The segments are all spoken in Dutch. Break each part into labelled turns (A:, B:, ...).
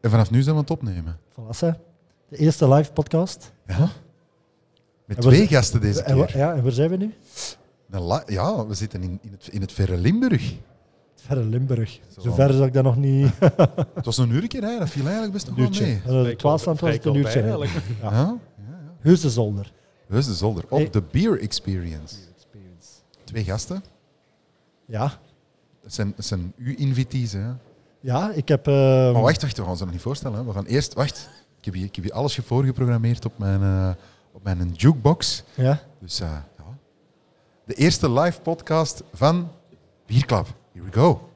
A: En vanaf nu zijn we aan het opnemen.
B: Voilà, hè. De eerste live podcast.
A: Ja. Met
B: En we
A: twee
B: z-
A: gasten deze
B: En wa-
A: keer.
B: ja, en waar zijn we nu?
A: Een la- Ja, we zitten in, in, het, in het verre Limburg.
B: Het verre Limburg.
A: Zo. Ah,
B: Zo ver dat ik dat nog niet...
A: Het was een uur keer, hè. dat viel eigenlijk best nog wel
B: Uurtje.
A: mee.
B: Eh, Het twaalfstand was het een uurtje. hè.
A: Ja. Ja? ja.
B: Heus de zolder.
A: Heus de zolder. Op
B: Hey.
A: de Beer Experience. Twee gasten.
B: Ja.
A: Het zijn, het zijn uw invitees. Hè.
B: Ja, ik heb... eh,
A: Maar Oh, wacht, wacht, we gaan ze nog niet voorstellen. Hè. We gaan eerst, wacht. Ik heb hier, ik heb hier alles voorgeprogrammeerd op mijn, eh, op mijn jukebox.
B: Ja.
A: Dus eh, ja. De eerste live podcast van Bierklap. Here we go.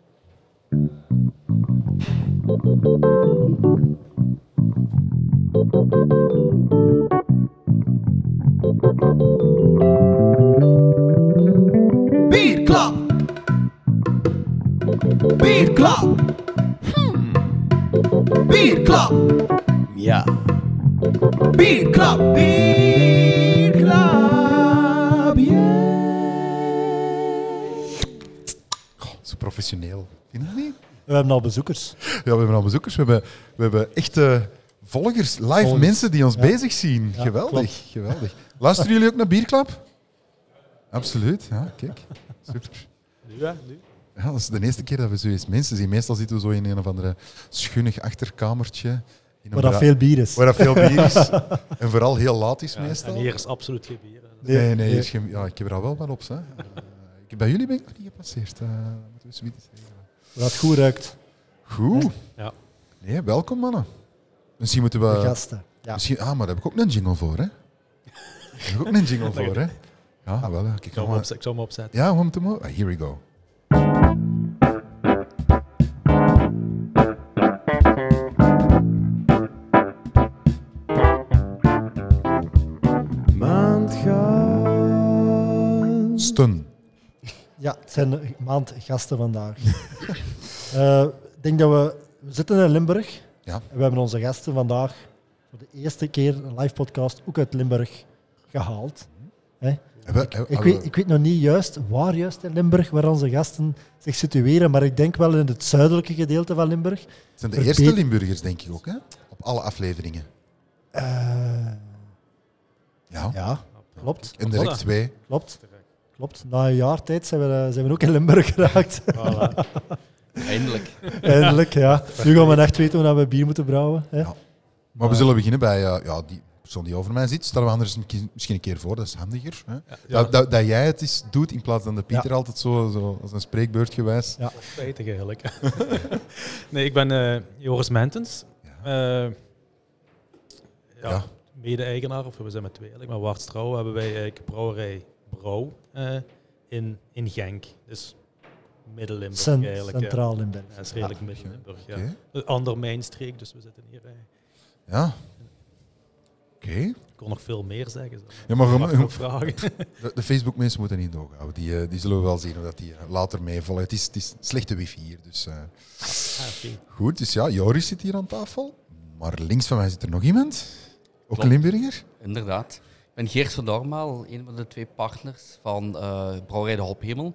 C: Bierklap. Bierklap. Hmm. Bierklap. Ja. Bierklap. Bierklap.
A: Goh, zo professioneel. Vind je dat niet?
B: We hebben al bezoekers.
A: Ja, we hebben al bezoekers. We hebben, we hebben echte volgers, live
B: Volgers.
A: mensen die ons
B: Ja.
A: bezig zien.
B: Ja,
A: geweldig,
B: klopt.
A: geweldig. Luisteren jullie ook naar Bierklap? Absoluut, ja, kijk. Super. Ja, dat is de eerste keer dat we zoiets mensen zien. Meestal zitten we zo in een of andere schunnig achterkamertje. In een
B: Waar dat
A: bra-
B: veel bier is.
A: waar dat veel bier is. en vooral heel laat is meestal.
D: En hier is absoluut geen bier. hè.
A: Nee, nee, hier is geen- ja, ik heb er al wel wat op. Hè. Eh, ik- bij jullie ben ik nog niet gepasseerd. eh, moeten we zoiets zeggen.
B: Waar dat goed ruikt.
A: Goed.
D: Ja.
A: Nee, welkom mannen. Misschien moeten
B: De
A: we...
B: gasten. Ja.
A: Misschien, ah, maar daar heb ik ook een jingle voor, hè? Daar heb ik ook een jingle voor, hè? Ja, wel. hè. Kijk,
D: Ik
A: nou,
D: zou hem
A: maar-
D: opzet- ik zou hem opzetten.
A: ja, om te mo- ah, Here we go.
C: Maand gaat.
A: Stun.
B: Ja, het zijn de maand gasten vandaag. Eh, ik denk dat we... We zitten in Limburg.
A: Ja.
B: En we hebben onze gasten vandaag voor de eerste keer een live podcast, ook uit Limburg, gehaald.
A: Hebben- hebben-
B: Ik
A: hebben
B: weet,
A: we-
B: ik weet nog niet juist waar juist in Limburg, waar onze gasten zich situeren, maar ik denk wel in het zuidelijke gedeelte van Limburg.
A: het zijn de
B: verbeet-
A: eerste Limburgers, denk ik ook, hè? Op alle afleveringen.
B: Eh,
A: Ja.
B: ja, klopt.
A: En direct
D: Voilà.
A: twee.
B: Klopt. Klopt. Na een jaar tijd zijn we, eh, zijn we ook in Limburg geraakt.
D: Voilà.
C: Eindelijk.
B: Eindelijk, ja. Nu gaan we echt weten hoe dat we bier moeten brouwen. Hè?
A: Ja. Maar we zullen beginnen bij eh, ja, die persoon die over mij zit. Stel we anders een ki- misschien een keer voor, dat is handiger. Hè? Dat, dat, dat jij het eens doet in plaats van de Pieter altijd zo, zo als een spreekbeurt gewijs.
B: Ja.
D: Spijtig eigenlijk. nee, ik ben eh, Joris Mentens.
A: Ja.
D: Eh, ja,
A: Ja.
D: Mede-eigenaar, of we zijn met twee eigenlijk, maar Waarts Trouw hebben wij eigenlijk brouwerij Brouw eh, in, in Genk. Dus Midden-Limburg
B: Cent-
D: eigenlijk. ja.
B: Centraal Limburg.
D: Ja, dat is redelijk Midden-Limburg, ja.
A: Ah, Oké.
D: Een ander mijnstreek, dus we zitten hier. eh.
A: Ja. Oké.
D: Ik kon nog veel meer zeggen. zo.
A: Ja, maar we-
D: Mag ik ook vragen.
A: De, de Facebook-mensen moeten niet doorhouden. Die, eh, die zullen we wel zien hoe dat die eh, later meevallen. Het is, het is slechte wifi hier. Dus, eh.
D: Ah, oké.
A: Goed, dus ja, Joris zit hier aan tafel. Maar links van mij zit er nog iemand. Ook een
E: Klopt.
A: Limburger.
E: Inderdaad. Ik ben Geert van Dormaal, een van de twee partners van eh Brouwerij de Hophemel.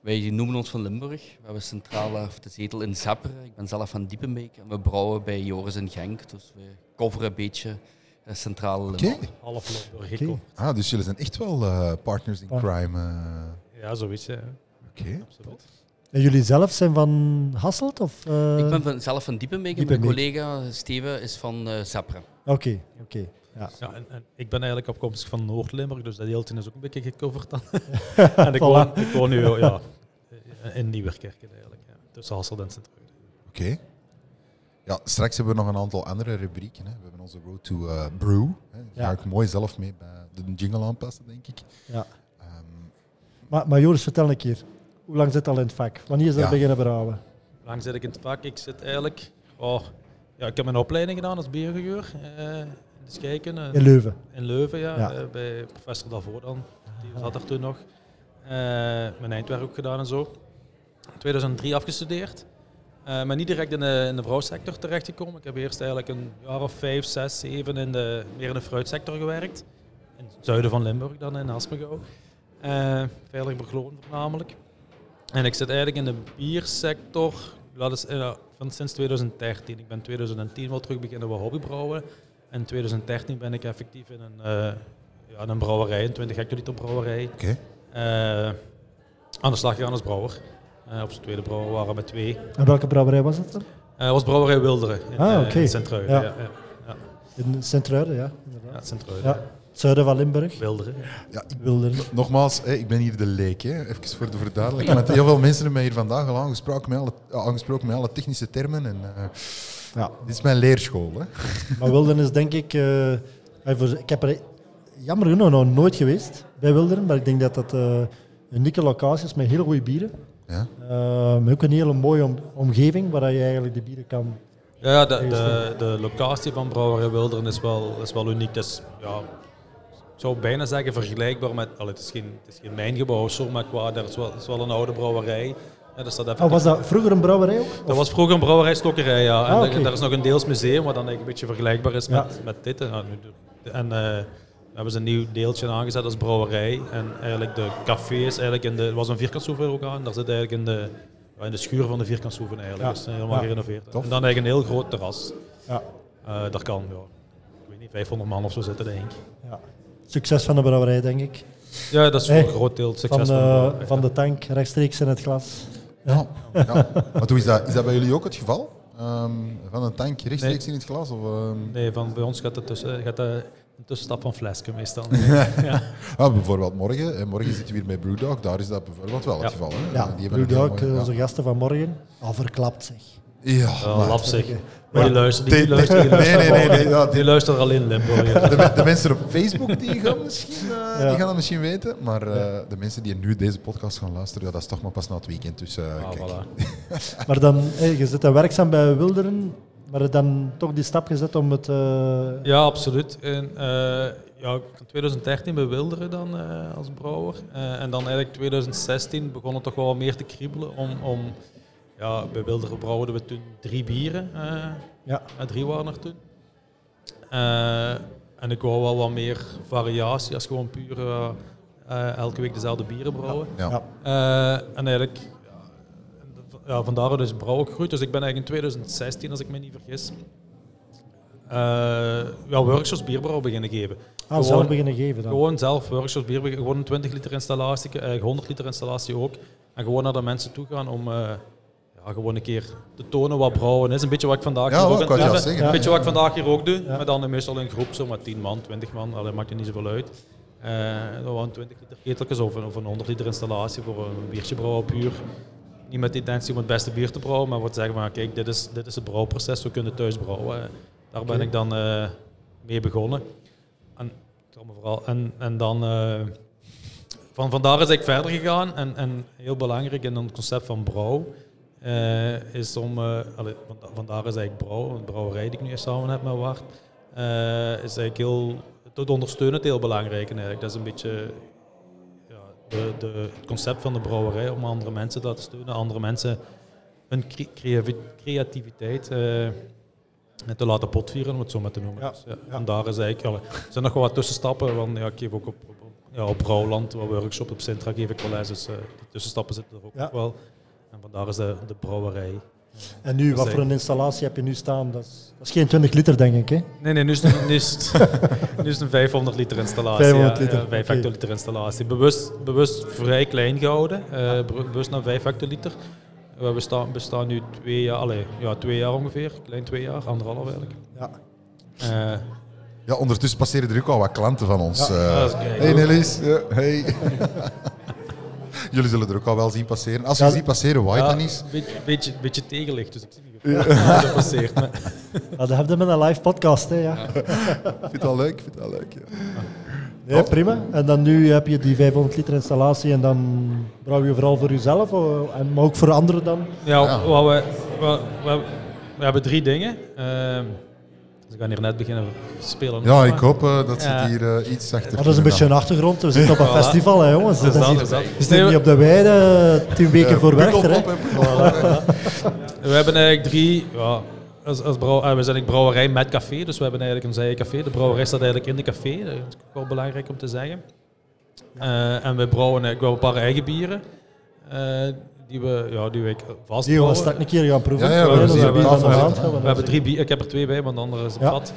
E: Wij noemen ons van Limburg. We hebben centrale of de zetel in Zepperen. Ik ben zelf van Diepenbeek en we brouwen bij Joris in Genk. Dus we coveren een beetje eh, centrale
A: Oké.
E: Limburg.
D: Half Limburg
B: Oké.
D: gekocht.
A: Ah, dus jullie zijn echt wel eh, partners in
B: Ah.
A: crime. eh.
D: Ja, zoiets, ja.
A: Oké.
D: Absoluut.
B: En jullie zelf zijn van Hasselt? Of, eh?
E: Ik ben van, zelf van Diepenbeek en mijn
B: Diepenbeek.
E: collega Steven is van eh Zepperen.
B: Oké, oké. Ja.
D: Ja, en, en ik ben eigenlijk opkomstig van Noord-Limburg, dus dat deeltje is ook een beetje gecoverd dan. en ik,
B: Voilà.
D: woon, ik woon nu ja, in Nieuwerkerken eigenlijk, ja, tussen Hasselt en sint
A: Oké. Ja, straks hebben we nog een aantal andere rubrieken. Hè. We hebben onze Road to eh, Brew. Hè. Daar ga
B: Ja.
A: ik mooi zelf mee bij de jingle aanpassen, denk ik.
B: Ja.
A: Ehm,
B: Maar, maar Joris, vertel een keer. Hoe lang zit al in het vak? Wanneer is dat
A: Ja.
B: beginnen brouwen?
D: Hoe lang zit ik in het vak? Ik zit eigenlijk... Oh, ja, ik heb mijn opleiding gedaan als biergeur eh in de Schijken, eh,
B: In Leuven.
D: in Leuven, ja,
B: Ja.
D: eh, bij professor Davo dan. Die zat er toen nog. Eh, mijn eindwerk ook gedaan en zo. In 2003 afgestudeerd. Eh, maar niet direct in de, in de brouwsector terechtgekomen. Ik heb eerst eigenlijk een jaar of vijf, zes, zeven in de, meer in de fruitsector gewerkt. In het zuiden van Limburg dan, in Aspengouw. Eh Veilig Bergloon voornamelijk. En ik zit eigenlijk in de biersector Dat is eh, van sinds 2013. Ik ben 2010 wel terug beginnen met hobbybrouwen. En in 2013 ben ik effectief in een, eh, ja, in een brouwerij, een 20 hectoliter brouwerij,
A: Oké.
D: eh, aan de slag gegaan als brouwer. Eh, op zijn tweede brouwer waren we met twee.
B: En welke brouwerij was het dan?
D: Eh, was brouwerij Wilderen in,
B: Ah,
D: eh,
B: oké.
D: in Sint-Truiden. Ja.
B: Ja.
D: Ja, ja,
B: In Sint-Truiden, ja.
D: ja,
B: Inderdaad.
D: Sint-Truiden.
B: Ja. Zuiden van Limburg.
D: Wilderen.
A: Ja, ik-
B: Wilderen.
A: Nogmaals, hè, ik ben hier de leek. Hè. Even voor de verduidelijking. Want heel veel mensen hebben mij hier vandaag al aangesproken met alle, eh, aangesproken met alle technische termen. En, eh,
B: Ja.
A: dit is mijn leerschool. Hè.
B: Maar Wilderen is denk ik... eh, hey, voor- ik heb er jammer genoeg nog nooit geweest bij Wilderen. Maar ik denk dat dat eh, een unieke locatie is met heel goede bieren.
A: Ja.
B: Eh, maar ook een hele mooie om- omgeving waar je eigenlijk de bieren kan...
D: Ja, ja, de, de, de locatie van Brouwerij Wilderen is wel, is wel uniek. Het is, ja, ik zou bijna zeggen vergelijkbar met... allee, het, is geen, het is geen mijn gebouw, of zo, maar qua, er is wel, het is wel een oude brouwerij. Ja, daar staat
B: Ah, was
D: effectief-
B: dat vroeger een brouwerij ook?
D: dat was vroeger een brouwerijstokkerij, ja. En
B: Ah,
D: daar-
B: oké.
D: daar is nog een deels museum, wat dan eigenlijk een beetje vergelijkbaar is
B: Ja.
D: met, met dit. Ja, nu de- En eh we hebben ze een nieuw deeltje aangezet als brouwerij. En eigenlijk de café is eigenlijk in de... Er was een vierkantsoever ook aan. Daar zit eigenlijk in de, ja, in de schuur van de vierkantsoever eigenlijk.
B: Ja.
D: Dus helemaal
B: Ja.
D: gerenoveerd.
A: Tof.
D: En dan eigenlijk een heel groot terras.
B: Ja.
D: Eh, dat kan, ja. Ik weet niet, 500 man of zo zitten, denk ik.
B: ja. Succes van de brouwerij, denk ik.
D: Ja, dat is
B: Nee,
D: voor een groot deel het
B: Van
D: succes van, de
B: de,
A: eh,
D: brouwerij.
B: van de tank, rechtstreeks in het glas.
A: Ja. Ja. Maar hoe is dat? Is dat bij jullie ook het geval? Ehm, van een tank rechtstreeks
D: Nee.
A: in het glas? Of, ehm,
D: Nee, van bij ons gaat, het tussen, gaat de, een tussenstap van flesken meestal.
A: ah, bijvoorbeeld morgen. hè, Morgen zitten we hier bij Brewdog. Daar is dat bijvoorbeeld wel het
D: Ja. eh,
A: geval. Hè.
B: Ja,
A: Die hebben
B: Blue
A: een heel
B: Dog,
A: mooie-
B: eh, onze gasten van morgen. Al verklapt, zeg.
A: Ja,
D: Ja,
A: maar-
D: laf zich. Maar die luisteren, die,
A: Die-
D: die luisteren, die
A: die- nee,
D: luisteren,
A: nee, nee, nee, ja, die-
D: die luisteren al in Limburg. ja.
A: De, de mensen op Facebook die gaan, misschien, eh,
B: Ja.
A: die gaan dat misschien weten. Maar eh, de mensen die nu deze podcast gaan luisteren, ja, dat is toch maar pas na het weekend. Dus, eh,
D: Ah,
A: kijk.
D: voilà.
B: Maar dan, eh, je zit dan werkzaam bij Wilderen, maar dan toch die stap gezet om het... eh,
D: Ja, absoluut. In eh, ja, in 2013 bij Wilderen dan eh, als brouwer. Eh, en dan eigenlijk 2016 begon het toch wel wat meer te kriebelen. Om, om, ja, bij Wilderen brouwden we toen drie bieren. eh,
B: ja.
D: Ja, drie waren er toen. Eh, en ik wou wel wat meer variatie als gewoon puur eh, eh, elke week dezelfde bieren brouwen.
A: Ja.
B: Ja.
D: Eh, en eigenlijk, ja, en dat- ja, van daaruit is brouw ook gegroeid. Dus ik ben eigenlijk in 2016, als ik me niet vergis, eh, ja, workshops bierbrouw beginnen geven.
B: Ah, zelf
D: Gewoon-
B: beginnen geven dan.
D: Gewoon zelf workshops, bier, gewoon een 20 liter installatie, eh, 100 liter installatie ook. En gewoon naar de mensen toe gaan om eh, ja, gewoon een keer te tonen wat brouwen is. Een beetje wat ik vandaag
A: Ja,
D: hier
A: ook,
D: ook, aan
A: wou
D: het
A: ik
D: doen
A: juist
D: ben.
A: zeggen,
D: Een
A: ja,
D: beetje wat ik vandaag hier ook doe.
B: Ja.
D: Maar dan meestal een groep, zo maar 10 man, 20 man. Allee, maakt het niet zoveel uit. Eh dat waren 20 liter keteltjes of een, of een 100 liter installatie voor een biertje brouwen puur. Niet met de intentie om het beste bier te brouwen, maar wat zeggen van kijk, dit is, dit is het brouwproces, we kunnen thuis brouwen. Eh, Daar ben ik dan eh, mee begonnen. En, dat me vooral, en, en dan eh, van vandaar is ik verder gegaan. En, en heel belangrijk in het concept van brouw eh, is om. eh allee, van, vandaar is eigenlijk brouw, een brouwerij die ik nu samen heb met Wart. eh, is eigenlijk heel. Het ondersteunen heel belangrijk. En eigenlijk. Dat is een beetje ja, de, de, het concept van de brouwerij om andere mensen te laten steunen, andere mensen hun cre- creavi- creativiteit eh, te laten potvieren, om het zo maar te noemen.
B: Ja,
D: Dus, En daar is eigenlijk, ja, er zijn nog wel wat tussenstappen, want ja, ik geef ook op, op, op- ja, op Brouwland, wat workshop op Sintra geef ik wel eens, dus eh, die tussenstappen zitten er ook
B: Ja.
D: nog wel. En vandaar is de, de brouwerij.
B: En nu, wat voor een installatie heb je nu staan? Dat is, dat is geen 20 liter, denk ik. Hè?
D: Nee, nee, nu is het, nu is het- nu is het een 500 liter installatie.
B: 500
D: ja,
B: liter,
D: ja, 5
B: oké.
D: hectoliter installatie. Bewust, bewust vrij klein gehouden. eh, be- bewust naar 5 hectoliter. We bestaan, bestaan nu twee jaar, allee, ja, twee jaar ongeveer. Klein twee jaar, anderhalf eigenlijk.
B: Ja.
D: Eh,
A: Ja, ondertussen passeren er ook al wat klanten van ons.
B: Ja.
A: eh.
D: Ja, dat is kei
A: hey
D: goed.
A: Nellies. Ja, hey. jullie zullen er ook al wel zien passeren. Als je
B: Ja.
A: ziet passeren, waait
D: ja,
A: dan eens.
D: Een beetje, beetje, beetje tegenlicht, dus ik zie niet wat er passeert. maar-
B: Ah, dat hebben we met een live podcast. Hè, ja.
A: Ik vind het wel leuk. Ik vind het wel leuk ja.
B: Nee, prima. En dan nu heb je die 500 liter installatie en dan brouw je vooral voor jezelf, eh, en- maar ook voor anderen dan.
D: Ja,
A: Ja.
D: wat we, we, we, we hebben drie dingen. Ehm ze gaan hier net beginnen spelen.
A: ja, ik hoop eh, dat ze
D: Ja.
A: het hier eh, iets zachter
B: Maar dat is een beetje een achtergrond. We zitten op een
D: Voilà.
B: festival, hè, jongens.
D: Dat is dat,
B: hier-
D: dat is dat.
B: we zitten niet op de weide, eh, tien weken voor Werchter. hè.
D: We hebben eigenlijk drie. Ja, als, als brouw, eh, we zijn een brouwerij met café, dus we hebben eigenlijk een eigen café. De brouwerij staat eigenlijk in de café, dat is ook wel belangrijk om te zeggen. Eh, en we brouwen eigenlijk wel een paar eigen bieren. Eh, die we, ja, die we vastbouwen.
B: Die was dat een keer gaan proeven.
A: Ja, ja, we
B: dat
D: hebben
B: is
D: ze
B: een bier
D: op
B: van de
A: tafel
B: maand,
A: zitten.
B: hè,
D: We hebben drie bier, ik heb er twee bij, want de andere is op
B: Ja.
D: vat.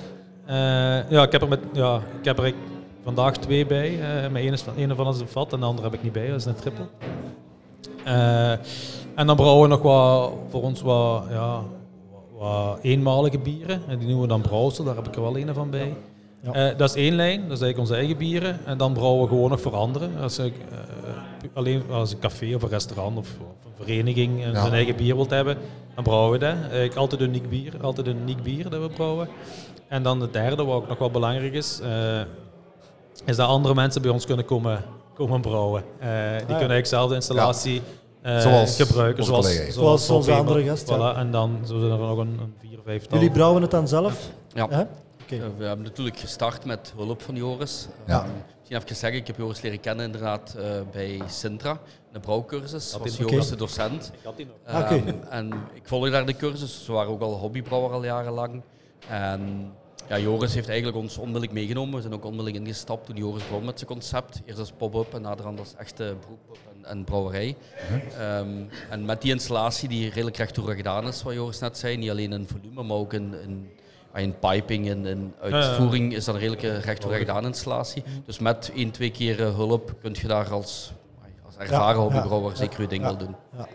D: Eh, ja, ik heb er, met, ja, ik heb er vandaag twee bij. eh mijn ene, is, van- ene van ons is op vat en de andere heb ik niet bij, dat is een triple. Eh, en dan brouwen we nog wat, voor ons wat, ja, wat eenmalige bieren. En die noemen we dan brouwsel, daar heb ik er wel een van bij.
B: Ja.
D: Eh, dat is één lijn, dat is eigenlijk onze eigen bieren. En dan brouwen we gewoon nog voor anderen. Als, ik, eh, pu- alleen als een café of een restaurant of, of een vereniging eh,
A: Ja.
D: zijn eigen bier wilt hebben, dan brouwen we dat. Eigenlijk altijd een uniek bier, altijd een uniek bier dat we brouwen. En dan de derde, wat ook nog wel belangrijk is, eh, is dat andere mensen bij ons kunnen komen, komen brouwen. Eh, die kunnen eigenlijk zelf de installatie eh,
A: Ah, Zoals
D: gebruiken.
A: onze
D: Zoals,
A: collega hier.
B: Zoals
D: Paul
B: onze andere
D: Weber.
B: gast,
D: Voilà,
B: ja.
D: En dan zo zijn er nog een, een vier, vijftal.
B: Jullie brouwen het dan zelf?
E: Ja.
B: Hè? Oké.
E: Eh, We hebben natuurlijk gestart met hulp van Joris.
A: Ja.
E: Eh, misschien even zeggen, ik heb Joris leren kennen inderdaad eh, bij Sintra, de brouwcursus. was
B: oké.
E: Joris de docent.
D: Ik had die nog.
E: Ehm,
B: Oké.
E: En ik volgde daar de cursus. Ze waren ook al hobbybrouwer al jarenlang. En ja, Joris heeft eigenlijk ons onmiddellijk meegenomen. We zijn ook onmiddellijk ingestapt toen Joris begon met zijn concept. Eerst als pop-up en naderhand als echte broep en, en brouwerij. Ehm, en met die installatie die redelijk rechttoerig gedaan is, wat Joris net zei, niet alleen in volume, maar ook in, in, ah, in piping en in uitvoering is dat een redelijke rechttoerig gedaan installatie.
B: Mhm.
E: Dus met één, twee keer eh, hulp kun je daar als, ah, als ervaren
B: ja,
E: hobbybrouwer
B: ja,
E: zeker je ding
B: ja.
E: wel doen.
B: Ja.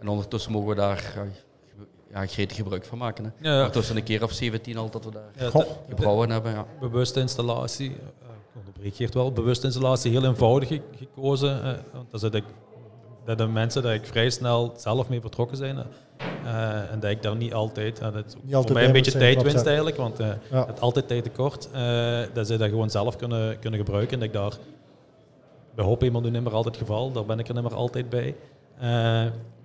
E: En ondertussen mogen we daar ja, ge- ja, gretig gebruik van maken. Hè.
D: Ja, ja.
E: Ondertussen een keer of 17 al dat we daar
D: Ja,
A: Goh.
D: de- de
E: gebrouwen hebben. Ja.
D: bewuste installatie, eh, ik onderbreek Geert wel, bewuste installatie heel eenvoudig ge- gekozen. eh, want dat, is dat, ik, dat de mensen daar ik vrij snel zelf mee betrokken zijn. eh, eh, en dat ik daar niet altijd, en dat is ook
B: Niet
D: voor
B: altijd
D: mij een
B: bij
D: beetje
B: moet zijn,
D: tijdwinst
B: klopt, ja.
D: eigenlijk, want eh,
B: Ja.
D: het altijd tijd tekort. eh, dat zij dat gewoon zelf kunnen, kunnen gebruiken. En dat ik daar bij Hop eenmaal nu niet meer altijd het geval. Daar ben ik er niet meer altijd bij. Eh,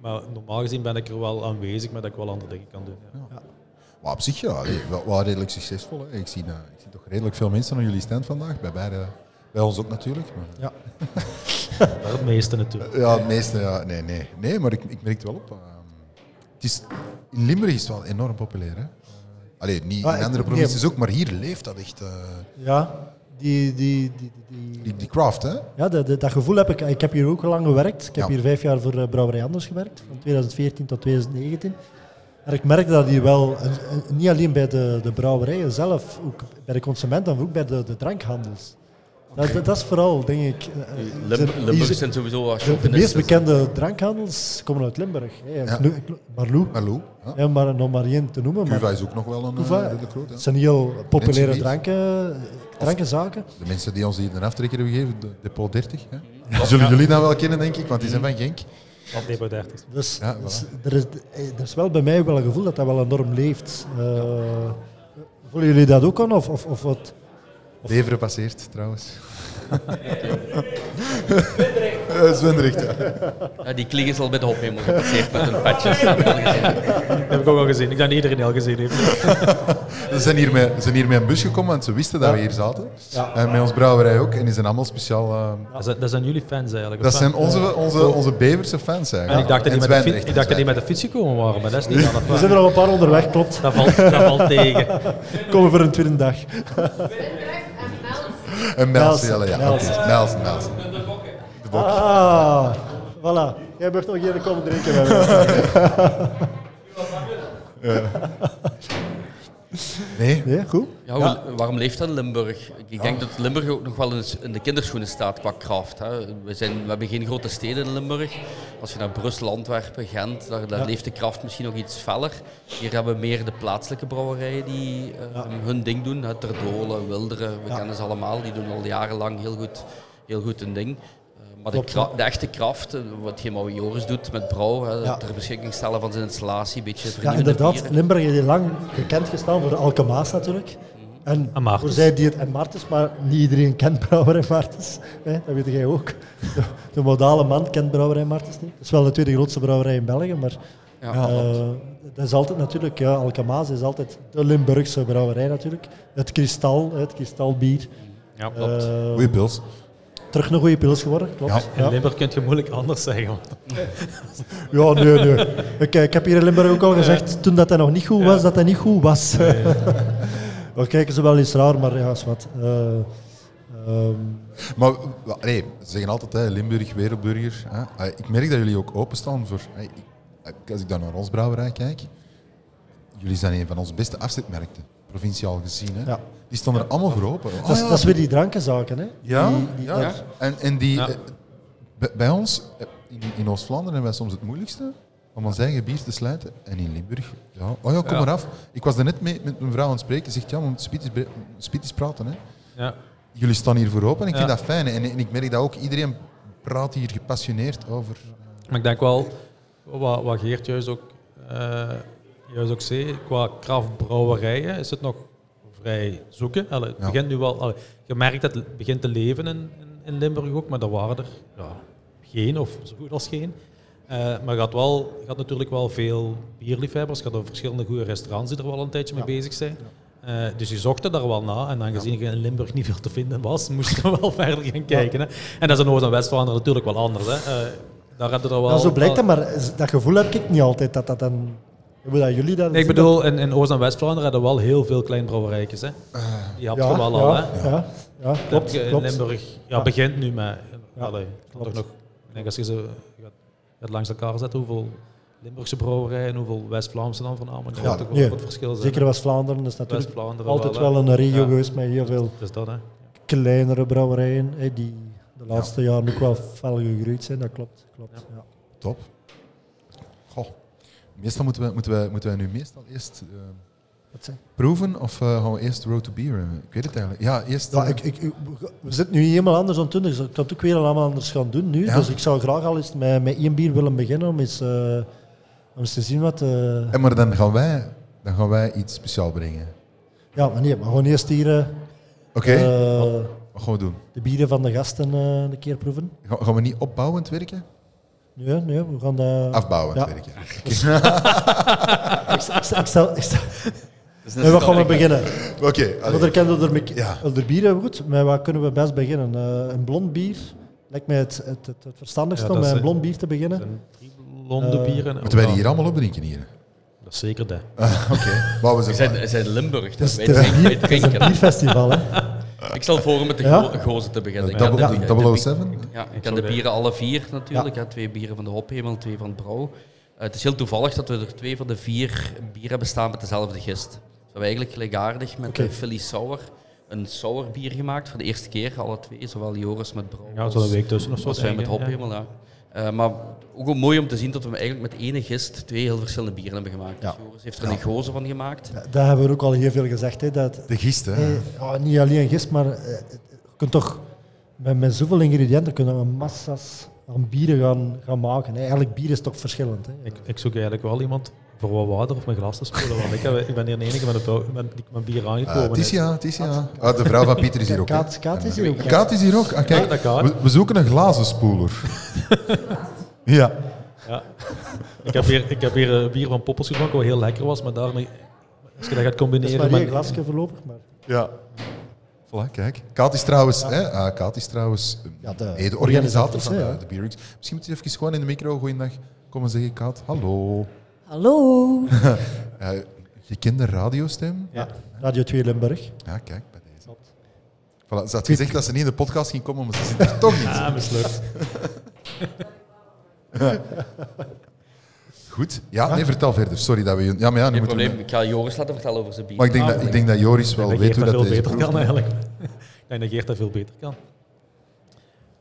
D: maar normaal gezien ben ik er wel aanwezig, maar dat ik wel andere dingen kan doen. Ja.
A: Maar op zich, ja, allee, wel, wel redelijk succesvol. Hè. Ik, zie, eh, ik zie toch redelijk veel mensen aan jullie stand vandaag. Bij, beide, bij ons ook natuurlijk. Maar,
B: Ja.
D: Daar het meeste natuurlijk.
A: ja, het meeste, ja, nee, nee. Nee, maar ik, ik merk het wel op. ehm, het is, in Limburg is het wel enorm populair. Hè. Eh, Allee, niet
B: Ah,
A: in
B: ik-
A: andere
B: nee.
A: provincies ook, maar hier leeft dat echt. eh,
B: Ja, die, die, die, die,
A: die, die craft, hè?
B: Ja, dat, dat, dat gevoel heb ik. Ik heb hier ook lang gewerkt. Ik heb
A: Ja.
B: hier vijf jaar voor eh, Brouwerij Anders gewerkt, van 2014 tot 2019. En ik merkte dat hier wel, en, en niet alleen bij de, de brouwerijen zelf, ook bij de consumenten, maar ook bij de, de drankhandels. Dat, dat, dat is vooral, denk ik... eh, eh,
E: Lim-
B: zijn-
E: Limburg
B: die-
E: zijn sowieso als
B: de, de
E: shopping
B: meest bekende drankhandels komen uit Limburg. Hey,
A: Ja.
B: Kno- Kno- Marlou,
A: Maar Lou, hè?
B: ja, maar, om maar één te noemen. Maar
A: Cuva is ook nog wel een eh,
B: Cuva,
A: redelijk groot. hè.
B: het zijn heel populaire
A: Mensen die-
B: dranken, drankenzaken.
A: De mensen die ons hier een aftrek hebben gegeven, de Depot 30, hè? zullen jullie dat wel kennen, denk ik, want die zijn van Genk.
D: Wat Debo 30.
B: Dus
A: Ja, voilà.
B: dus er, is, er is wel bij mij wel een gevoel dat dat wel enorm leeft. Eh, Voelen jullie dat ook aan? Of, of, of wat?
A: Beveren passeert trouwens. Eh, Zwendrecht. ja.
E: Ja, die kling is al bij de hophemel gepasseerd met hun patjes. Dat heb ik al gezien.
D: Dat heb ik ook al gezien. Ik denk dat iedereen al gezien heeft.
A: Ze zijn, hier met, ze zijn hier met een bus gekomen, want ze wisten dat we hier zaten. En met ons brouwerij ook. En die zijn allemaal speciaal... eh,
D: Dat zijn, dat zijn jullie fans eigenlijk.
A: dat
D: of
A: zijn
D: wat?
A: onze, onze, onze Beverse fans eigenlijk.
D: En ik dacht dat
A: En
D: die, met de, fiets,
A: Zwijndrecht,
D: ik dacht dat die
A: en
D: met de fiets gekomen waren, maar dat is niet aan
B: Er zijn er al een paar onderweg, klopt.
D: Dat valt, dat valt tegen.
B: Komen voor een tweede dag.
A: Zwijndrecht. En Melsen,
B: Melsen,
A: ja.
B: Melsen.
A: oké. Melsen, Melsen. De bok.
B: Ah, voilà. Jij mag nog even komen drinken bij mij.
A: Nee,
B: Nee, goed.
E: Ja, hoe- Waarom leeft dat in Limburg? Ik ik denk dat Limburg ook nog wel in s- in de kinderschoenen staat qua kracht. Hè. We, zijn, we hebben geen grote steden in Limburg. Als je naar Brussel, Antwerpen, Gent, daar, daar leeft de kracht misschien nog iets feller. Hier hebben we meer de plaatselijke brouwerijen die eh, hun ding doen. Hè. Terdolen, Wilderen, we kennen ze allemaal. Die doen al jarenlang heel goed, heel goed hun ding. Eh, maar de,
B: Klopt.
E: kra- de echte kraft, eh, wat Gemma Joris doet met brouw, hè, ter beschikking stellen van zijn installatie, een beetje
B: Ja,
E: vernieuwende
B: inderdaad.
E: bieren.
B: Limburg heeft hier lang bekend gestaan voor de Alkemaas natuurlijk. En
D: En Maartens.
B: voor zij die het en Martens, maar niet iedereen kent Brouwer en Martens. Hè, dat weet jij ook. De, de modale man kent Brouwer en Martens niet. Het is wel de tweede grootste brouwerij in België, maar
E: Ja,
B: eh,
E: klopt.
B: dat is altijd natuurlijk, ja, Alkemaas is altijd de Limburgse brouwerij natuurlijk. Het kristal, hè, het kristalbier.
D: Ja, klopt.
B: Eh,
A: goeie pils.
B: terug een goede pils geworden, klopt.
D: in
B: Ja, ja.
D: Limburg kun je moeilijk anders zeggen. want
B: nee, nee. Ik, eh, ik heb hier in Limburg ook al gezegd, toen dat hij nog niet goed was, dat hij niet goed was. We kijken ze wel eens raar, maar ja, is wat. Eh, Ehm,
A: Maar wel, nee, ze zeggen altijd hè, Limburg, Wereldburger. Hè. Eh, Ik merk dat jullie ook openstaan voor. eh, ik- Als ik dan naar ons brouwerij kijk, jullie zijn een van onze beste afzetmerkten, provinciaal gezien. Hè.
B: Ja.
A: Die staan er allemaal voor open. Oh,
B: dat, is,
A: ja.
B: dat is weer die drankenzaken. Hè?
A: Ja,
B: Die- die-
A: ja.
B: daar-
A: En, en die,
D: Ja.
A: eh, bij, bij ons, eh, in, in Oost-Vlaanderen hebben wij soms het moeilijkste om ons eigen bier te sluiten. En in Limburg, ja. Oh ja, kom
D: Ja.
A: maar af. Ik was daarnet mee met mijn vrouw aan het spreken. Ze zegt, ja, we moeten spitjes bre- spitjes praten. Hè.
D: Ja.
A: Jullie staan hier voor open en ik
D: Ja.
A: vind dat fijn. En, en ik merk dat ook iedereen praat hier gepassioneerd over.
D: Maar ik denk wel, wat, wat Geert juist ook, eh, juist ook zei, qua kraftbrouwerijen is het nog vrij zoeken. Allee, het
A: Ja.
D: begint nu wel, allee, je merkt dat het begint te leven in, in, in Limburg ook, maar er waren er ja, geen, of zo goed als geen. Eh, maar je had, wel, je had natuurlijk wel veel bierliefhebbers, je had ook verschillende goede restaurants die er wel een tijdje mee bezig zijn. Eh, dus je zocht er daar wel na. En aangezien je in Limburg niet veel te vinden was, moest je wel verder gaan kijken. Hè. En dat is in Oost- en West-Vlaanderen natuurlijk wel anders. Hè. Eh, daar heb je er wel...
B: Ja, nou, zo blijkt dat, maar is- dat gevoel heb ik niet altijd. Dat, dat dan, hoe dat jullie dat
D: Nee, ik
B: zien,
D: bedoel, in, in Oost- en West-Vlaanderen hadden we wel heel veel kleinbrouwerijtjes. Hè. Die had
B: dat-
D: je
B: Ah, ja,
D: wel al, hè.
B: ja, ja, ja, klopt.
D: Dat je in
B: klopt.
D: Limburg ja,
B: Ja.
D: begint nu, maar
B: Ja,
D: allee, kan
B: klopt.
D: toch nog... Ik denk als je ze je gaat, je gaat langs elkaar zetten, hoeveel Limburgse brouwerijen en hoeveel West-Vlaamse dan voornamelijk. Ja,
A: Ja,
D: toch wel
B: nee.
D: wat verschil zijn.
B: Zeker West-Vlaanderen is natuurlijk
D: West-Vlaanderen
B: altijd
D: wel, hè.
B: wel een regio
D: Ja.
B: geweest met heel veel
D: Dus dat, hè.
B: kleinere brouwerijen hè, die de laatste jaren ook wel fel gegroeid zijn. Dat klopt. klopt ja.
A: Top. Goh. Meestal moeten wij, moeten wij, moeten wij nu meestal eerst eh,
B: Wat zijn?
A: proeven of eh, gaan we eerst Road to Beer? eh, Ik weet het eigenlijk. Ja, eerst...
B: Ja,
A: eh,
B: ik, ik, ik- we zitten nu helemaal anders dan toen, dus ik kan het ook weer allemaal anders gaan doen nu.
A: Ja.
B: Dus ik zou graag al eens met, met één bier willen beginnen om eens, eh, om eens te zien wat... eh,
A: En maar dan gaan wij, dan gaan wij iets speciaal brengen.
B: ja, maar nee, maar gewoon eerst hier eh,
A: Oké,
B: eh,
A: wat gaan we doen?
B: de bieren van de gasten eh, een keer proeven.
A: Ga- Gaan we niet opbouwend werken?
B: Nee, nee, we gaan dat...
A: Afbouwend
B: ja.
A: werken.
B: Ik, stel- ik stel- ik stel-
D: Dus
E: Het is
B: Nee,
E: een
B: wat gaan we
E: sterke-
B: beginnen?
A: Oké, allee.
B: Want er kennen we er,
A: Ja.
B: er bieren goed, maar wat kunnen we best beginnen? Eh, een blond bier lijkt mij het, het, het, het verstandigste
D: Ja,
B: om
D: dat
B: met
D: is,
B: een
D: eh,
B: blond bier te beginnen.
D: Er zijn drie blonde
B: Eh,
D: bieren.
A: moeten wij die hier allemaal opdrinken hier?
D: Dat is zeker dat.
A: Ah, Oké, maar we
E: We
A: zijn...
E: zijn, we zijn Limburg,
B: Dus
E: dus wij
B: het is een bier-
E: drinken. wij
B: het is een
E: drinken.
B: bierfestival, hè?
E: Ik stel voor om met de
B: Ja?
E: go- gozer te beginnen. Ik
A: Double-
E: ken de- de-
A: double
E: de-
A: 007?
E: Ja, ik ken de bieren alle vier natuurlijk. Ja. Twee bieren van de Hophemel, twee van het Brouw. Eh, het is heel toevallig dat we er twee van de vier bieren bestaan met dezelfde gist. Dus we hebben eigenlijk gelijkaardig met
B: Oké.
E: de Philly Sour een sour bier gemaakt voor de eerste keer, alle twee. Zowel Joris met Brouw
D: Ja,
E: als,
D: zo'n week tussen of zo.
E: als wij met
D: denk ik, hè.
E: Hophemel. Ja. Eh, maar ook wel mooi om te zien dat we eigenlijk met ene gist twee heel verschillende bieren hebben gemaakt.
A: Ja.
E: Joris heeft er een gozer van gemaakt.
B: Da- Daar hebben we ook al heel veel gezegd. Hè, dat,
A: De gist, hè?
B: eh, ja, niet alleen gist, maar eh, je kunt toch met, met zoveel ingrediënten kunnen we massa's aan bieren gaan, gaan maken. Hè. Eigenlijk bier is toch verschillend. Hè.
D: Ik, ik zoek eigenlijk wel iemand voor wat water of mijn glas te spullen. Want ik, heb, ik ben hier de enige met een vrouw- met, die met
B: Eh,
D: bier aangekomen
A: Ah, Tissia, Tissia. Ah, de vrouw van Pieter is hier ook. hè.
B: Kaat- Kaat is hier ook, hè.
A: Kaat is hier ook. Ah,
D: Ja, dat
A: kijk,
D: Kaat.
A: we, we zoeken een glazenspoeler. ja.
D: Ja. Ik heb hier, ik heb hier eh, bier van Poppels gedronken, wat heel lekker was, maar daarmee, als je dat gaat
B: Dat is
D: combineren
B: maar
D: met...
B: één glasje voorlopig. Maar,
A: Ja. Voilà, kijk. Kaat is trouwens, hè, ah, Kaat is trouwens eh,
B: Ja, de
A: mede organisator
B: organisator,
A: van
B: hè,
A: de,
B: ja.
A: de Beer Weeks. Misschien moet je even gewoon in de micro goeiedag komen zeggen, Kaat. Hallo.
F: Hallo.
A: Eh gekende radiostem.
B: ja. Radio 2 Limburg.
A: Ja, kijk, bij deze. Voilà, ze had gezegd dat ze niet in de podcast ging komen, maar ze zit er toch niet.
D: Ah, mislukt.
A: Goed. Ja, nee, vertel verder. Sorry dat we... je- Ja, maar ja, nu
E: Geen
A: moeten we-
E: probleem, ik ga Joris laten vertellen over zijn bier. Ah,
A: Maar ik denk, dat, ik denk dat Joris wel
D: Ik denk
A: weet hoe
D: dat Geert
A: dat
D: dat
A: deze
D: veel beter
A: proef-
D: kan eigenlijk. Ik denk dat Geert dat veel beter kan.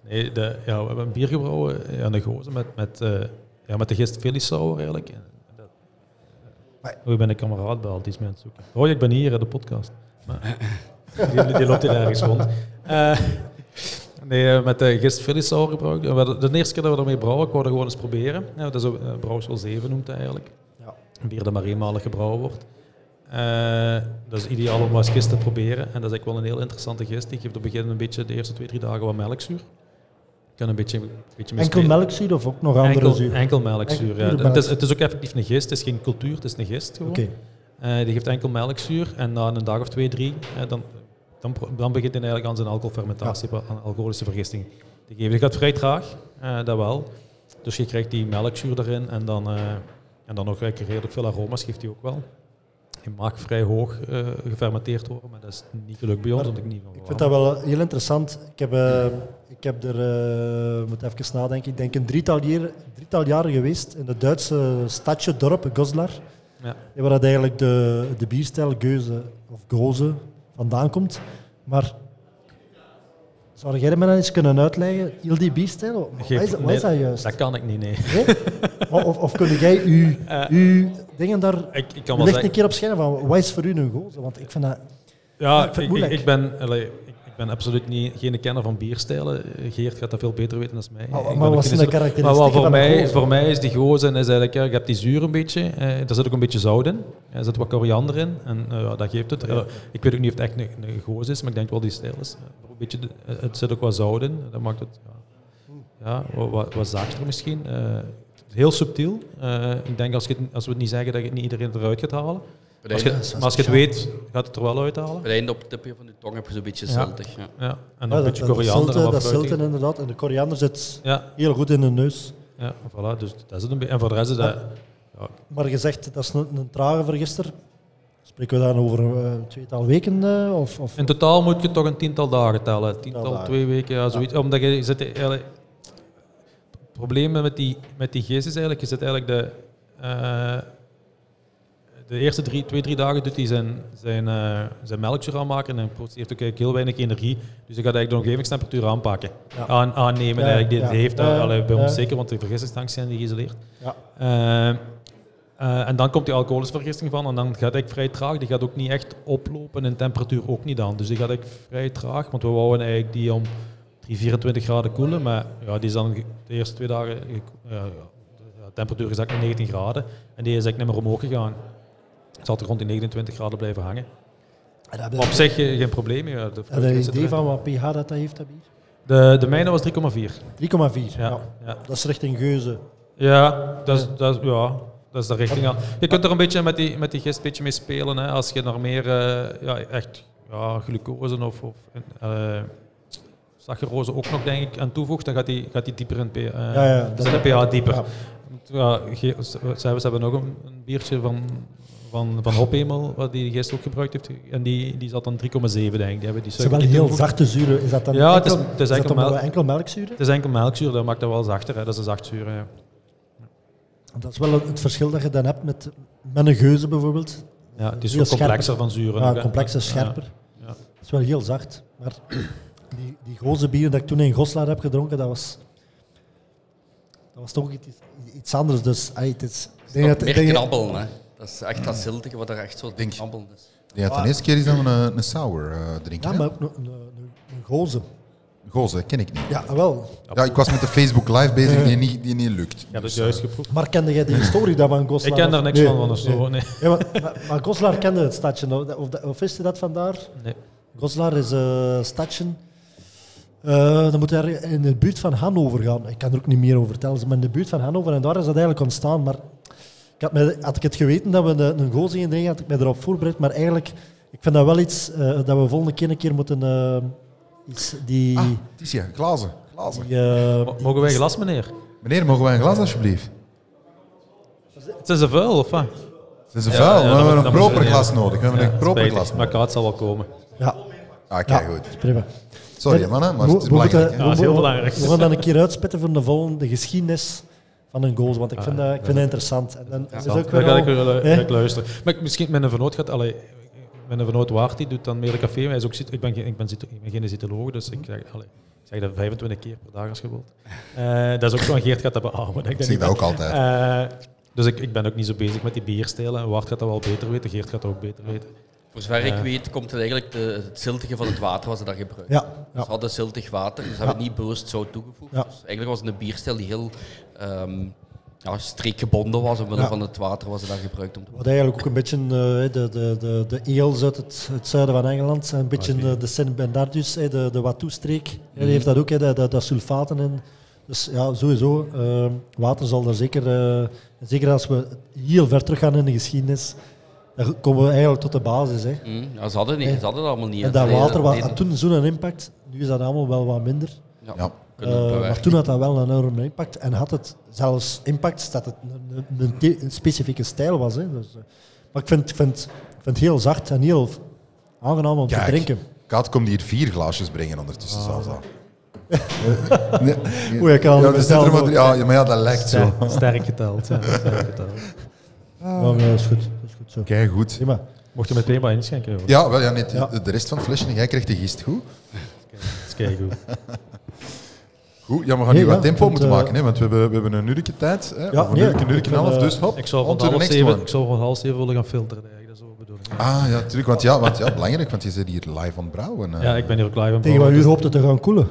D: Nee, de, ja, we hebben een bier gebrouwen eh, aan de gozen met, met, eh, ja, met de gist Philly Sour eigenlijk. En dat- Oh, ik ben een kameraad bij al die is mee aan het zoeken. Oh, ik ben hier in de podcast. Maar, die, die loopt hier ergens rond. Eh, nee, eh, met de gist Philly Sour gebruikt. En we hadden- De eerste keer dat we ermee brouwen, ik wou dat gewoon eens proberen. Ja, dat is ook, eh, brouwsel 7 noemt dat eigenlijk.
B: Ja.
D: Een bier dat maar eenmalig gebrouwen wordt. Eh, dat is ideaal om als gist te proberen. En dat is eigenlijk wel een heel interessante gist. Die geeft op het begin een beetje de eerste twee, drie dagen wat melkzuur. Kan een beetje, een beetje mee
B: Enkel
D: spelen.
B: melkzuur of ook nog andere
D: Enkel,
B: zuur?
D: enkel melkzuur.
B: Enkel
D: ja.
B: melk.
D: Het, is, het is ook effectief een gist. Het is geen cultuur, het is een gist gewoon.
B: Oké.
D: Eh, die geeft enkel melkzuur. En na een dag of twee, drie, eh, dan, dan, pro- dan begint hij eigenlijk aan zijn alcoholfermentatie, aan alcoholische vergisting te geven. Die gaat vrij traag, eh, dat wel. Dus je krijgt die melkzuur erin en dan, eh, en dan nog eigenlijk redelijk veel aroma's geeft hij ook wel. die mag vrij hoog eh, gefermenteerd worden, maar dat is niet gelukt bij ons,
B: Maar
D: want ik niet van
B: Ik vind dat wel heel interessant. Ik heb, eh, ik heb er, eh, ik moet even nadenken, ik denk een drietal, jaar, drietal jaren geweest in het Duitse stadje, dorp, Goslar.
D: Ja.
B: Waar dat eigenlijk de, de bierstijl Geuze of Goze vandaan komt. Maar zou jij me dan eens kunnen uitleggen, heel die bierstijl, wat
D: Geen-
B: is, dat- wat
D: nee,
B: is dat juist?
D: Dat kan ik niet, nee.
B: Nee? Of, of- of kun jij uw, uw dingen daar
D: Eh, Ik, ik kan wel
B: licht een
D: zeggen...
B: keer op schijnen van, wat is voor u een Goze? Want ik vind dat...
D: Ja,
B: ik vind het
D: ik, ik,
B: Ah, moeilijk.
D: ik ben, allee, ik, ik ben absoluut niet, geen kenner van bierstijlen. Eh, Geert gaat dat veel beter weten dan mij.
B: Maar-
D: Ik
B: maar
D: ben
B: wat
D: ook
B: zijn
D: geen
B: de
D: zin-
B: karakteristieken
D: Maar wat voor,
B: van een
D: mij,
B: gozer?
D: voor mij is die gozen is eigenlijk, ja, je hebt die zuur een beetje. eh, daar zit ook een beetje zout in. Er zit wat koriander in. En eh, ja, dat geeft het. Eh, ik weet ook niet of het echt een, een goos is, maar ik denk wel die stijl is. Eh, maar een beetje, de- eh, het zit ook wat zout in. Dat maakt het ja, ja, wat, wat, wat zachter misschien. Eh, heel subtiel. Eh, ik denk als, je het- als we het niet zeggen, dat je het niet iedereen eruit gaat halen. Maar als je,
E: Bij
D: maar als je het weet, gaat het er wel uithalen.
E: het einde op het tipje van de tong heb je zo'n beetje
D: Ja.
E: ziltig. Ja.
D: Ja, en
B: Ja,
D: een
B: dat-
D: beetje
B: dat-
D: koriander. en
B: Dat zilten-
D: wat
B: dat
D: fruitig.
B: zilten inderdaad. En de koriander zit
D: Ja,
B: heel goed in de neus.
D: ja, voilà. Dus dat is het een beetje. En voor de rest is dat... Ja,
B: Maar je zegt, dat is een, een trage vergister. Spreken we dan over eh, een tweetal weken? eh, of, of,
D: in totaal moet je toch een tiental dagen tellen. Tiental,
B: dagen.
D: twee weken, ja, zoiets. Omdat je zit... eigenlijk- Het probleem met die, met die geest is eigenlijk... Je zit eigenlijk de... eh, de eerste drie, twee, drie dagen doet hij zijn, zijn, eh zijn melkzuur aanmaken en produceert ook eigenlijk heel weinig energie. Dus hij gaat eigenlijk de omgevingstemperatuur aanpakken.
B: Ja.
D: Aan, aannemen
B: Ja,
D: eigenlijk. Dit
B: ja.
D: heeft dat
B: Ja,
D: allee, bij ons
B: ja.
D: zeker, want de vergistingstanks zijn die geïsoleerd.
B: ja.
D: Eh, eh, en dan komt die alcoholische vergisting van en dan gaat ik vrij traag. Die gaat ook niet echt oplopen en temperatuur ook niet aan. Dus die gaat ik vrij traag, want we wouden eigenlijk die om 3, 24 graden koelen. Maar ja, die is dan ge- de eerste twee dagen, ge- ja, ja, de temperatuur is eigenlijk 19 graden. En die is eigenlijk niet meer omhoog gegaan. Het zal toch rond die 29 graden blijven hangen.
B: En heb je-
D: Maar op zich eh, geen probleem. Ja, de,
B: heb je een
D: is
B: idee
D: erin.
B: van wat pH dat, dat heeft, dat bier?
D: de, de mijne was 3,4.
B: 3,4. Ja.
D: Ja, ja.
B: Dat is richting Geuze.
D: Ja, dat is, dat is, ja, dat is de richting aan. Je kunt er een beetje met die, met die gist een beetje mee spelen. Hè, als je naar meer eh, ja, echt ja, glucose of, of eh, saccharose ook nog denk ik, aan toevoegt, dan gaat die, gaat die dieper in P, eh
B: Ja, ja, dat-
D: zit de pH dieper.
B: Ja.
D: Ja. Ge- ze- ze hebben nog een, een biertje van, van, van Hophemel, wat die gist ook gebruikt heeft. En die, die zat dan 3,7 denk ik. Die hebben die
B: Het zijn
D: suiker
B: wel
D: niet
B: heel
D: toegevoegd.
B: zachte zuren. Is dat dan
D: Ja, het is-
B: enkel,
D: het is enkel
B: dat dan
D: melk.
B: wel enkel melkzuren?
D: Het is enkel melkzuur, dat maakt dat wel zachter. Hè. Dat is een zachtzuur. Ja.
B: Dat is wel het het verschil dat je dan hebt met, met een Geuze bijvoorbeeld.
D: Ja, het is
B: Heel
D: ook complexer
B: scherper.
D: van zuren.
B: Ja,
D: ook, hè.
B: complexer,
D: Ja.
B: scherper.
D: Ja.
B: Het is wel heel zacht. Maar die, die goze bieren die ik toen in Goslaar heb gedronken, dat was, dat was toch iets, iets anders. Dus, ai, het is, ik denk
E: Dat
B: dat-
E: meer
B: ik denk-
E: knabbelen, hè. Dat is echt dat ziltige wat er echt zo
A: Denk-
E: knabbelen is.
A: Ja, de eerste keer is dat we een, een sour eh, drinken.
B: Ja,
A: hè?
B: maar ook een, een, een- een goze.
A: Gozer, ken ik niet.
B: Ja, ah, wel.
A: Ja, ik was met de Facebook Live bezig die niet, die niet lukt.
D: Ja, dat is juist geproefd.
B: Maar kende jij die historie daarvan, Goslar?
D: Ik ken daar
B: of-
D: niks
B: Nee,
D: van, van of zo.
B: nee.
D: Nee.
B: Ja, maar, maar, maar Goslar kende het stadje. nou, Of, dat- of wist je dat vandaar?
D: Nee.
B: Goslar is een stadje. eh, dan moet je daar in de buurt van Hannover gaan. Ik kan er ook niet meer over vertellen, maar in de buurt van Hannover. En daar is dat eigenlijk ontstaan. Maar ik had, mij- had ik het geweten dat we een, een goal gingen drinken, had ik mij erop voorbereid. Maar eigenlijk, ik vind dat wel iets eh, dat we volgende keer een keer moeten... eh, iets die...
A: Ah, Ticia, glazen. glazen.
B: die, eh,
D: Mo- Mogen wij glas, meneer?
A: Meneer, mogen wij een glas alsjeblieft?
D: Het is een vuil, of wat?
A: Het is een vuil,
D: ja,
A: we
D: dan
A: hebben
D: moet-
A: een
D: dan moeten
A: proper
D: we-
A: glas nodig. We hebben een proper
D: Spijtig,
A: glas
D: Maar
A: nodig.
D: kaart zal wel komen.
B: ja,
A: Ah, kijk,
B: ja,
A: goed.
B: prima.
A: Sorry mannen, maar het is
B: We- we
A: belangrijk.
B: moeten-
A: hè.
D: Ja, dat is
B: we-
D: heel
B: we-
D: belangrijk.
B: We gaan dan een keer uitspitten voor de volgende geschiedenis van een goal. Want ik
D: Ah,
B: vind, dat, ik vind dat interessant. En dan is het ook
D: Dan
B: weer
D: ga
B: al-
D: ik wel eh,
B: hè?
D: ga ik luisteren. Maar ik- misschien mijn vernoot gaat... Allee, mijn vernoot Waart, die doet dan meer café. maar Hij is ook, zit- ik, ben, geen- ik, ben, zit- ik ben geen zitoloog, dus ik zeg, allee, ik zeg dat 25 keer per dag als je wilt. Eh, dat is ook zo'n Geert gaat dat beamen. Ik
A: Ik
D: denk
A: zeg
D: niet
A: dat ook altijd.
D: Eh, dus ik, ik ben ook niet zo bezig met die bierstijlen. En Waart gaat dat wel beter weten, Geert gaat dat ook beter weten.
E: Voor zover
D: Ja.
E: ik weet, komt het eigenlijk de, het ziltige van het water wat ze daar gebruiken.
B: Ja,
E: Ze
B: ja.
E: hadden ziltig water, dus ze hebben niet bewust zout toegevoegd.
B: Ja.
E: Dus eigenlijk was het een bierstijl die heel ehm ja, streekgebonden was, omwille
B: Ja.
E: van het water wat ze daar gebruikt om te
B: Wat eigenlijk ook een beetje eh, de, de, de, de eels uit het, het zuiden van Engeland, een beetje
D: Ah, Oké. Mhm.
B: eh, de Sint Bernardus, eh, de, de Watoe-streek, eh, die heeft dat ook, hè, dat, dat, dat sulfaten in. Dus ja, sowieso, eh, water zal daar zeker, eh, zeker als we heel ver terug gaan in de geschiedenis, dan komen we eigenlijk tot de basis. Hè.
E: Mm, ja, ze hadden, niet,
B: Nee.
E: ze hadden dat allemaal niet.
B: En
E: hè.
B: dat
E: Ze deden-
B: water wa-
E: deden-
B: had toen zo'n impact, nu is dat allemaal wel wat minder.
E: Ja,
A: Ja.
E: kunnen we
B: Eh,
E: bewerken.
B: maar toen had dat wel een enorme impact. En had het zelfs impact dat het een, een- een, the- een specifieke stijl was. Hè. Dus, eh, maar ik vind, ik vind, ik vind vind het heel zacht en heel aangenaam om
A: Kijk.
B: te drinken.
A: Kaat komt hier vier glaasjes brengen ondertussen zelfs al.
B: Oei, ik kan
A: ja, er
B: al
A: zitten
B: bestellen
A: er maar,
B: ook.
A: drie- ah, ja, maar ja, dat lijkt zo.
G: Ster- Sterk geteld. Ja, sterk geteld.
B: Ja, maar dat is goed. Dat is goed zo.
A: Kijk, goed.
B: Prima.
G: Mocht je meteen wat inschenken? Joh.
A: Ja, wel, ja, niet,
B: Ja.
A: de rest van het flesje, jij krijgt de gist. Goed,
G: Dat is keigoed.
A: goed ja, we gaan
B: Nee,
A: nu wat
B: ja,
A: tempo
B: want,
A: moeten
B: eh,
A: maken, hè, want we hebben, we hebben een uurtje tijd. Hè,
B: Ja,
A: of een
B: nee,
A: uurtje, een uurtje
B: ik
A: en een
B: wil,
A: half,
B: eh,
A: dus hop,
D: Ik zal
A: on
D: van
A: to the
D: half
A: next
D: zeven,
A: one.
D: ik zal van half zeven willen gaan filteren. Eigenlijk. Dat is ook de bedoeling. Ja.
A: Ah, ja, natuurlijk, want ja, want ja, belangrijk, want je zit hier live aan het brouwen. eh.
D: Ja, ik ben hier ook klaar van.
B: Tegen wat uur hoopt het te gaan koelen?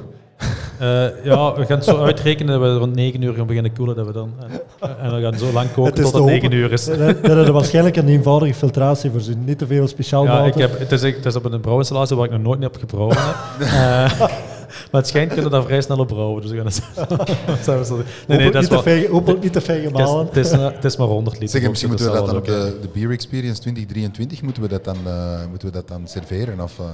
D: Eh, ja, we gaan het zo uitrekenen dat we rond 9 uur gaan beginnen koelen. Dat we dan, en, en we gaan zo lang koken
B: Het is
D: tot
B: te
D: het
B: hopen.
D: 9 uur is.
B: Daar daar hebben we waarschijnlijk een eenvoudige filtratie voorzien. Niet te veel speciaal
D: Ja, ik
B: water.
D: heb, het, is, echt- het is op een brouwinstallatie waar ik nog nooit niet heb gebrouwen. heb. Eh, maar het schijnt kunnen we daar vrij snel op brouwen. Dus we gaan het zo- zo- nee, nee,
B: Hopelijk
D: dat is
B: niet, te
D: wel,
B: fijn- hopelijk niet te fijn
D: het, is,
B: gemalen.
D: het, is, eh, het is maar 100 liter.
A: Zeg, misschien
D: Dus
A: moeten we dat dan
D: is
A: op de,
D: wel
A: de Beer Experience 2023 moeten we dat dan, eh, moeten we dat dan serveren? Of, eh,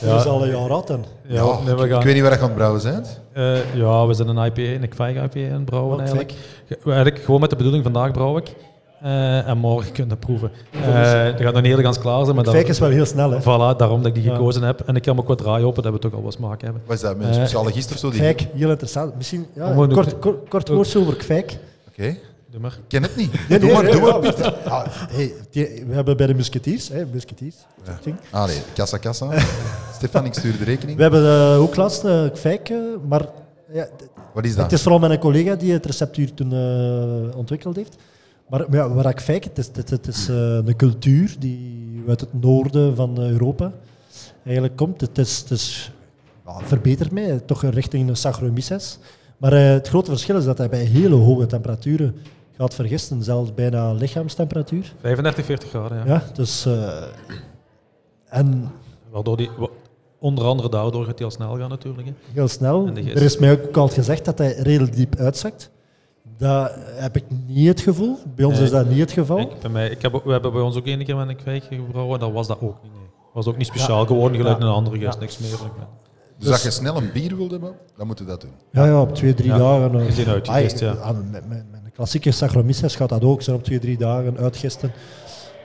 D: ja.
B: Dat is Dus al een jaar oud dan.
D: oké. Ja, nee, we
A: ik,
D: gaan,
A: ik weet niet waar dat aan het brouwen zijn.
D: eh, ja, we zijn een IPA, een kwijg IPA aan het brouwen
B: Wat
D: eigenlijk. Ge- eigenlijk. Gewoon met de bedoeling, vandaag brouw ik. eh, en morgen kunnen we proeven. Eh er gaat nog niet helemaal klaar zijn. Maar dat-
B: Fijk is wel heel snel, hè.
D: Voilà, daarom dat ik die
B: Ja.
D: gekozen heb. En ik kan hem ook wat draaien op, dat we toch al wat smaak hebben.
A: Wat is dat, met een
D: Eh,
A: speciale gist of zo? Die...
B: Kwijk, heel interessant. Misschien ja,
D: Gewoon
B: een
D: een-
B: kort, kort, kort woord over kwijk.
A: Oké,
D: Doe maar.
A: ik ken het niet. doe
B: Nee, nee,
A: maar,
B: nee,
A: doe
B: ja.
A: maar, Pieter.
B: Hey, die- we hebben bij de musketiers, hè, musketiers. ding.
A: Ah nee, kassa kassa. Stefan, ik stuur de rekening.
B: We hebben eh, ook laatst een kwijk, eh, maar ja, d-
A: Wat is
B: het
A: dat?
B: is vooral mijn collega die het receptuur toen eh, ontwikkeld heeft. Maar, maar ja, waar ik fijk, het is, het, het is eh, een cultuur die uit het noorden van eh, Europa eigenlijk komt. Het is, het is ja, verbetert mij, eh, toch richting een Saccharomyces. Maar eh, het grote verschil is dat hij bij hele hoge temperaturen gaat vergisten, zelfs bijna lichaamstemperatuur.
D: 35, 40 graden, ja.
B: Ja, dus... eh, en
D: Waardoor die, wa- onder andere daardoor gaat hij al snel gaan natuurlijk. Hè.
B: heel snel.
D: En de gist.
B: Er is mij ook al gezegd dat hij redelijk diep uitzakt. Dat heb ik niet het gevoel. Bij ons
D: Nee.
B: is dat niet het geval.
D: Ik, bij mij, ik heb, ook- we hebben bij ons ook één keer met een kwijg gebrouwen, dat was dat ook niet. Nee. was ook niet speciaal, gewoon gelijk
B: Ja.
D: een andere gast,
B: Ja.
D: niks meer. Ja.
A: Dus als je snel een bier wilt hebben, dan moet je dat doen.
B: Ja, ja, op twee, drie
D: Ja,
B: dagen. eh,
D: gezien uitgegist,
B: ah,
D: ja.
B: ah, Met, met, met een klassieke Saccharomyces gaat dat ook. Zijn op twee, drie dagen uitgisten.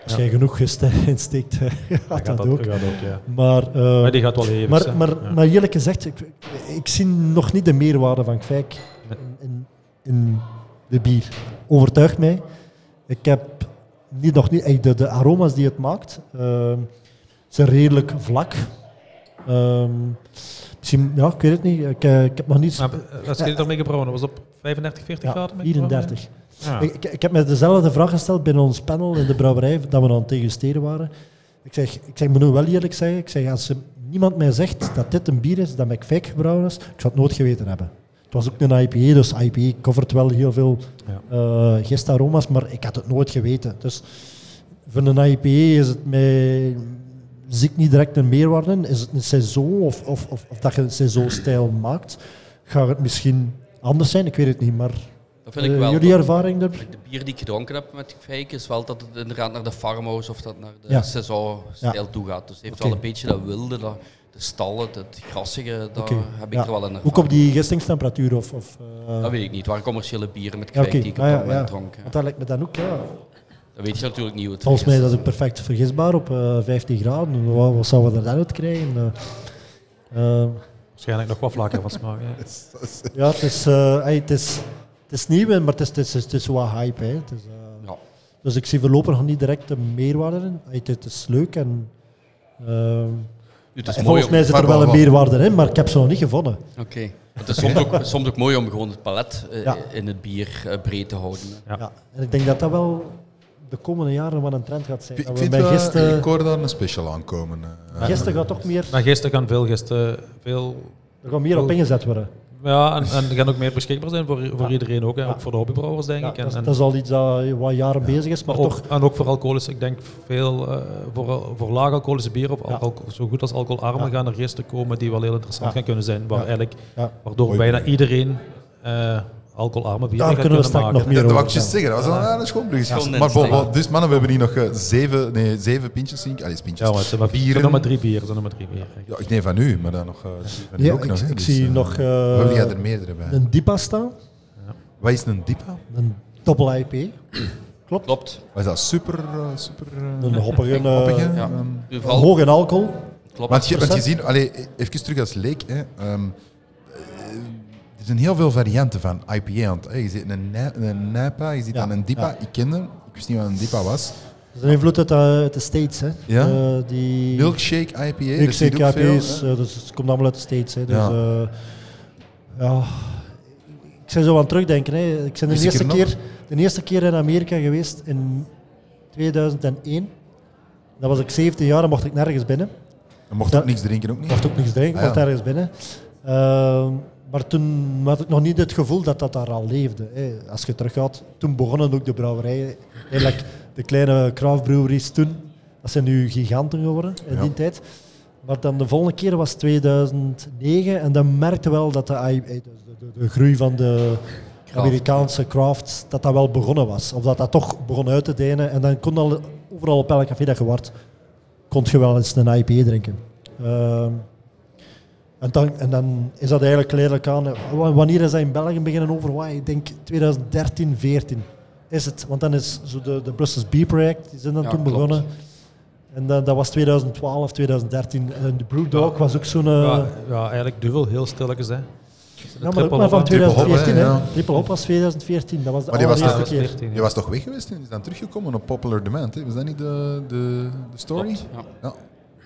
B: Als
D: Ja.
B: jij genoeg gisten insteekt, gaat dat,
D: gaat
B: ook.
D: gaat ook, ja.
B: Maar, eh,
D: Maar die gaat wel even.
B: maar, maar, maar eerlijk gezegd, ik, ik zie nog niet de meerwaarde van Kwijk
D: Nee.
B: in, in, in de bier. Overtuigt mij. Ik heb niet, nog niet, echt de, de aroma's die het maakt, ehm, zijn redelijk vlak. Ehm, misschien, ja, ik weet het niet. Ik, eh, ik heb nog niets.
D: als je dit ermee gebrouwen, dat was op 35, 40
B: Ja,
D: graden? met
B: 34.
D: Ja.
B: Ik, ik, ik heb me dezelfde vraag gesteld binnen ons panel in de brouwerij dat we aan het degusteren waren. Ik zeg, ik zeg, moet nu wel eerlijk zeggen, ik zeg, als niemand mij zegt dat dit een bier is dat met fake gebrouwen is, ik zou het nooit geweten hebben. Het was ook een IPA, dus IPA covert wel heel veel
D: Ja.
B: eh, gistaroma's, maar ik had het nooit geweten. Dus voor een IPA is het mij, zie ik niet direct een meerwaarde. in. Is het een saison of, of, of, of dat je een saisonstijl maakt, gaat het misschien anders zijn, ik weet het niet, maar
E: Dat vind ik
B: eh,
E: wel.
B: jullie
E: dat-
B: ervaring daar?
E: de bier die ik gedronken heb met Fijk is wel dat het inderdaad naar de farmhouse of dat naar de
B: Ja.
E: saison-stijl toe gaat. Dus het heeft
B: Oké.
E: wel een beetje dat wilde, dat, de stallen, het grassige, daar
B: Oké,
E: Eh, heb ik
B: ja.
E: er wel in
B: Ook op
E: ervaring.
B: die gistingstemperatuur of... of eh,
E: Dat weet ik niet. Het waren commerciële bieren met
B: Ja,
E: Fijk
B: oké.
E: die ik op
B: Ah,
E: dat
B: ja,
E: moment
B: ja.
E: dronk. ja.
B: Want dat lijkt me dan ook, ja.
E: Dat weet je natuurlijk niet hoe het
B: Volgens
E: is.
B: mij dat is ook perfect vergisbaar op eh 15 graden. Wat, wat zouden we er dan uit krijgen? Eh, eh,
D: Waarschijnlijk nog wat vlakker van smaak. ja.
B: ja, het is, eh, ey, het, is, het is nieuw, maar het is, het is, het is wat hype. Hè. Het is, eh,
E: Ja.
B: Dus ik zie voorlopig nog niet direct de meerwaarde in. Ey, het, het is leuk en... eh,
E: Het is
B: en
E: mooi
B: volgens
E: om...
B: mij zit er
A: maar
B: wel
A: wel
B: een
A: wat.
B: meerwaarde in, maar ik heb ze nog niet gevonden.
E: Oké. Het is soms ook, soms ook mooi om gewoon het palet eh,
B: Ja.
E: in het bier eh, breed te houden.
D: Ja.
B: Ja. En ik denk dat dat wel de komende jaren wel een trend gaat zijn.
A: Ik
B: Dat we
A: vind
B: bij
A: wel-
B: gisten,
A: eh, ik hoor daar een special aankomen. eh.
B: gisten gaat toch meer,
D: Maar gisteren gaan veel, gisteren veel
B: er gaat meer op ingezet worden.
D: Ja, en, en er gaan ook meer beschikbaar zijn voor, voor iedereen ook. Hè. Ook voor de hobbybrouwers, denk
B: Ja,
D: ik. En,
B: dat, is-
D: en-
B: dat is al iets dat wat jaren bezig is, maar
D: maar ook,
B: toch.
D: en ook voor alcoholische, ik denk veel eh, voor, voor laag alcoholische bieren, of
B: Ja.
D: alcohol- zo goed als alcoholarmen,
B: Ja.
D: gaan er gisteren komen die wel heel interessant
B: Ja.
D: gaan kunnen zijn. Waar
B: Ja.
D: eigenlijk,
B: Ja.
D: waardoor
A: Mooi
D: bijna iedereen eh alcoholarme bieren
B: Daar
D: gaat
B: kunnen we
D: kunnen
B: straks
D: maken.
B: nog
A: Ja,
B: meer
A: dat wou
B: over
A: ik juist
B: vertellen.
A: zeggen. Dat was wel een schoonbruggetje.
E: Schoon
A: maar bon,
E: insteek.
A: bon, dus mannen, we hebben hier nog eh, zeven, nee, zeven pintjes. Denk ik. Allee, pintjes.
D: Ja, maar het zijn maar, het zijn nog maar drie bieren. het zijn nog maar drie bieren.
A: Ja, ik neem van u, maar dan nog. eh, van u
B: Ja,
A: ook
B: ik-
A: nog, hè.
B: ik
A: Dus,
B: zie
A: eh,
B: nog, eh,
A: we hebben jij er meerdere bij.
B: Een DIPA staan,
A: Wat is een dipa?
B: een dubbel IP. Klopt.
E: Klopt.
A: Wat is dat? Super... eh, super eh,
B: Een hoppige, eh,
A: hoppige,
E: Ja.
A: ehm,
E: Nu vooral-
B: hoog in alcohol.
E: klopt.
A: Want je, want je
B: Procent.
A: ziet, allee, even terug als leek, hè, ehm, eh, er zijn heel veel varianten van IPA. Want, hè, je ziet een, na- een Napa, je ziet
B: Ja,
A: dan een Dipa.
B: ja.
A: Ik kende hem, ik wist niet wat een Dipa was.
B: Dat is een invloed uit, eh, uit de States. Hè.
A: Ja?
B: Eh, die
A: Milkshake IPA, dat zie je
B: Milkshake
A: ook veel,
B: IPA's,
A: hè.
B: eh, dus het komt allemaal uit de States. Hè, dus,
A: Ja.
B: ja. ja. Ik ben zo aan het terugdenken. Hè. Ik ben de
A: Is ik
B: eerste,
A: er nog?
B: keer, de eerste keer in Amerika geweest in 2001. Dan was ik 17 jaar en mocht ik nergens binnen.
A: Je mocht
B: Ja.
A: ook niks drinken, ook niet.
B: Ik eh, mocht ook niks
A: Ah,
B: drinken,
A: ja.
B: ik mocht ergens binnen. Ehm, maar toen had ik nog niet het gevoel dat dat daar al leefde. Hè. Als je teruggaat, toen begonnen ook de brouwerijen. Eigenlijk de kleine craftbreweries toen, dat zijn nu giganten geworden in
A: Ja.
B: die tijd. Maar dan de volgende keer was 2009 en dan merkte wel dat de, I- eh, de, de, de groei van de
E: Craft,
B: Amerikaanse crafts, dat dat wel begonnen was. Of dat dat toch begon uit te dijnen. En dan kon al, overal op elk café dat je werd, kon je wel eens een IPA drinken. Ehm, en, dan, en dan is dat eigenlijk geleidelijk aan. eh, wa- Wanneer is dat in België beginnen overwaaien? Ik denk 2013, 14 is het. Want dan is zo de, de Brussels B-project, die zijn dan
E: Ja,
B: toen
E: klopt.
B: begonnen. En dat, dat was 2012, 2013. En de Brewdog was ook zo'n... eh,
D: Ja, ja, eigenlijk duvel, heel stilletjes. Hè. Dus
B: ja,
D: de
B: maar ook
D: triple
B: maar van
D: hop, hè.
A: Triple hop, hè,
B: 2014. hè.
A: ja.
B: Triple Hop was 2014, dat was de
A: Maar die was
B: allereerste
A: daar-
B: keer.
D: 14, ja.
A: Je was toch weg geweest en is dan teruggekomen op Popular Demand. Hè? Was dat niet de, de, de story?
E: Klopt, ja.
A: Ja.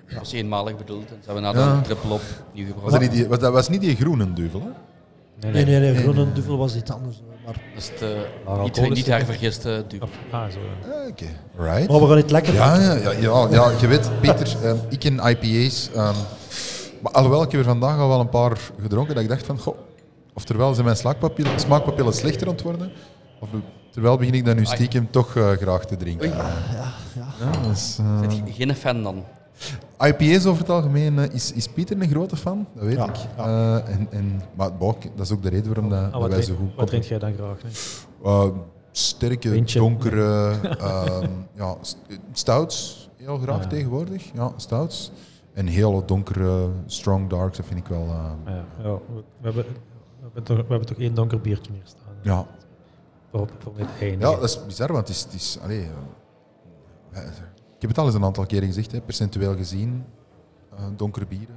E: Dat was eenmalig bedoeld. En ze hebben
A: Ja.
E: na een triple op nieuw
A: Was
E: gebruikt.
A: dat, niet die, was, dat was niet die groene duvel, hè?
D: Nee,
B: Nee,
D: nee.
B: nee, nee, Groene Duvel was iets anders. eh, Maar,
E: Dat is de,
D: Maar
E: niet,
D: alcohol is
E: niet
D: het-
E: haar vergiste dupe.
D: Ah, zo. ja.
A: Ah, Oké, right.
B: maar we gaan niet lekker.
A: Ja, ja, ja, ja, ja, je weet, Peter, ehm, ik ken IPA's. ehm, maar alhoewel, ik heb er vandaag al wel een paar gedronken dat ik dacht van, goh, oftewel zijn mijn slaakpapillen- smaakpapillen slechter ontworden, of terwijl begin ik dat nu stiekem toch eh, graag te drinken. Ja, dus, eh,
B: Ah.
E: Zit je geen fan dan?
A: IPA's over het algemeen, eh, is, is Pieter een grote fan? Dat weet
B: Ja,
A: ik. Eh, en, en, maar bon, dat is ook de reden waarom dat,
D: Ah,
A: dat
D: wat,
A: wij zo
D: drink,
A: goed
D: wat
A: koppelen.
D: drink jij dan graag? Nee?
A: Eh, sterke,
D: Windje.
A: donkere ehm, ja, st- stouts, heel graag tegenwoordig. Ja, stouts. En hele donkere, strong darks, dat vind ik wel... eh,
D: Ja, ja, we, we hebben, we, hebben toch, we hebben toch één donker biertje meer staan.
A: ja.
D: Voor, voor met één.
A: ja, dat is bizar, want het is... Het is allee, eh, eh, ik heb het al eens een aantal keren gezegd, hè, percentueel gezien, eh, donkere bieren.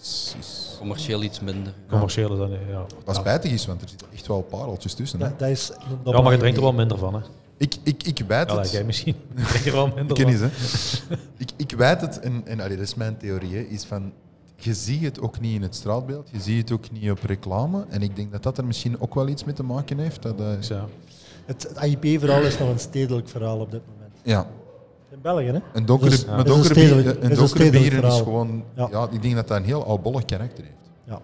A: Is, is,
E: Commercieel iets minder.
D: Commercieel is dat niet, ja.
A: wat spijtig is, want er zitten echt wel pareltjes tussen. Hè.
B: Dat, dat is
D: Ja, maar je drinkt er wel minder van, hè?
A: Ik, ik, ik weet
D: Ja,
A: het.
D: jij misschien. Je drinkt er wel minder
A: Ik ken
D: van.
A: niet, hè. ik, ik weet het, en, en allee, dat is mijn theorie, hè, is van... Je ziet het ook niet in het straatbeeld, je ziet het ook niet op reclame. En ik denk dat dat er misschien ook wel iets mee te maken heeft. Dat, eh,
D: Dus ja.
B: Het AIP-verhaal is nog een stedelijk verhaal op dit moment.
A: ja,
B: In België, hè?
A: een donkere,
B: Dus-
A: een
B: dus
A: donkere,
B: een stedelijk-
A: bieren,
B: dus
A: een
B: een
A: donkere
B: stedelijk
A: bieren is
B: verhaal.
A: gewoon... Ja.
B: Ja.
A: ik denk dat dat een heel albollig karakter heeft.
B: Ja.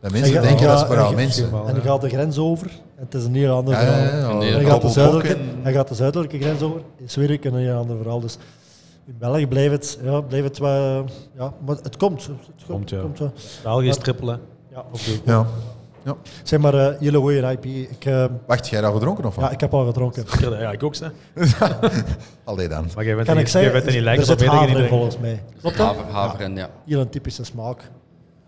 A: Dat mensen
B: Ja,
A: denken,
B: ja,
A: dat is vooral
B: ja,
A: mensen.
D: ja.
B: En je gaat de grens over, het is een heel ander
A: Ja, ja,
B: verhaal.
A: ja, ja,
E: En die
B: Hij gaat, de
A: Koppelbok
B: zuidelijke,
A: en-
B: hij gaat de zuidelijke grens over. In Zweden kunnen een ander verhaal. Dus in België blijft het, ja, blijft het wel, ja, maar het komt. Het
D: Komt, ja.
B: wel.
D: België is triple, hè?
B: Ja.
A: Ja. ja.
B: Zeg maar, eh jullie gooien IP. Ik, eh,
A: Wacht, jij daar gedronken of wat?
B: ja, ik heb al gedronken.
D: Ja, ik ook, hè?
A: Allee dan.
D: Maar jij bent,
B: Kan ik
D: jij bent
B: zeggen,
D: er niet
B: er
D: lekker op
B: zit
D: weet ik niet.
B: haver in
D: drinken.
B: volgens mij. Klopt dat?
E: Haver, haver en ja.
B: Hier een typische smaak.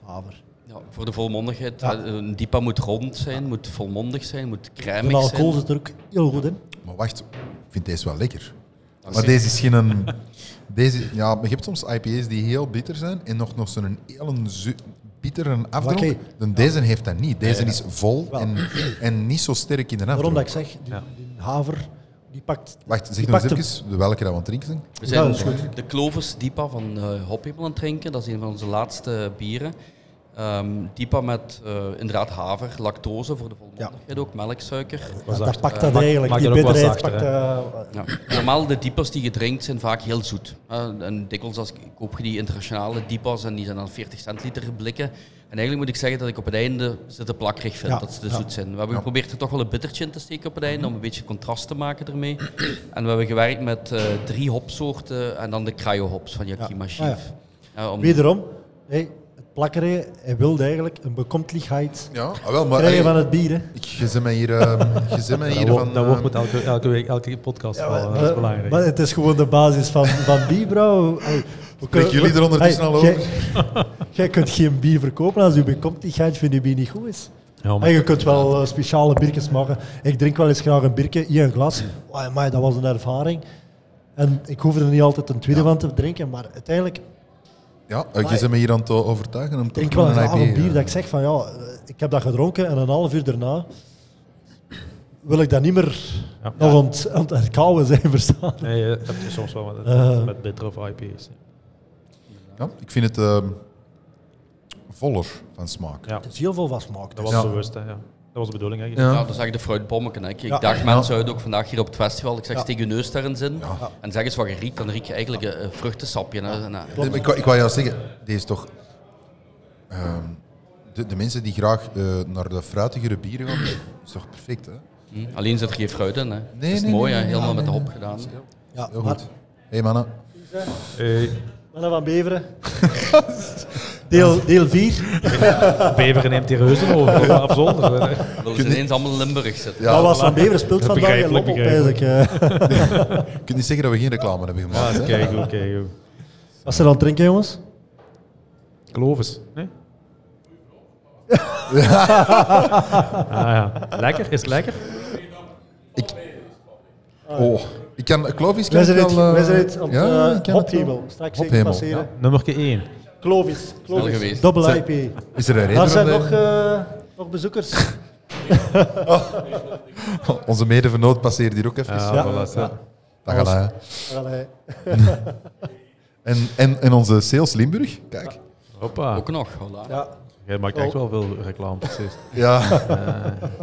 B: Haver.
E: ja. Voor de volmondigheid.
B: Ja.
E: eh, Een diepa moet rond zijn, moet volmondig zijn, moet crème
B: De
E: zijn.
B: alcohol zit er ook heel goed in.
A: Maar wacht, ik vind deze wel lekker.
E: Dank
A: Maar
E: je.
A: deze is geen... Een, deze, ja, maar je hebt soms IPA's die heel bitter zijn en nog, nog zo'n heel zu- bittere afdronk.
B: Oké.
A: Dan Deze heeft dat niet. Deze is vol
B: Wel.
A: en, en niet zo sterk in de
B: Waarom
A: afdronk.
B: dat ik zeg, die, die haver, die pakt...
A: Wacht, zeg
B: die
A: nog
B: pakt
A: eens even welke dat we aan het drinken zijn.
E: We
B: Ja,
E: zijn
B: dat is goed.
E: de Clovis Diepa van eh Hophimmel aan het drinken. Dat is een van onze laatste bieren. Ehm Diepa met eh, inderdaad haver, lactose voor de volmondigheid ook, melksuiker.
B: hem-
D: Was
B: dat
D: achter-
B: pakt
D: eh,
B: dat
D: maakt-
B: eigenlijk.
D: maakt
B: Die
D: dat ook wat
B: bitterheid
D: zachter,
B: pakt...
D: hè.
B: eh,
E: Ja. Normaal, de diepas die je drinkt zijn vaak heel zoet. hè. en dikwijls als, ik- koop je die internationale diepas en die zijn dan 40 centiliter blikken. En eigenlijk moet ik zeggen dat ik op het einde ze te plakkerig vind,
B: Ja,
E: dat ze te
B: ja. Mhm.
E: zoet zijn. We hebben geprobeerd er toch wel een bittertje in te steken op het einde, om een beetje contrast te maken ermee. En we hebben gewerkt met eh, drie hopsoorten en dan de cryo-hops van Yakima Chief.
B: Ah,
E: Ja, om-
B: Wederom, hey, het plakkerij, hij wilde eigenlijk een bekomtelijkheid
A: Ja, ah, wel, maar...
B: krijgen
A: allee,
B: van het bier. hè.
D: Oh,
A: ik, je zit mij hier, ehm, je zit mij
D: Dat
A: hier
D: woord-
A: van...
D: Dat woord
A: ehm,
D: moet elke, elke week, elke podcast
B: Ja,
D: vallen,
B: maar-
D: dat is
B: maar-
D: belangrijk.
B: Maar het is gewoon de basis van, van bierbrouw. Hey, we kunnen-
A: jullie er ondertussen al
B: jij- Jij kunt geen bier verkopen als uw bekomtelijkheid van uw bier niet goed is.
D: Ja,
B: En
D: Oh, maar
B: je kunt wel eh, speciale biertjes maken. Ik drink wel eens graag een biertje in een glas. Oh, amai, dat was een ervaring. En ik hoef er niet altijd een tweede van te drinken, maar uiteindelijk
A: Ja, eh, je bent me hier aan het overtuigen om
B: drink
A: toch
B: ik wel
A: nog
B: een graag een bier
A: ja.
B: dat ik zeg van ja, eh, ik heb dat gedronken en een half uur daarna wil ik dat niet meer
D: Ja.
B: nog aan het- aan het herkauwen zijn, verstaan.
D: nee, dat heb je soms wel met,
B: Eh.
D: met bitter of IPA's.
A: Ja, ik vind het ehm, voller van smaak.
D: Ja,
B: Het is heel veel van smaak.
D: dat was
A: Ja.
D: bewust. Hè, ja. Dat was de bedoeling eigenlijk.
E: Ja,
A: Ja.
E: dat is eigenlijk de fruitbommen. hè. Ik, ik
B: Ja.
E: dacht, mensen houden ook vandaag hier op het festival. Ik zeg,
B: Ja.
E: steek je neus daar eens in.
A: Ja.
E: En zeg eens wat je riekt. Dan riek je eigenlijk een, een vruchtensapje. hè. En, eh,
A: Ik, wou- ik wou juist zeggen, deze is toch... ehm, de, de mensen die graag eh, naar de fruitigere bieren gaan, is toch perfect, hè?
E: hm, alleen zit er geen fruit in. Hè. dat
A: nee,
E: is
A: nee,
E: mooi, hè.
A: nee, nee,
E: helemaal
A: nee,
E: met de
A: nee.
E: hop gedaan.
B: Ja,
A: Heel
B: maar
A: goed. hey, mannen.
D: Hey,
B: Mannen van Beveren. Deel, deel 4.
D: Beveren neemt die reuzen over. Ja. Afzonder. hè.
E: Dat is ineens allemaal Limburg zitten.
A: Ja,
B: dat was van Beveren speelt
D: Dat
B: vandaag in
D: begrijpelijk,
B: Lommel, pijs ik. eh.
A: Je kunt niet zeggen dat we geen reclame hebben gemaakt, hè?
D: Kijk, goed, kijk. goed.
B: Wat ze dan drinken, jongens?
D: Clovis. Nee? ah, ja. Lekker, is het lekker.
A: Oh, ik kan Clovis kan
B: Wij
A: ik
B: zijn
A: wel, eh,
B: uit, wij zijn uit op
A: ja,
B: de eh,
A: ik ken het wel.
B: Hophemel. Straks zeker
A: Hophemel,
B: passeren.
D: Nummer 1.
B: Clovis.
E: Wel
B: Clovis.
E: geweest.
B: Double
A: Zijn-
B: IP.
A: Is er een reden?
B: Daar zijn
A: waarom
B: nog, eh, nog bezoekers. eh,
A: wij- Onze medevernoot passeert hier ook even.
D: Ja,
B: Ja.
D: voilà, zo.
A: Dag, Alain.
B: Allee.
A: En, en, en onze sales Limburg, kijk.
D: Hoppa.
E: Ook nog, voilà.
B: Ja.
D: Jij maakt echt wel veel reclame, precies.
A: Ja,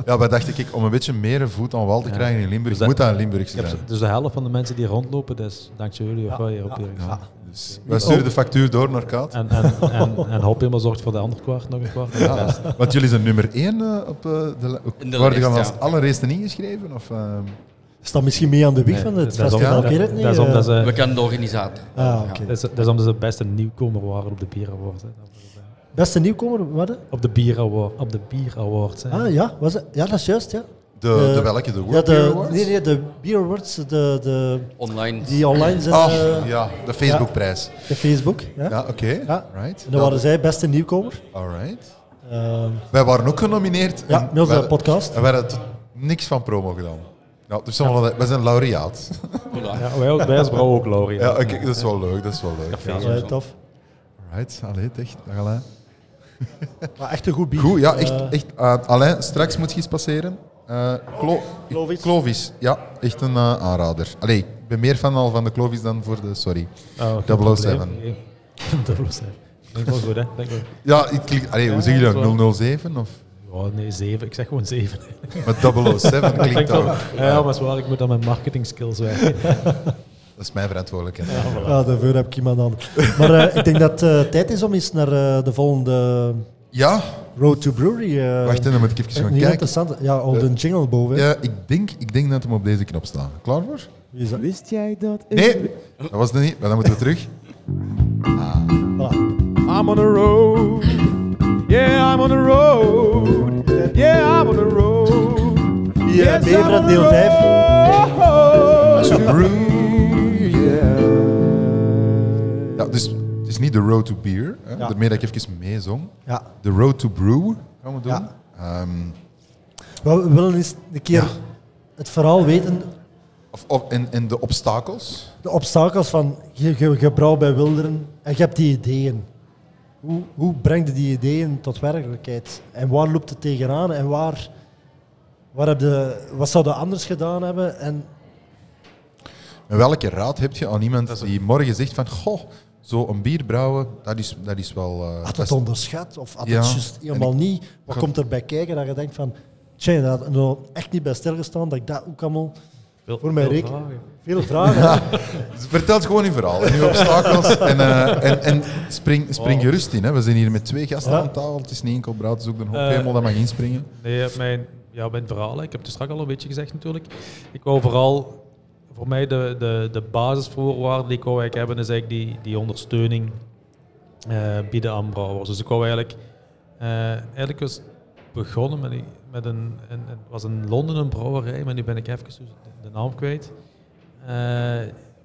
A: ja wij dachten ik, om een beetje meer voet aan wal te krijgen in Limburg,
D: Dus dat-
A: moet dat in Limburg
D: Ik heb
A: zijn.
D: ze- dus de helft van de mensen die rondlopen, dat is dankzij jullie of wij hier op hier.
A: Ja, dus wij sturen de factuur door naar Kaat.
D: En, en, en, en Hop helemaal zorgt voor de andere kwart, nog een kwart. en de
A: Ja,
D: rest.
A: want jullie zijn nummer 1 op eh, de, la-
E: In de
A: Worden
E: lijst,
A: jullie
E: ja.
A: als allereerste niet ingeschreven? Of, eh,
B: Is dat misschien mee aan de wieg
D: Nee,
B: van het
D: dat is om-
B: festival?
D: dat-
B: Ik weet het niet.
D: Dat is omdat
B: eh.
E: We
D: ze,
E: kennen de organisator.
B: Ah, oké.
D: dat is, dat is omdat ze de beste nieuwkomer waren op de Bier Award. hè. eh,
B: Beste nieuwkomer, wat? hè?
D: Op de Bier Award. Op de Bier Awards. hè.
B: Ah ja, was het? ja, dat is juist. Ja.
A: de,
B: Eh,
A: de welke? De World
B: ja,
A: Beer
B: de,
A: Awards?
B: nee, nee, de Beer Awards, de, de,
E: Online.
B: die online zijn,
A: Ah,
B: eh,
A: ja, de Facebookprijs.
B: de Facebook. Ja.
A: Ja, oké.
B: Ja.
A: Right.
B: En dan waren zij beste nieuwkomer.
A: Alright.
B: Ehm,
A: Wij waren ook genomineerd.
B: ja,
A: en
B: met onze
A: wij-
B: podcast.
A: En wij hadden tot niks van promo gedaan. Nou, dus zijn we wel- wij zijn laureaat.
E: Voilà.
D: Ja, wij, ook- wij als brouw ook, Laurie.
A: Ja, oké, dat is wel leuk, dat is wel leuk.
B: Ja,
E: sowieso.
B: Eh, tof.
A: Right, allee, echt, dag Alain.
B: Maar echt een goed bier.
A: Goed, ja,
B: Eh,
A: echt, echt. eh, Alain, straks moet je eens passeren. Eh, Clo-
B: Clovis.
A: Clovis, ja, echt een eh, aanrader. Allee, ik ben meer fan al van de Clovis dan voor de, sorry.
D: Oh, geen
A: 007.
D: probleem. 007. Denk wel goed, hè? Denk wel.
A: Ja, ik klinkt, allee, hoe zeg je dat, 007 of?
D: Ja, nee, 7. Ik zeg gewoon 7.
A: Maar 007 klinkt dat.
D: Ja, maar is waar, ik moet aan mijn marketing skills werken.
A: Dat is mijn verantwoordelijkheid.
B: Ja, Ah, daarvoor heb ik iemand anders. Maar eh, ik denk dat het tijd is om eens naar eh, de volgende
A: Ja,
B: Road to Brewery. eh,
A: wacht en dan moet ik even
B: een
A: gaan
B: heel
A: kijken. Eh,
B: interessant. Ja, al de jingle boven. hè.
A: Ja, ik, denk, ik denk dat hem op deze knop staat. Klaar voor?
B: Wie is dat?
H: Wist jij dat ik...
A: Nee, dat was het niet, maar dan moeten we terug.
B: Voilà.
H: I'm on a road. Yeah, I'm on a road. Yeah, I'm on a road.
B: Ja, Beveren, deel 5.
H: vijf.
A: To brew, Ja, dus het is niet de Road to Beer, hè,
B: Ja.
A: daarmee dat ik even meezong.
B: Ja.
A: De Road to Brew gaan we doen.
B: Ja.
A: Ehm,
B: Maar We willen eens een keer het verhaal weten,
A: of, of, en, en de obstakels.
B: de obstakels van je, je, je brouwt bij Wilderen en je hebt die ideeën. Hoe, hoe breng je die ideeën tot werkelijkheid? En waar loopt het tegenaan? En waar, waar heb je, wat zou je anders gedaan hebben? En
A: En welke raad heb je aan iemand die morgen zegt van, goh, zo'n bier brouwen, dat is, dat is wel... eh,
B: had
A: dat
B: het
A: is-
B: onderschat of had
A: Ja.
B: het juist helemaal niet? Wat
A: ga-
B: komt erbij kijken dat je denkt van, tja, daar had ik nog echt niet bij stilgestaan dat ik dat ook allemaal voor mijn rekening... Veel vragen.
A: Vertel het gewoon in verhaal, in uw obstakels. en, eh, en, en spring, spring gerust in. Hè. We zijn hier met twee gasten
B: Ja.
A: aan tafel. Het is niet enkel brouwt, het is ook de
D: Eh.
A: helemaal dat mag inspringen.
D: Nee, mijn, ja, mijn verhaal. hè. Ik heb het straks al een beetje gezegd natuurlijk. Ik wou vooral, voor mij de, de, de basisvoorwaarden die ik wou eigenlijk hebben, is eigenlijk die, die ondersteuning eh, bieden aan brouwers. Dus ik wou eigenlijk, eh, eigenlijk was begonnen met, die- met een, een, een- was in Londen een brouwerij, maar nu ben ik even de- de naam kwijt. eh,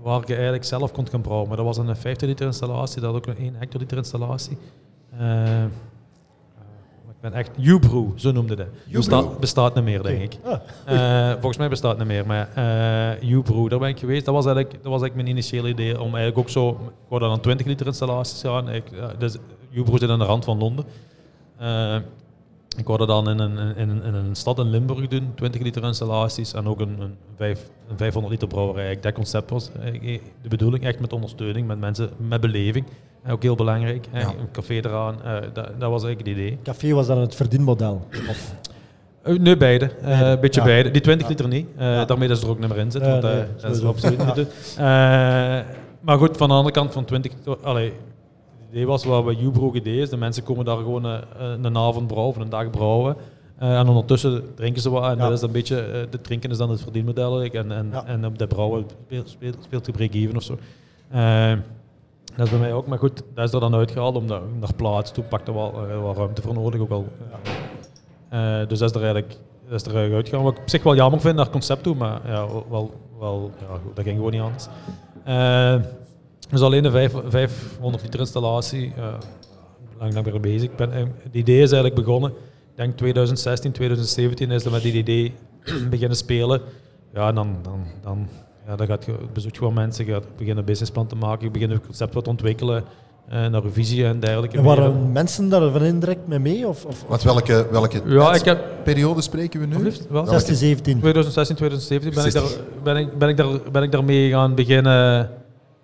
D: waar je eigenlijk zelf kon gaan brouwen. Maar dat was een 50 liter installatie, dat had ook een 1 hectoliter installatie. Eh, eh, wat ben echt... Ubrew, zo noemde dat. Bestaat, bestaat niet meer, denk ik.
B: Ah,
D: Eh, volgens mij bestaat het niet meer, maar eh Ubrew, daar ben ik geweest. Dat was eigenlijk, dat was eigenlijk mijn initiële idee om eigenlijk ook zo... Ik wou dan aan 20 liter installaties gaan. Ik, eh, dus Ubrew zit aan de rand van Londen. Eh, ik wou dat dan in een, in, een, in een stad in Limburg doen, 20 liter installaties en ook een, een, vijf- een 500 liter brouwerij. Eigenlijk Dat concept was eh, de bedoeling, echt met ondersteuning, met mensen, met beleving. En ook heel belangrijk, eh,
A: Ja.
D: een café eraan, eh, dat, dat was eigenlijk het idee.
B: café was dan het verdienmodel. Of,
D: Eh, Nee, beide. Eh, Een
B: Beide.
D: beetje
B: Ja.
D: beide. Die 20 liter niet. Eh, Daarmee dat ze er ook niet meer in zit.
B: Nee,
D: want, eh,
B: nee,
D: dat is
B: sowieso.
D: absoluut niet doen. Eh, maar goed, van de andere kant van 20... to- Allee, het idee was wat bij Jubroek idee is. De mensen komen daar gewoon eh, een, avond brouwen of een dag brouwen. Eh, en ondertussen drinken ze wat. En
B: Ja.
D: dat is een beetje... eh, de drinken is dan het verdienmodel. eigenlijk. En, en,
B: Ja.
D: en op de brouwen speelt, speelt, speelt de break-even of zo. Eh, dat is bij mij ook, maar goed, dat is er dan uitgehaald om daar, naar plaats. Toen pakte wel eh, wel ruimte voor nodig, ook al. Eh, dus dat is er eigenlijk, dat is er eigenlijk uitgegaan. Wat ik op zich wel jammer vind naar het concept toe, maar ja, wel, wel, ja, goed, dat ging gewoon niet anders. Eh, dus alleen de vijf- 500 liter installatie, eh, lang, lang mee bezig. Ik ben, eh, het idee is eigenlijk begonnen, ik denk 2016, 2017 is dat met dit idee beginnen spelen. Ja, en dan, dan, dan, ja, dan gaat je, bezoek je gewoon mensen, je gaat beginnen een businessplan te maken, je begint het concept wat te ontwikkelen, eh, naar je visie en dergelijke.
B: en waren mensen daar van direct mee mee? Of, of
A: Want welke, welke
D: Ja, ik heb...
A: periode spreken we nu?
D: Alsjeblieft, wel.
B: 16, 17?
D: 2016, 2017 ben ik, daar, ben, ik, ben, ik daar, ben ik daarmee gaan beginnen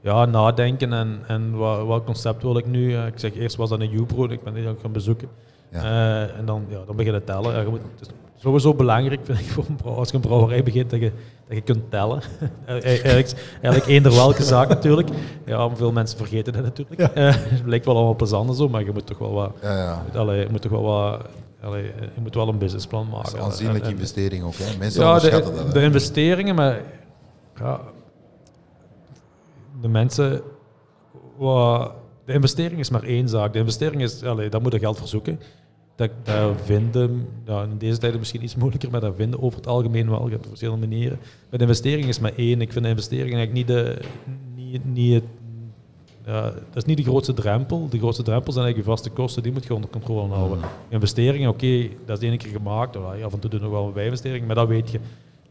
D: ja, nadenken en, en wat, wat concept wil ik nu. Eh, Ik zeg eerst was dat een U-pro, ik ben die ook gaan bezoeken.
A: Ja.
D: Eh, en dan, ja, dan beginnen tellen. Ja, je moet, het is sowieso belangrijk vind ik, voor een brouw- als je een brouwerij begint dat je, dat je kunt tellen. Eh, eigenlijk, eigenlijk eender welke zaak natuurlijk. Ja, maar veel mensen vergeten dat natuurlijk. Eh, het lijkt wel allemaal plezant en zo, maar je moet toch wel wat...
A: Ja, ja.
D: Allee, je moet toch wel wat... allee, je moet wel een businessplan
A: Dat is
D: maken.
A: een
D: En-
A: aanzienlijke
D: en- en-
A: investering ook. Hè. Mensen
D: ja,
A: onderschatten
D: de,
A: dat.
D: de
A: hè.
D: investeringen, maar ja, de mensen, wa- de investering is maar één zaak. De investering is, allee, daar moet je geld voor zoeken. Dat, dat vinden, ja, in deze tijden misschien iets moeilijker, maar dat vinden over het algemeen wel. Je hebt verschillende manieren. Maar de investering is maar één. Ik vind de investering eigenlijk niet de, niet, niet het, ja, dat is niet de grootste drempel. De grootste drempel zijn eigenlijk je vaste kosten, die moet je onder controle houden. Investeringen, oké, dat is de ene keer gemaakt. Ja, Af en toe doen we nog wel een bijinvestering, maar dat weet je.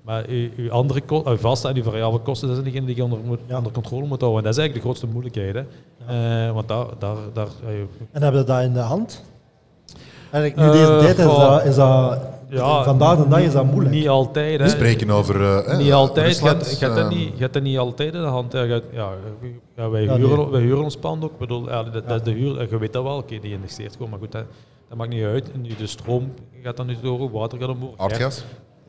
D: Maar je, je andere ko- eh, vaste en je variabele kosten, dat zijn degenen die je onder, moet- onder controle moet houden. En dat is eigenlijk de grootste moeilijkheid. Hè. Eh, want daar, daar, daar ja, je-
B: En hebben we dat in de hand? Eigenlijk, nu
D: Eh,
B: deze tijd is
D: goh.
B: dat, is dat,
D: ja,
B: vandaag de dag is dat moeilijk.
D: Niet altijd. Hè.
A: We spreken over eh, hè,
D: niet altijd. Je
A: Rusland,
D: hebt- je hebt dat
A: ehm,
D: niet- je hebt dat niet altijd in de hand. hè. Je hebt- Ja, ja, wij,
B: Ja,
D: huren,
B: nee.
D: wij huren ons pand ook. Ik bedoel, ja, dat, dat is de huur, je weet dat wel, oké, die indexeert gewoon. Maar goed, dat, dat maakt niet uit. Nu, de stroom gaat dan niet door, water gaat omhoog. Gert-
A: Aardgas?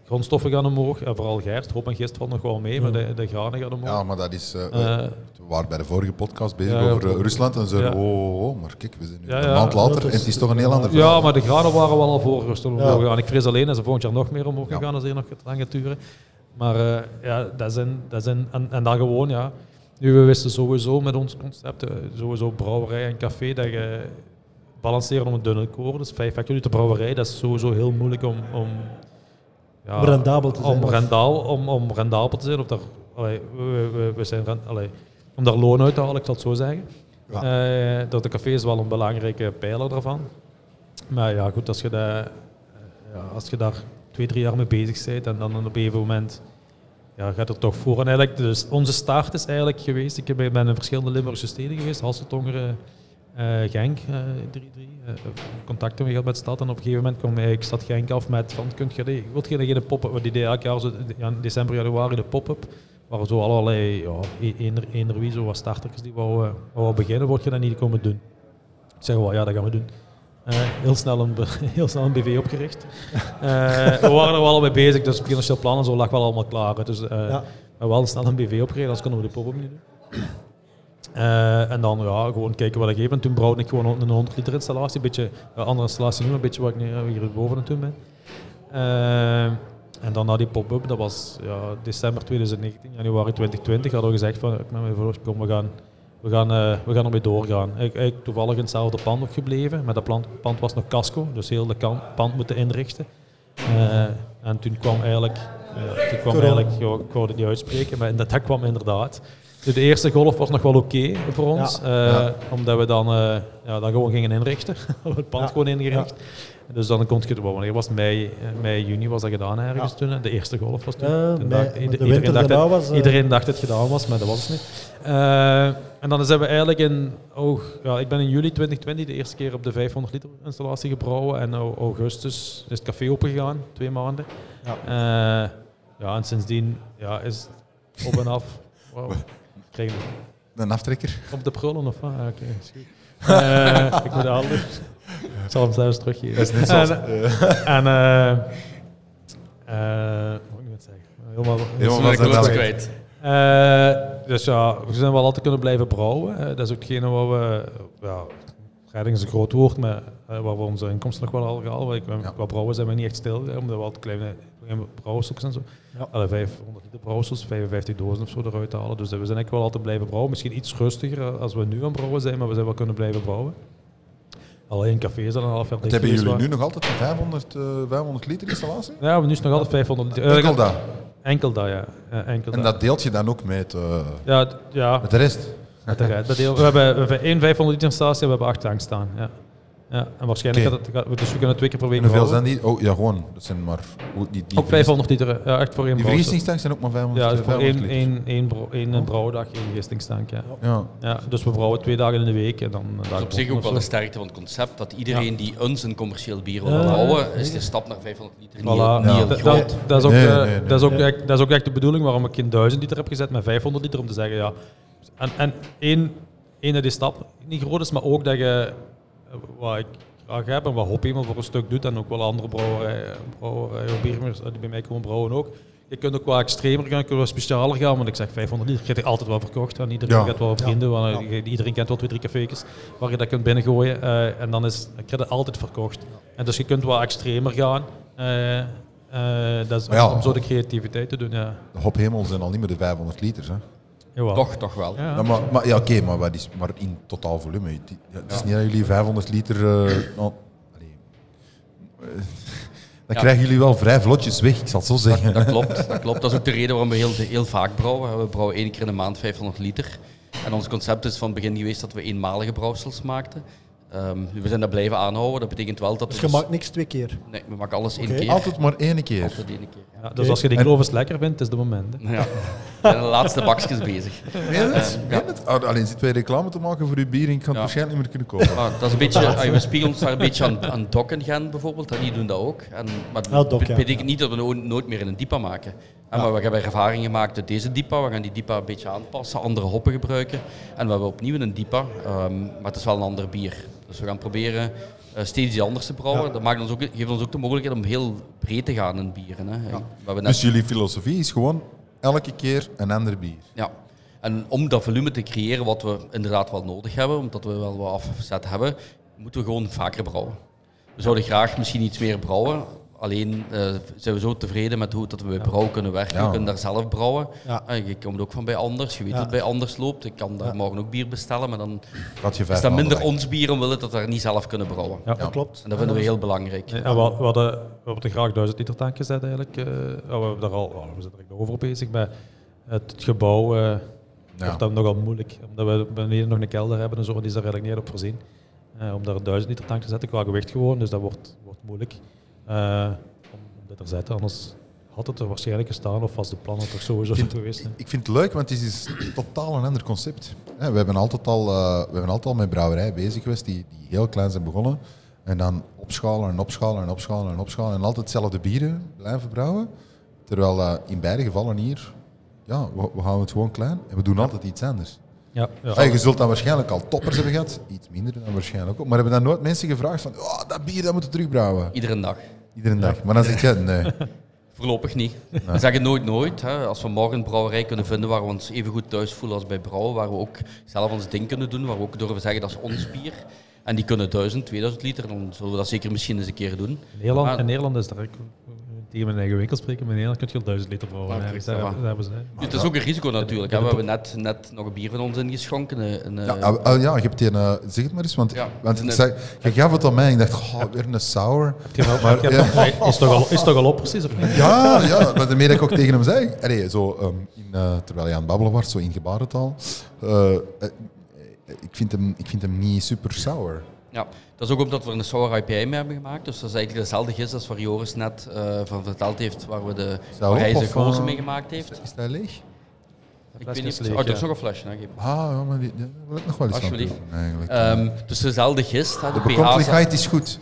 D: grondstoffen gaan omhoog. En vooral Gert, hoop en gist valt nog wel mee, maar de, de granen gaan omhoog.
A: Ja, maar dat is... eh, we-
D: Eh,
A: we waren bij de vorige podcast bezig
D: Ja, ja,
A: over eh,
D: we-
A: Rusland en zeiden
D: ja.
A: oh, oh, maar kijk, we zijn nu
D: Ja,
A: een
D: ja.
A: maand later
B: Dat is-
A: en het is toch een heel ander verhaal.
D: Ja, maar de graden waren wel al voor rustig omhoog
B: Ja.
D: gegaan. Ik vrees alleen dat ze volgend jaar nog meer omhoog
A: Ja.
D: gaan gaan als ze hier nog het lang gaat duren. Maar eh, ja, dat zijn, dat zijn, en, en dan gewoon, ja. Nu, we wisten sowieso met ons concept, eh, sowieso brouwerij en café, dat je balanceren om een dunne koord. Dus 5 hectoliter brouwerij, dat is sowieso heel moeilijk om... om ja,
B: Om rendabel te zijn,
D: Om,
B: of-
D: rendabel, om, om rendabel te zijn. Of daar, allee, we, we, we zijn, ren- allee, om daar loon uit te halen, ik zal het zo zeggen.
B: Ja.
D: Eh, dat de café is wel een belangrijke pijler daarvan. Maar ja, goed, als je, daar, eh, ja, als je daar twee, drie jaar mee bezig bent en dan op een gegeven moment ja, gaat er toch voor. En eigenlijk, dus onze start is eigenlijk geweest, ik ben ben in verschillende Limburgse steden geweest, Hasseltongeren, eh Genk, eh, drie, drie, eh, contacten mee gehad met de stad. En op een gegeven moment kwam eigenlijk stad Genk af met van, kunt je, die- wilt je geen pop-up, want die deden elk jaar, zo, ja, in december, januari, de pop-up. Waar zo allerlei, ja, e- eender, eender wie, zo wat starters die wou, eh, wou beginnen, word je dat niet komen doen. Ik zeg wel, ja, dat gaan we doen. Eh, heel, snel een, be- heel snel een BV opgericht. Eh, we waren er wel al mee bezig, dus het financieel plan en zo lag wel allemaal klaar. hè. Dus eh,
B: Ja.
D: we hebben wel snel een BV opgericht, anders konden we de pop-up niet doen. Eh, en dan ja, gewoon kijken wat ik geef. En toen brouwde ik gewoon een 100 liter installatie. Een beetje een andere installatie nu, maar een beetje wat ik nu, eh, hier boven aan het doen ben. Eh, en dan na die pop-up, dat was ja, december 2019, januari 2020, hadden we gezegd van, ik ben mijn verloofd, kom, we gaan, we gaan, eh, we gaan ermee doorgaan. Ik, ik toevallig in hetzelfde pand opgebleven, maar dat pand, pand was nog casco, dus heel de kan- pand moeten inrichten. Eh, en toen kwam eigenlijk, eh, toen kwam
B: Corona.
D: eigenlijk ja, ik wou het niet uitspreken, maar dat, dat kwam inderdaad. De, de eerste golf was nog wel oké voor ons, eh,
A: Ja.
D: omdat we dan, eh, ja, dan gewoon gingen inrichten. we hadden het pand
B: Ja.
D: gewoon ingericht. Dus dan kon je, wel, wanneer was het? Mei, eh, mei, juni was dat gedaan ergens
B: Ja.
D: toen. hè? De eerste golf was toen.
B: Eh,
D: Toen
B: mei-
D: dacht-
B: de
D: ieder-
B: winter
D: iedereen dacht
B: daarna
D: het-
B: was, eh,
D: Iedereen dacht dat het gedaan was, maar dat was het niet. Eh, en dan zijn we eigenlijk in, oh, ja, ik ben in juli 2020 de eerste keer op de 500 liter installatie gebrouwen. En au- augustus is het café opengegaan, twee maanden.
B: Ja.
D: Eh, ja, en sindsdien ja, is het op en af. Wow. Krijgen we
A: Een aftrekker.
D: op de prullen of wat? Ah, Oké, is goed. Eh, ik moet de handen. Ik zal hem zelfs teruggeven.
A: Dat is net zoals...
D: En-
A: eh,
D: en eh eh, wat moet ik net zeggen? Helemaal,
A: Helemaal was
E: Dat ben ik
A: dat
E: wel
A: wel.
E: kwijt.
D: Eh, dus ja, we zijn wel altijd kunnen blijven brouwen. Eh, dat is ook hetgene waar we, ja, redding is een groot woord, maar eh, waar we onze inkomsten nog wel al gehaald. Ik ben-
A: Ja.
D: Qua brouwen zijn we niet echt stil, hè, omdat we altijd kleine kleine brouwsels en zo.
B: Ja.
D: Alle 500 liter brouwsels, 55 dozen of zo eruit halen. Dus eh, we zijn eigenlijk wel altijd blijven brouwen. Misschien iets rustiger eh, als we nu aan brouwen zijn, maar we zijn wel kunnen blijven brouwen. Alleen cafés al een half jaar
A: Wat
D: dicht
A: hebben
D: geweest
A: jullie
D: waren.
A: nu nog altijd een 500, eh, 500 liter installatie?
D: Ja, maar nu is het nog altijd 500 liter. Eh,
A: Enkel dat.
D: Enkel dat, ja. Eh, enkel
A: En
D: dat.
A: dat deelt je dan ook met, eh,
D: Ja, d- ja
A: met de rest?
D: uiteraard. dat deel, we hebben we hebben één 500 liter installatie en we hebben acht tanks staan. Ja. Ja, en waarschijnlijk
A: Oké.
D: gaat het, gaat, dus we kunnen twee keer per week
A: En hoeveel zijn
D: brouwen.
A: die? Oh, ja, gewoon. Dat zijn maar... oh, die, die
D: Ook 500 liter, ja, echt voor één
A: Die
D: brouwsel.
A: vergistingstanks zijn ook maar 500,
D: Ja, dus
A: eh,
D: voor
A: 500
D: één,
A: liter. Oh.
D: één, één, bro- één eh, brouwdag, één gistingstank. Ja.
A: Ja.
D: Ja, dus we brouwen twee dagen in de week. En dan een dag
E: Dat is op zich
D: boven
E: ook wel
D: of
E: een
D: zo.
E: sterkte van het concept dat iedereen die ons een commercieel bier wil
D: Ja,
E: brouwen, is de
D: zeker.
E: stap naar 500 liter niet,
D: Voilà.
E: niet
A: Ja.
E: heel
D: Dat,
E: groot.
D: dat, dat is ook,
A: Nee,
D: eh,
A: nee, nee.
D: dat is ook echt, dat is ook echt de bedoeling waarom ik geen 1000 liter heb gezet, maar 500 liter om te zeggen ja. En, en één, één dat die stap niet groot is, maar ook dat je eh, wat ik graag heb en wat Hopemel voor een stuk doet en ook wel andere brouwerijen, brouwerijen of biermers eh, die bij mij komen brouwen ook. Je kunt ook wat extremer gaan, je kunt wat specialer gaan, want ik zeg 500 liter, ik heb altijd wel verkocht aan iedereen.
A: Ja.
D: Ik heb wel vrienden, want eh, iedereen kent wel twee, drie cafeetjes waar je dat kunt binnengooien. eh, en dan is ik heb het altijd verkocht. En dus je kunt wat extremer gaan. eh, eh, dat is
A: Maar ja.
D: om zo de creativiteit te doen, ja.
A: De hophemel zijn al niet meer de 500 liter. Hè.
D: Jawel.
E: Toch, toch wel.
D: Ja.
A: Ja, maar, maar, ja, oké, maar, wat is- maar in totaal volume. Het, ja, het is niet dat jullie 500 liter... eh, nou, allee. Eh, dan
E: Ja.
A: krijgen jullie wel vrij vlotjes weg, ik zal het zo zeggen.
E: Dat klopt, dat klopt. Dat is ook de reden waarom we heel, heel vaak brouwen. We brouwen één keer in de maand 500 liter. En ons concept is van het begin geweest dat we eenmalige brouwsels maakten. Ehm, we zijn dat blijven aanhouden. Dat betekent wel dat
B: Dus
E: we...
B: je
E: dus-
B: maakt niks twee keer.
E: Nee, we maken alles één
B: Oké.
E: keer.
A: Altijd maar één keer.
E: Altijd één keer.
D: Ja, dus als je die
A: En-
D: kloof eens lekker vindt, is de moment. hè.
E: Ja. We zijn de laatste bakjes bezig.
A: Meen je het? Meen je het? Ah, Alleen zitten wij reclame te maken voor uw bier en ik ga het
E: Ja.
A: waarschijnlijk niet meer kunnen kopen.
E: Ah, dat is een beetje, ah, we spiegelen ons daar een beetje aan, aan Doc en Gen bijvoorbeeld, en die doen dat ook. En, maar dat
B: Ah, Doc, ja.
E: betekent niet dat we no- nooit meer in een diepa maken. En, Maar we hebben ervaring gemaakt uit deze diepa, we gaan die diepa een beetje aanpassen, andere hoppen gebruiken. En we hebben opnieuw een diepa, ehm, maar het is wel een ander bier. Dus we gaan proberen eh, steeds iets anders te brouwen. Dat maakt ons ook, geeft ons ook de mogelijkheid om heel breed te gaan in bieren. Hè. Wat we net
A: Dus jullie filosofie is gewoon elke keer een ander bier.
E: ja. En om dat volume te creëren wat we inderdaad wel nodig hebben, omdat we wel wat afzet hebben, moeten we gewoon vaker brouwen. We zouden graag misschien iets meer brouwen. Alleen eh, zijn we zo tevreden met hoe dat we bij brouw kunnen werken.
A: Ja.
E: We kunnen daar zelf brouwen.
B: Ja.
E: Eh, je komt ook van bij anders. Je weet
B: Ja.
E: dat het bij anders loopt. Ik kan daar morgen ook bier bestellen, maar dan
A: Gaat je
E: is
A: vijf
E: dat
A: maanden
E: minder
A: lang.
E: ons bier omwille dat we daar niet zelf kunnen brouwen.
D: Ja.
B: Dat klopt.
E: En dat vinden we heel belangrijk.
D: En we, we hadden, we hebben er graag 1000 liter tank gezet eigenlijk. eh, ja, we, hebben daar al, ja, we zijn er echt nog over bezig, maar het, het gebouw eh wordt dan nogal moeilijk. Omdat we beneden nog een kelder hebben en zo, en die is daar eigenlijk niet op voorzien. Eh, om daar een 1000 liter tank te zetten qua gewicht gewoon, dus dat wordt, wordt moeilijk eh, om, om dit te zetten. Anders had het er waarschijnlijk gestaan of was de plan het er sowieso
A: vind-
D: geweest. hè.
A: Ik vind het leuk, want het is dus totaal een ander concept. Hè, We hebben altijd al, eh, we hebben altijd al met brouwerij bezig geweest die, die heel klein zijn begonnen. En dan opschalen en opschalen en opschalen en opschalen. En altijd hetzelfde bieren blijven brouwen. Terwijl eh, in beide gevallen hier, ja, we, we houden het gewoon klein en we doen altijd iets anders.
D: Ja, ja.
A: Ja, je zult dan waarschijnlijk al toppers hebben gehad, iets minder dan waarschijnlijk ook. Maar hebben dan nooit mensen gevraagd van, oh, dat bier dat moeten terugbrouwen.
E: Iedere dag.
A: Iedere dag. Maar dan zeg je, nee.
E: Voorlopig niet. We zeggen nooit nooit. Hè. Als we morgen een brouwerij kunnen vinden waar we ons even goed thuis voelen als bij brouwen, waar we ook zelf ons ding kunnen doen, waar we ook durven zeggen dat is ons bier. En die kunnen 1000, 2000 liter, dan zullen we dat zeker misschien eens een keer doen.
D: In Nederland,
E: Ah.
D: in Nederland is daar ook tegen mijn eigen winkel spreken, meneer, dan kun je al duizend liter brouwen.
E: Ja,
D: ergens.
E: dat
D: daar,
E: is waar.
D: daar hebben ze. hè.
E: Dus dat is ook een risico natuurlijk. hè. We hebben net, net nog een bier van ons ingeschonken. eh, Een, eh,
A: Ja, ah, ah, ja, je hebt die, eh, zeg het maar eens, want,
E: Ja,
A: want
E: en
A: ik
E: het-
A: zei, je gaf het aan mij en ik dacht, goh, weer een sour.
D: Die hebben ook-
A: Maar,
D: die
A: ja.
D: hebben- nee, Is toch al- is toch al op precies, of niet?
A: Ja, ja, maar daarmee dat ik ook tegen hem zei, allee, zo, ehm, in, eh, terwijl hij aan het babbelen was, zo in gebarentaal, eh, eh, ik, vind hem, ik vind hem niet super sour.
E: Ja, dat is ook omdat we een sour IPA mee hebben gemaakt. Dus dat is eigenlijk dezelfde gist als waar Joris net eh, van verteld heeft, waar, we de,
A: Zou
E: waar hij
A: op,
E: zijn
A: of,
E: gozer
A: eh,
E: mee gemaakt heeft.
A: Is dat leeg?
E: Ik
D: fles
E: weet
D: is
E: niet,
D: leeg,
E: oh, er
D: ja.
E: is nog een flesje. hè, Gip.
A: Ah, ja, maar die, die wil ik nog wel eens aan
E: Alsjeblieft.
A: proeven, eigenlijk.
E: Ehm, dus dezelfde gist. hè,
A: de
E: de, pH zijn,
A: bekompelijkheid is goed.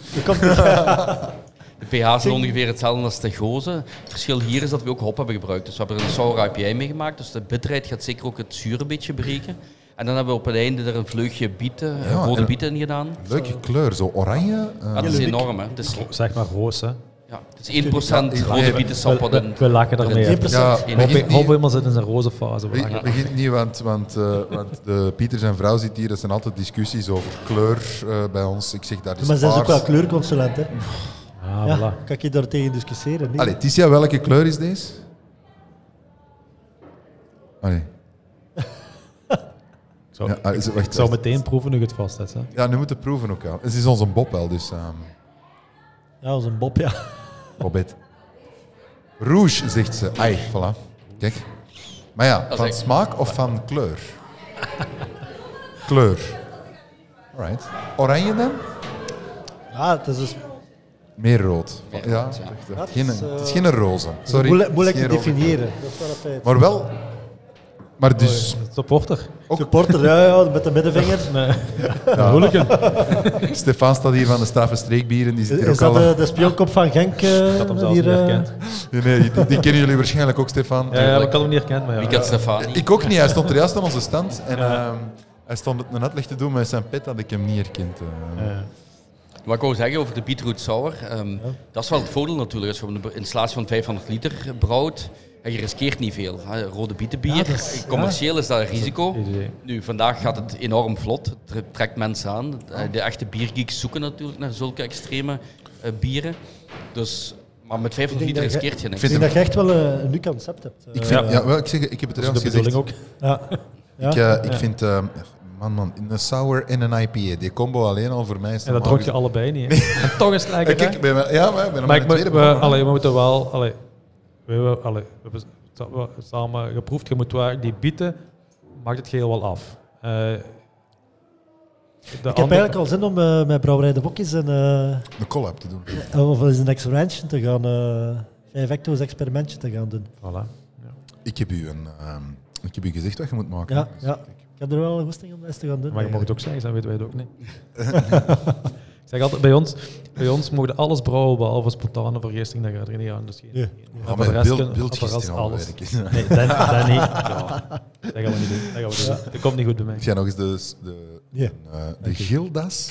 E: de pH zijn ongeveer hetzelfde als de gozen. Het verschil hier is dat we ook hop hebben gebruikt. Dus we hebben er een sour IPA mee gemaakt. Dus de bitterheid gaat zeker ook het zuur een beetje breken. En dan hebben we op het einde er een vleugje bieten, eh, rode
A: en-
E: bieten in gedaan.
A: Leuke kleur, zo oranje. eh,
E: Ja, dat is enorm, hè. Het is,
D: Zeg maar roos, hè.
E: ja, het is 1% rode bietensap. wat
D: We,
E: in-
D: we lachen
E: erin
D: daarmee.
E: zit.
D: hè.
A: ja,
E: in-
A: begint
D: Hop,
A: niet-
D: hop helemaal zit in zijn roze fase. We lachen.
A: Be- Begint niet, want, want, eh, want de Pieter zijn vrouw zit hier. Er zijn altijd discussies over kleur eh, bij ons. Ik zeg daar is
B: Maar zij is ook wel
A: paars.
B: kleurconsulent, hè?
D: Ah,
B: Ja,
D: voilà.
B: kan ik je daar tegen discussiëren? Nee.
A: Allee, Tisha, welke kleur is deze? Allee.
D: Ik zou,
A: Ja, ah, is- wacht,
D: ik zou
A: wacht.
D: meteen proeven nu je het vast hebt. Hè.
A: Ja, nu moeten we proeven ook al. Het is onze Bob wel, dus... ehm
B: Ja, als een Bob, ja.
A: Bobette. Rouge, zegt ze. Ai, voilà. Kijk. Maar ja, van
E: ik.
A: smaak of van kleur? kleur. Alright. Oranje dan?
B: Ja, het is dus
A: Meer rood.
E: Meer
A: ja,
E: rood, ja.
A: echt,
B: Dat
A: Geen,
B: is, eh,
A: het is geen roze. Sorry.
B: moeilijk, moeilijk
A: Het
B: te
A: is geen roze.
B: definiëren. Dat is wel een feit.
A: Maar wel... Maar dus...
D: Supporter.
B: Supporter, ja, ja, met de middenvinger.
D: Ja. Hooligan.
A: Stefan staat hier van de straffe streekbieren. Die zit
B: Is,
A: hier
B: is
A: ook
B: dat
A: al...
B: de, de speelkop van Genk? eh,
D: Dat hem zelfs
B: hier,
D: niet
B: eh?
D: herkent.
A: Nee, nee, die, die kennen jullie waarschijnlijk ook, Stefan.
D: Ja, ja, maar ik had hem niet herkend, maar ja.
E: Ik had Stefani.
A: Ik ook niet. Hij stond er juist aan onze stand. En ehm, hij stond het net licht te doen met zijn pet dat ik hem niet herkend. eh.
E: Wat ik wou zeggen over de beetroot sour, ehm, dat is wel het voordeel natuurlijk. Als je een installatie van 500 liter brouwt, en je riskeert niet veel. hè. Rode bietenbier, eh, commercieel is dat een risico.
D: Goed idee.
E: Nu, vandaag gaat het enorm vlot. Het tre- trekt mensen aan.
B: Ah.
E: Eh, De echte biergeeks zoeken natuurlijk naar zulke extreme eh, bieren. Dus, maar met 500
B: Ik
E: liter
B: denk dat
E: riskeert je niks.
A: Vind-
B: Ik denk dat je echt wel eh, een nieuw concept hebt.
A: Ik,
B: Eh,
A: vind, ja, wel, ik, zeg, ik heb het er
D: Dat is
A: juist
D: de bedoeling
A: gezegd.
D: ook.
B: ja. Ja.
A: Ik, eh, ik vind... ehm, man, man, een sour en een IPA. Die combo alleen al voor mij is
D: En
A: normaal
D: dat dronk je
A: gezien-
D: allebei niet. hè. En toch is het lekker.
A: Eh, Kijk,
D: hè.
A: ik ben, wel- ja, maar ik ben nog
D: Maar
A: maar
D: ik
A: een
D: moet- eh,
A: tweede.
D: we,
A: proef.
D: allee, we moeten wel. Allee, we, hebben- allee, we hebben sa- we- samen geproefd. Je moet wel die bieten, maakt het geheel wel af. Eh, de
B: Ik heb eigenlijk al zin om eh, met Brouwerij de Bokjes en, eh,
A: Een collab te doen.
B: of eens een experimentje te gaan... eh vijf hecto's experimentje te gaan doen.
D: Voilà.
A: Ik heb u, een, ehm, ik heb u gezegd wat je moet maken.
B: Ja,
A: Dus
B: ja. Ik heb er wel een goesting om dat eens te gaan doen.
D: Maar je mag het ook zeggen, dan weten wij het ook niet. ik zeg altijd, bij ons, bij ons mogen alles brouwen behalve spontane vergisting. Daar gaat er niet aan. Dus geen,
B: Nee.
D: geen-
B: Ja,
D: maar
A: Ja,
D: voor de
A: maar
D: rest
A: beeld,
D: kunnen-
A: beeld
D: voor de rest
A: gisteren al
D: alles.
A: werken.
D: Nee, dat, dat niet. Ja, dat gaan we niet doen. Dat, gaan we niet doen. dat komt niet goed bij mij.
A: Ik ga nog eens de, de,
B: Ja.
A: eh, de Gildas.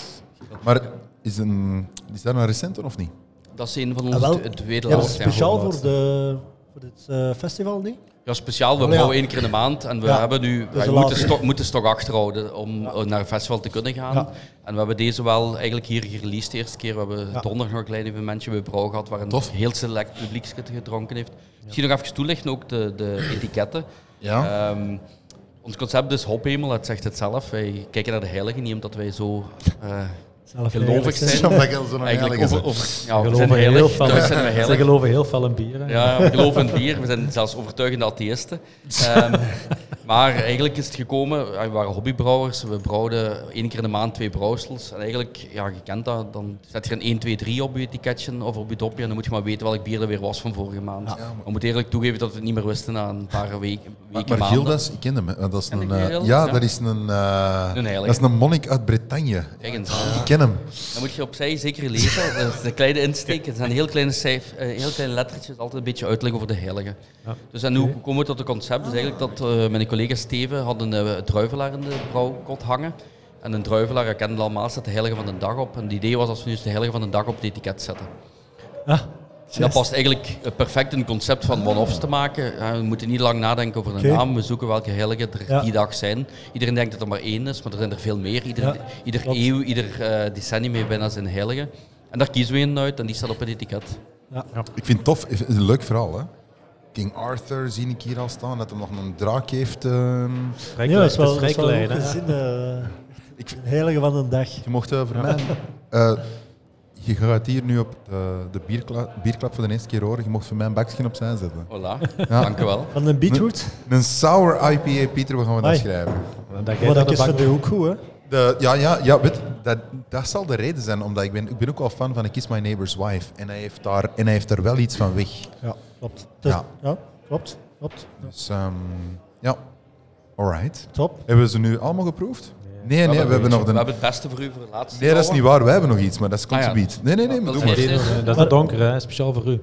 A: Maar is, een, is dat een recente of niet?
E: Dat is een van
B: Ah, wel.
E: onze het tweede
B: Ja, dat is
E: laatste.
B: speciaal voor, de, voor dit eh, festival, nee?
E: Ja, speciaal. We
B: ja.
E: brouwen één keer in de maand en we,
B: Ja.
E: hebben nu,
B: de
E: wij moeten,
B: laatste.
E: stok, moeten stok achterhouden om eh, naar een festival te kunnen gaan.
B: Ja.
E: En we hebben deze wel eigenlijk hier gereleased de eerste keer. We hebben
B: Ja.
E: donderdag nog een klein evenementje bij Brouw gehad waar een
A: Tof.
E: heel select publiek gedronken heeft. Misschien nog even toelichten, ook de, de etiketten.
A: Ja.
E: Ehm, ons concept is hophemel, het zegt het zelf. Wij kijken naar de heiligen, niet omdat wij zo eh,
B: Zelf
E: gelovig
B: eigenlijk,
E: zijn.
A: Ja, omdat je al zo'n
E: Eigenlijk
A: heilige
E: over,
A: bent.
E: over, ja, we zijn
D: Geloven heel
E: heilig,
D: fel.
E: daarom zijn we
D: Ze
E: heilig.
D: geloven heel fel in bieren.
E: Ja, we geloven in bier. We zijn zelfs overtuigende atheïsten. Ehm, maar eigenlijk is het gekomen, ja, we waren hobbybrouwers. We brouwden één keer in de maand twee brouwsels. En eigenlijk, ja, je kent dat, dan zet je een 1, 2, 3 op je etiketje of op je dopje. En dan moet je maar weten welk bier er weer was van vorige maand.
A: Ja, maar-
E: We moeten eerlijk toegeven dat we het niet meer wisten na een paar weken,
A: Maar,
E: weken
A: maar
E: maanden.
A: Gildas, ik ken hem. hè. Dat is
E: Ken
A: een,
E: ik die
A: eh,
E: Gildas?
A: ja,
E: Ja.
A: dat is een, eh,
E: Een heilige.
A: dat is een monnik uit Bretagne.
E: Kijk eens.
A: Ik ken hem.
E: Dan moet je opzij zeker lezen. Eh, Dat is een kleine insteek. Het zijn heel kleine, cijf, eh, heel kleine lettertjes. Altijd een beetje uitleg over de heilige.
D: Ja.
E: Dus en hoe komen we tot het concept? Dus eigenlijk dat eh mijn collega Steven had een eh, druivelaar in de brouwkot hangen. En een druivelaar, ik kende allemaal, zet de heilige van de dag op. En het idee was als we nu eens de heilige van de dag op het etiket zetten.
B: Ah,
E: En dat past eigenlijk eh, perfect in het concept van one-offs te maken. Eh, We moeten niet lang nadenken over een
B: Oké.
E: naam. We zoeken welke heiligen er
B: Ja.
E: die dag zijn. Iedereen denkt dat er maar één is, maar er zijn er veel meer. Ieder,
B: Ja,
E: ieder
B: klopt.
E: eeuw, ieder eh, decennium heeft bijna zijn heilige. En daar kiezen we een uit en die staat op het etiket.
A: Ik vind het tof, het is een leuk verhaal. Hè? King Arthur zie ik hier al staan, dat hij nog een draak heeft. ehm.
D: Vrij
B: Ja,
D: klein-
B: dat is wel,
D: het
B: dat is
D: is
B: wel
D: vrij klein,
B: goed
D: hè.
B: gezien. eh,
A: Ik vind-
B: een heilige van een dag.
A: Je mocht eh, voor mij. eh, je gaat hier nu op eh, de, de bierkla- bierklap voor de eerste keer horen. Je mocht voor mij een bakje opzij zetten.
E: Voilà, dank u wel.
B: Van een beetroot.
A: Een sour IPA, Pieter, we gaan we dat
B: Amai.
A: schrijven.
D: Dat
B: Maar
D: jij daar
B: dat
D: de
B: is van
D: bak
B: de hoek goed, hè.
A: De, ja, ja, ja weet, dat, dat zal de reden zijn. Omdat ik, ben, ik ben ook al fan van Kiss My Neighbor's Wife. En hij heeft daar, en hij heeft daar wel iets van weg.
B: Ja, klopt. Het is-
A: Ja.
B: ja. klopt. Klopt.
A: Dus ehm, ja, alright.
B: Top.
A: Hebben we ze nu allemaal geproefd? Nee, nee, we hebben nog
E: We
A: een...
E: hebben het beste voor u voor de laatste.
A: Nee, dat is niet waar. Wij hebben nog iets, maar dat is komt
E: Ah, ja.
A: zometeen. Nee, nee, nee, maar
E: Dat
A: doe maar.
E: is eerst,
D: doen.
E: eerst.
D: Dat is een donker, hè. speciaal voor u.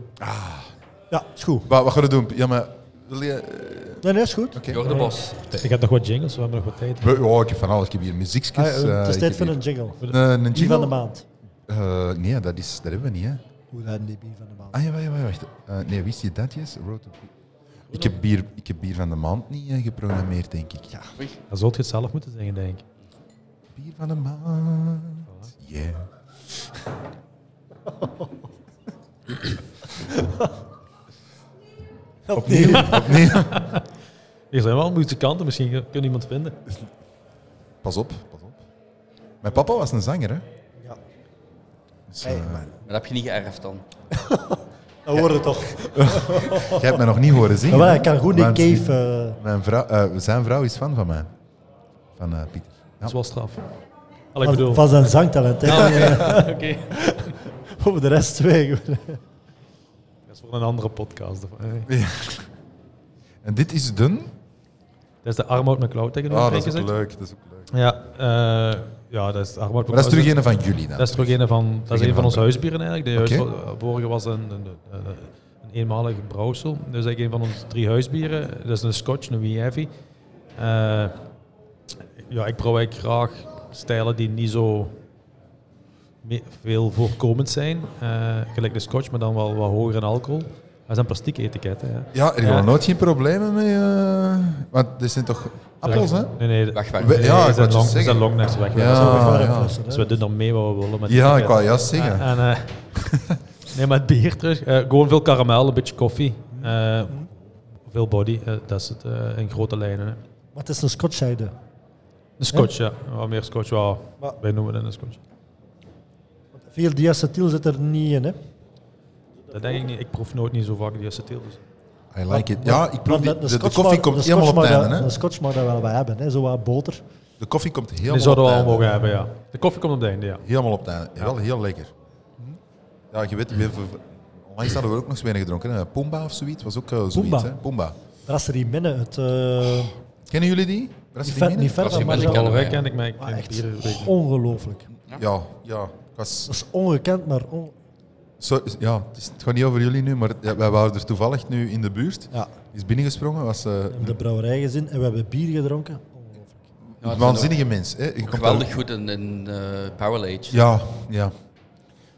B: Ja, is goed.
A: Wat, wat gaan we doen? Ja, maar... Wil je... eh,
B: Nee, nee, is goed.
A: Oké.
E: Jor de Bos.
D: Ik heb nog wat jingles, we hebben nog wat tijd.
A: We- Ja, ik heb van alles. Ik heb hier muziekjes.
B: Ah, eh,
A: eh,
B: het is
A: ik
B: tijd
A: heb
B: voor
A: hier-
B: een jingle.
A: Eh, een
B: Die van de
A: jingle?
B: maand.
A: Eh, nee, dat, is, dat hebben we niet, hè.
B: Hoe dat niet bier van de maand.
A: Ah, ja, wacht, wacht, wacht. Eh, nee, wist je dat, Jess? Road to- Ik heb, bier, ik heb bier van de maand niet eh, geprogrammeerd, denk ik. Ja,
D: Dat zult je het zelf moeten zeggen, denk ik.
A: bier van de maand. Yeah. Opnieuw. Opnieuw.
D: Er zijn wel muzikanten, misschien kunnen iemand vinden.
A: Pas op, pas op. Mijn papa was een zanger, hè.
B: Ja.
A: Dus,
B: Hey,
A: eh,
E: Maar dat heb je niet geërfd dan.
B: Dat hoorde toch.
A: jij hebt mij nog niet horen zingen.
B: Ja, maar
A: hè.
B: ik kan goed Nick
A: Want-
B: Cave... eh,
A: Mijn vrouw, eh, zijn vrouw is fan van mij. Van eh, Pieter.
D: Dat is
A: Ja.
D: wel straf. Al ik
B: van-
D: bedoel.
B: van zijn zangtalent, hè.
D: Oké.
B: Over de rest
A: Ah,
B: twee.
D: Dat is voor een andere podcast. Dat
A: En dit is dun.
D: is de Armout McCloud tegen
A: Ah,
D: oh,
A: dat is ook leuk. Dat is ook leuk.
D: Ja, eh, ja, dat is de Armout
A: Maar dat is
D: McCloud.
A: terug een van jullie dan.
D: Dat is terug een van, dat is
A: Tegen
D: een van onze
A: andere.
D: huisbieren eigenlijk. De
A: Oké.
D: huis- eh, vorige was een, een, een, een eenmalig brouwsel. Dus eigenlijk een van onze drie huisbieren. Dat is een Scotch, een Wee Heavy. Eh, ja, ik brouw eigenlijk graag stijlen die niet zo me- veel voorkomend zijn. Eh, gelijk de Scotch, maar dan wel wat hoger in alcohol. Dat is een plastic etiket. Hè.
A: Ja, er
D: Ja.
A: waren nooit geen problemen mee. eh, want dit zijn toch appels, hè?
D: Nee, nee.
E: Weg, weg.
A: We- ja, ik
D: zijn
A: wou
D: long,
A: het zeggen.
D: zijn longnecks weg.
A: Ja, ja.
D: Dus we doen dan mee wat we willen. Met die
A: Ja, ik
D: etiket.
A: wou juist zeggen.
D: En, eh, nee, maar het bier terug. eh, gewoon veel karamel, een beetje koffie.
B: Mm.
D: eh, Veel body, eh, dat is het eh, in grote lijnen. Hè.
B: Wat is een Scotchzijde?
D: Een scotch, ja. Wat meer scotch, wel,
B: Maar-
D: wij noemen het een scotch.
B: Veel diacetyl zit er niet in, hè.
D: Dat denk ik niet. Ik proef nooit niet zo vaak die acetyl. Dus.
A: I like it. Ja, ik proef
B: Want
A: die,
B: een
A: de, de
B: Scotch
A: koffie
B: mag-
A: komt
B: een
A: helemaal op
B: Scotch
A: het
B: mag
A: einde,
B: dat-
A: hè?
B: Een Scotch mag dat wel wat hebben, hè. Zo wat boter.
A: De koffie komt helemaal
D: Die
A: op
D: zouden we
A: het
D: al
A: einde.
D: mogen hebben, ja. De koffie komt op het einde, ja.
A: Helemaal op het einde. Wel heel lekker. Ja, je weet, we hebben- onlangs hadden we ook nog eens weinig gedronken. Hè? Pumba of zoiets was ook eh, zoiets,
B: Pumba.
A: hè? Pumba.
B: Brasserie Minne, het... eh,
A: Kennen jullie die?
B: niet
A: Brasserie
B: ver,
A: Mini?
B: niet ver
E: Brasserie
B: van
E: Minne
D: Al
B: Marcel.
E: kennen wij,
D: rijk
E: ja.
D: ken ik mij. ik
B: Maar
D: ken
B: echt
D: bier een beetje.
B: ongelooflijk.
A: Ja, ja. Ik was
B: Dat is ongekend, maar... on-
A: Zo, ja, het, is, het gaat niet over jullie nu, maar ja, wij waren er toevallig nu in de buurt.
B: Ja,
A: Is binnengesprongen, was eh,
B: we hebben de brouwerij gezien en we hebben bier gedronken. Ongelooflijk.
E: Ja,
A: een
E: het
A: waanzinnige mens. Hè. Je komt
E: Geweldig
A: daar-
E: goed in, in eh, Barrel Age.
A: ja, ja.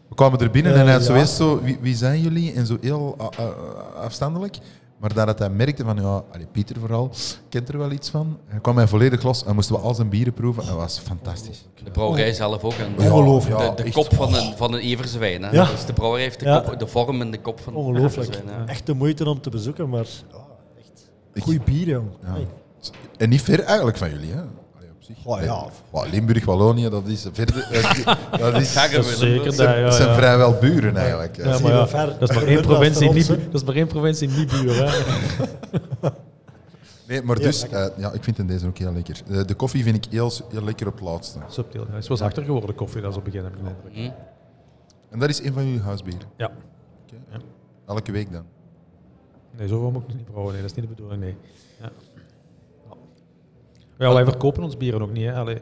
A: We kwamen er binnen
B: Eh,
A: en hij zo
B: ja.
A: eerst zo, wie, wie zijn jullie? En zo heel ah, ah, ah, afstandelijk. Maar nadat hij merkte van, ja, allee, Pieter vooral, kent er wel iets van. Hij kwam mij volledig los en moesten we al zijn bieren proeven. En dat was fantastisch.
E: De brouwerij zelf ook. En
B: Ongelooflijk.
A: Ja,
E: de de
A: echt.
E: kop van een, van een Everse wijn. Hè.
B: Ja.
E: Dus de brouwerij heeft de,
B: Ja.
E: kop, de vorm en de kop van een
B: Ongelooflijk.
E: Everse wijn, ja.
B: Echt de moeite om te bezoeken, maar... ah, echt. Goeie bier, jong.
A: Ja.
B: Hey.
A: En niet ver eigenlijk van jullie, hè? Allee, op zich.
B: Oh, ja.
A: Nee. Wel, Limburg, Wallonië, dat is verder... dat is,
E: Zeggen
A: dat
E: we,
D: Zeker,
E: Limburg.
D: dat, ja,
A: zijn
D: ja.
A: vrijwel buren eigenlijk.
D: Ja,
B: Zie
D: maar
B: je
D: ja,
B: hoe ver
D: dat is maar één
B: verwijderd
D: provincie,
B: van
D: niet,
B: ons,
D: bu-
B: hè?
D: dat is maar één provincie niet buur. Hè.
A: Nee, maar
B: Ja,
A: dus,
B: lekker.
A: eh, ja, ik vind in deze ook heel lekker. Eh, De, de koffie vind ik heel, s- heel lekker op het laatste.
D: Subtiel. Hij is wel zachter geworden, de koffie, dat is op het begin, heb ik de indruk.
A: En dat is een van jullie huisbieren.
D: Ja.
A: Elke week dan.
D: Nee, zoveel moet ik niet brouwen. Nee, dat is niet de bedoeling, nee. Ja. Ja, wij verkopen ons bieren ook niet, hè. Allee,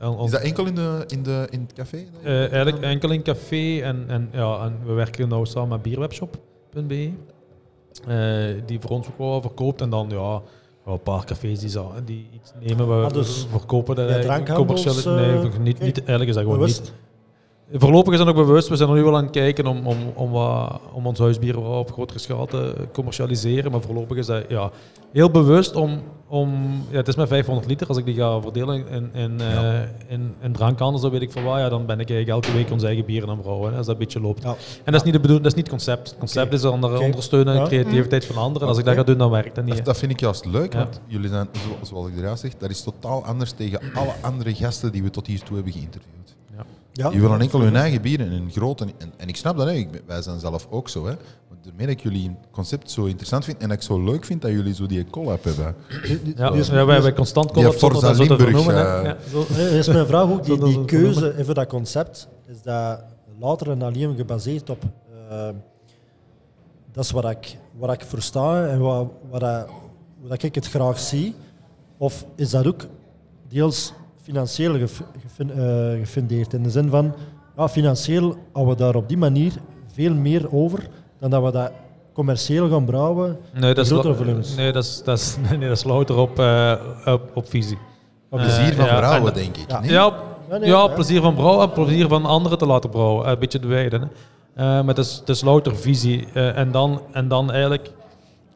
D: on- on-
A: Is dat enkel in, de, in, de, in het café?
D: eh, eigenlijk enkel in café en, en, ja, en we werken nou samen met bierwebshop.be. eh, die voor ons ook wel wat verkoopt. En dan, ja, wel een paar cafés die, za- die iets nemen. We
B: Ah, dus
D: verkopen dat
B: ja,
D: eigenlijk
B: drankhandels,
D: commerciële- Nee,
B: eh,
D: niet, niet,
B: kijk,
D: eigenlijk is dat gewoon
B: bewust.
D: niet. Voorlopig is dat ook bewust. We zijn er nu wel aan het kijken om, om, om, wat, om ons huisbier wat op grotere schaal te commercialiseren. Maar voorlopig is dat ja, heel bewust om... om ja, het is maar 500 liter. Als ik die ga verdelen in, in, eh, in, in drankhandels, dan weet ik van waar. Ja, dan ben ik eigenlijk elke week ons eigen bieren aan het brouwen. hè, Als dat een beetje loopt.
B: Ja.
D: En dat is niet de bedoeling, dat is niet het concept. Het concept is onder,
B: Oké.
D: ondersteunen en
B: Ja.
D: creativiteit van anderen. En als ik dat ga doen, dan werkt dat niet. hè.
A: Dat, dat vind ik juist leuk,
D: Ja.
A: want jullie zijn, zo- zoals ik eruit zeg, dat is totaal anders tegen alle andere gasten die we tot hiertoe hebben geïnterviewd.
B: Ja.
A: Die willen enkel hun eigen bieren en hun grote. En, en ik snap dat, hè. Ik ben- wij zijn zelf ook zo. Hè. Maar daarmee dat ik jullie het concept zo interessant vind en dat ik zo leuk vind dat jullie zo die collab hebben.
B: Nu- nu-
D: Ja,
B: nu is-
D: ja, wij hebben constant
A: Die
D: contact zonder
A: Forza
D: dat zo te
A: Limburg,
D: vernoemen. hè.
A: eh,
D: Ja, zo.
B: Eh, is mijn vraag ook, die,
D: Zonder
B: die
D: dat te vernoemen.
B: keuze en voor dat concept, is dat later en alleen gebaseerd op... eh, dat is wat ik, wat ik versta en wat, wat, dat- hoe dat ik het graag zie. Of is dat ook deels financieel gef- gefin- eh, gefundeerd? In de zin van, ja, financieel houden we daar op die manier veel meer over dan dat we dat commercieel gaan brouwen.
D: Nee, dat is,
B: Grotere
D: la-
B: volumes.
D: nee, dat is, dat is, nee, dat is louter op, eh, op, op visie.
B: Op
D: Eh,
A: Plezier van
D: ja,
A: vrouwen,
D: en-
A: denk ik.
B: ja.
A: niet?
D: Ja,
B: Ja,
D: ja,
B: nee, ja.
D: plezier van brouwen, plezier van anderen te laten brouwen. Eh, Een beetje de wijden. Hè. Eh, maar het is, het is louter visie. Eh, en, dan, en dan eigenlijk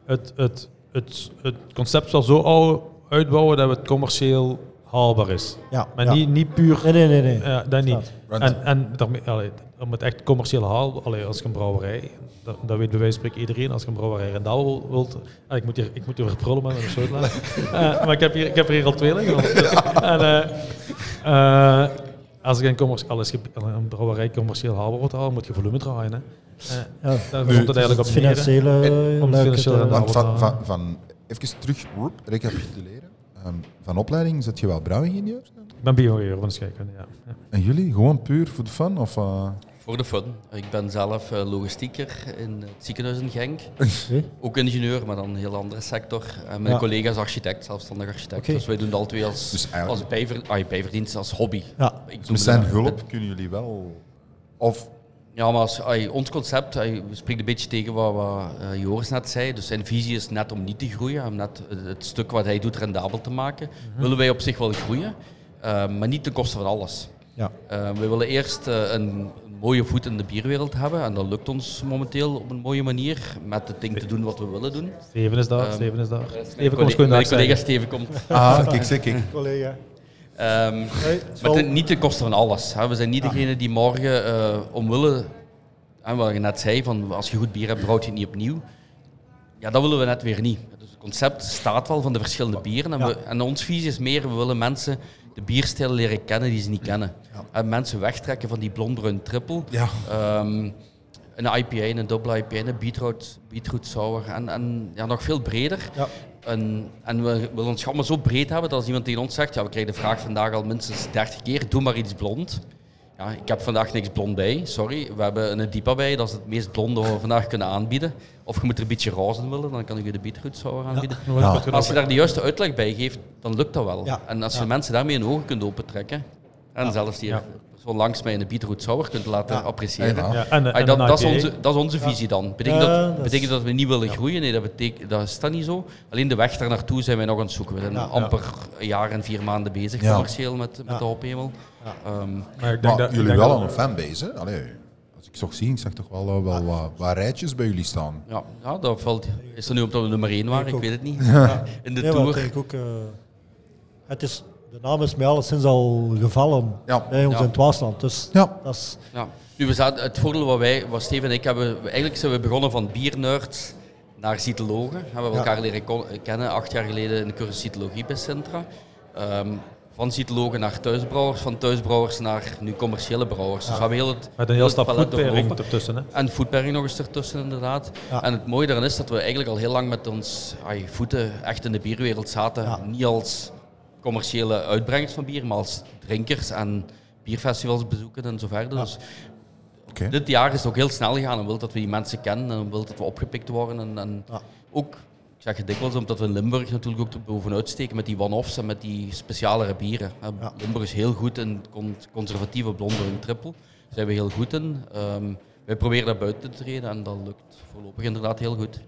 D: het, het, het, het concept wel zo ou- uitbouwen dat het commercieel haalbaar is.
B: Ja,
D: Maar
B: ja.
D: niet, niet puur eh,
B: Nee, nee, nee. nee.
D: ja, dat niet.
A: Want-
D: En, en daarmee, allee, om het echt commercieel haal, allee, als je een brouwerij, dat, dat weet bij wijze van spreken iedereen, als je een brouwerij rendabel wil- wilt, ah, ik moet hier, ik moet hier weer prullen maar mijn sloot laten. Eh, maar ik heb, hier, ik heb er hier al twee liggen. En, eh, eh, als je een, commerc- al is ge- een brouwerij commercieel haalbaar wordt halen, moet je volume draaien. Hè.
B: Ja.
D: Eh, daar
A: Nu,
D: komt het
B: Dus
D: eigenlijk
B: het
D: op neer. hè.
B: financiële...
D: het
B: luik
D: financiële
B: het, eh,
A: Want van,
D: Brouwen,
A: van, van, even terug roep, recapituleren. Ehm, van opleiding zit je wel brouwingenieur?
D: Ik ben bioingenieur van de scheikunde, ja. ja.
A: En jullie? Gewoon puur voor de fun? Of, eh,
E: Voor de fun. Ik ben zelf eh, logistieker in het ziekenhuis in Genk.
B: Oké.
E: Ook ingenieur, maar dan een heel andere sector. En mijn
B: Ja.
E: collega is architect, zelfstandig architect.
B: Oké.
E: Dus wij doen dat alle twee als,
A: Dus eigenlijk- Dus
E: als bijver, ah, bijverdienst, als hobby.
B: Ja.
E: Ik doe
A: met zijn
E: dat-
A: hulp kunnen jullie wel... Of
E: Ja, maar als, ai, ons concept ai, spreekt een beetje tegen wat, wat eh, Joris net zei. Dus zijn visie is net om niet te groeien, om net het, het stuk wat hij doet rendabel te maken. Willen wij op zich wel groeien, eh, maar niet ten koste van alles.
B: Ja.
E: Eh, we willen eerst eh, een, een mooie voet in de bierwereld hebben en dat lukt ons momenteel op een mooie manier met het ding te doen wat we willen doen.
D: Steven is daar,
E: Ehm,
D: Steven is daar. Steven,
E: Mijn
D: kom eens goed
E: collega,
D: naar
E: collega Steven komt.
A: Ah, kijk, zeg ik.
B: Collega.
E: Ehm, maar ten, niet ten koste van alles. Hè. We zijn niet degene die morgen eh omwille, en wat je net zei, van als je goed bier hebt, brouwt je het niet opnieuw. Ja, dat willen we net weer niet. Dus het concept staat wel van de verschillende bieren. En,
B: Ja.
E: we, en ons visie is meer, we willen mensen de bierstijlen leren kennen die ze niet kennen. En mensen wegtrekken van die blondbruin triple.
A: Ja.
E: Ehm, een IPA, een dubbele IPA, een beetroot, beetroot sour en, en ja, nog veel breder.
B: Ja.
E: En, en we willen ons gamma zo breed hebben dat als iemand tegen ons zegt, ja, we krijgen de vraag vandaag al minstens 30 keer, doe maar iets blond. Ja, ik heb vandaag niks blond bij, sorry. We hebben een Dipa bij, dat is het meest blonde wat we vandaag kunnen aanbieden. Of je moet er een beetje roze in willen, dan kan ik je de beetroot sour aanbieden.
A: Ja.
E: Maar als je daar de juiste uitleg bij geeft, dan lukt dat wel.
B: Ja.
E: En als je
B: Ja.
E: mensen daarmee hun ogen kunt opentrekken, en zelfs die
D: Ja.
E: persoon langs mij een beetroot sour kunt laten appreciëren.
A: Ja.
D: Ja, en,
E: Ah,
D: en
E: dat,
D: een
E: dat, is
D: IPA.
E: onze, dat is onze visie dan. Betekent,
B: Ja,
E: dat,
B: dat is-
E: betekent dat we niet willen groeien? Nee, dat, betekent, dat is dat niet zo. Alleen de weg daar naartoe zijn wij nog aan het zoeken. We zijn
B: Ja.
E: amper een jaar en vier maanden bezig
A: Ja.
E: commercieel met, met
B: Ja.
E: de hophemel. Ehm,
D: Maar ik denk
A: Maar
D: dat- ik
A: jullie
D: denk
A: wel
D: dat-
A: aan een fanbase, hè? Allee, als ik zag zien, ik zag toch wel, eh, wel wat, wat rijtjes bij jullie staan.
E: ja, ja, dat valt, is er nu omdat we nummer één waren, ik,
B: ook.
E: weet het niet. In
B: Ja,
E: de
B: maar
E: Tour.
B: dat denk ik ook. eh, het is, de naam is mij alleszins al gevallen
A: Ja.
B: bij ons
E: Ja.
B: in het Waasland. Dus
A: Ja.
B: dat is
E: Ja. Nu, we zaten, het voordeel wat wij, wat Steven en ik hebben, we- eigenlijk zijn we begonnen van biernerds naar cytologen. En We hebben
B: Ja.
E: elkaar leren kon- kennen acht jaar geleden in de cursus cytologie bij Sintra. Ehm, van cytologen naar thuisbrouwers, van thuisbrouwers naar nu commerciële brouwers. Dus we hebben heel het,
D: Met een heel
E: het
D: stap
E: palet
D: voetpering
E: doorlopen.
D: ertussen. Hè.
E: En voetpering nog eens ertussen, inderdaad.
B: Ja.
E: En het mooie daarin is dat we eigenlijk al heel lang met ons ai, voeten echt in de bierwereld zaten.
B: Ja.
E: Niet als commerciële uitbrengers van bier, maar als drinkers en bierfestivals bezoeken en zo verder. Dus
A: Oké.
E: dit jaar is het ook heel snel gegaan en wil dat we die mensen kennen en wil dat we opgepikt worden. En, en
B: Ja.
E: ook, ik zeg het dikwijls, omdat we in Limburg natuurlijk ook er bovenuit steken met die one-offs en met die specialere bieren. Eh,
B: Ja.
E: Limburg is heel goed in con- conservatieve blonde en triple. Daar zijn we heel goed in. Ehm, wij proberen daar buiten te treden en dat lukt voorlopig inderdaad heel goed.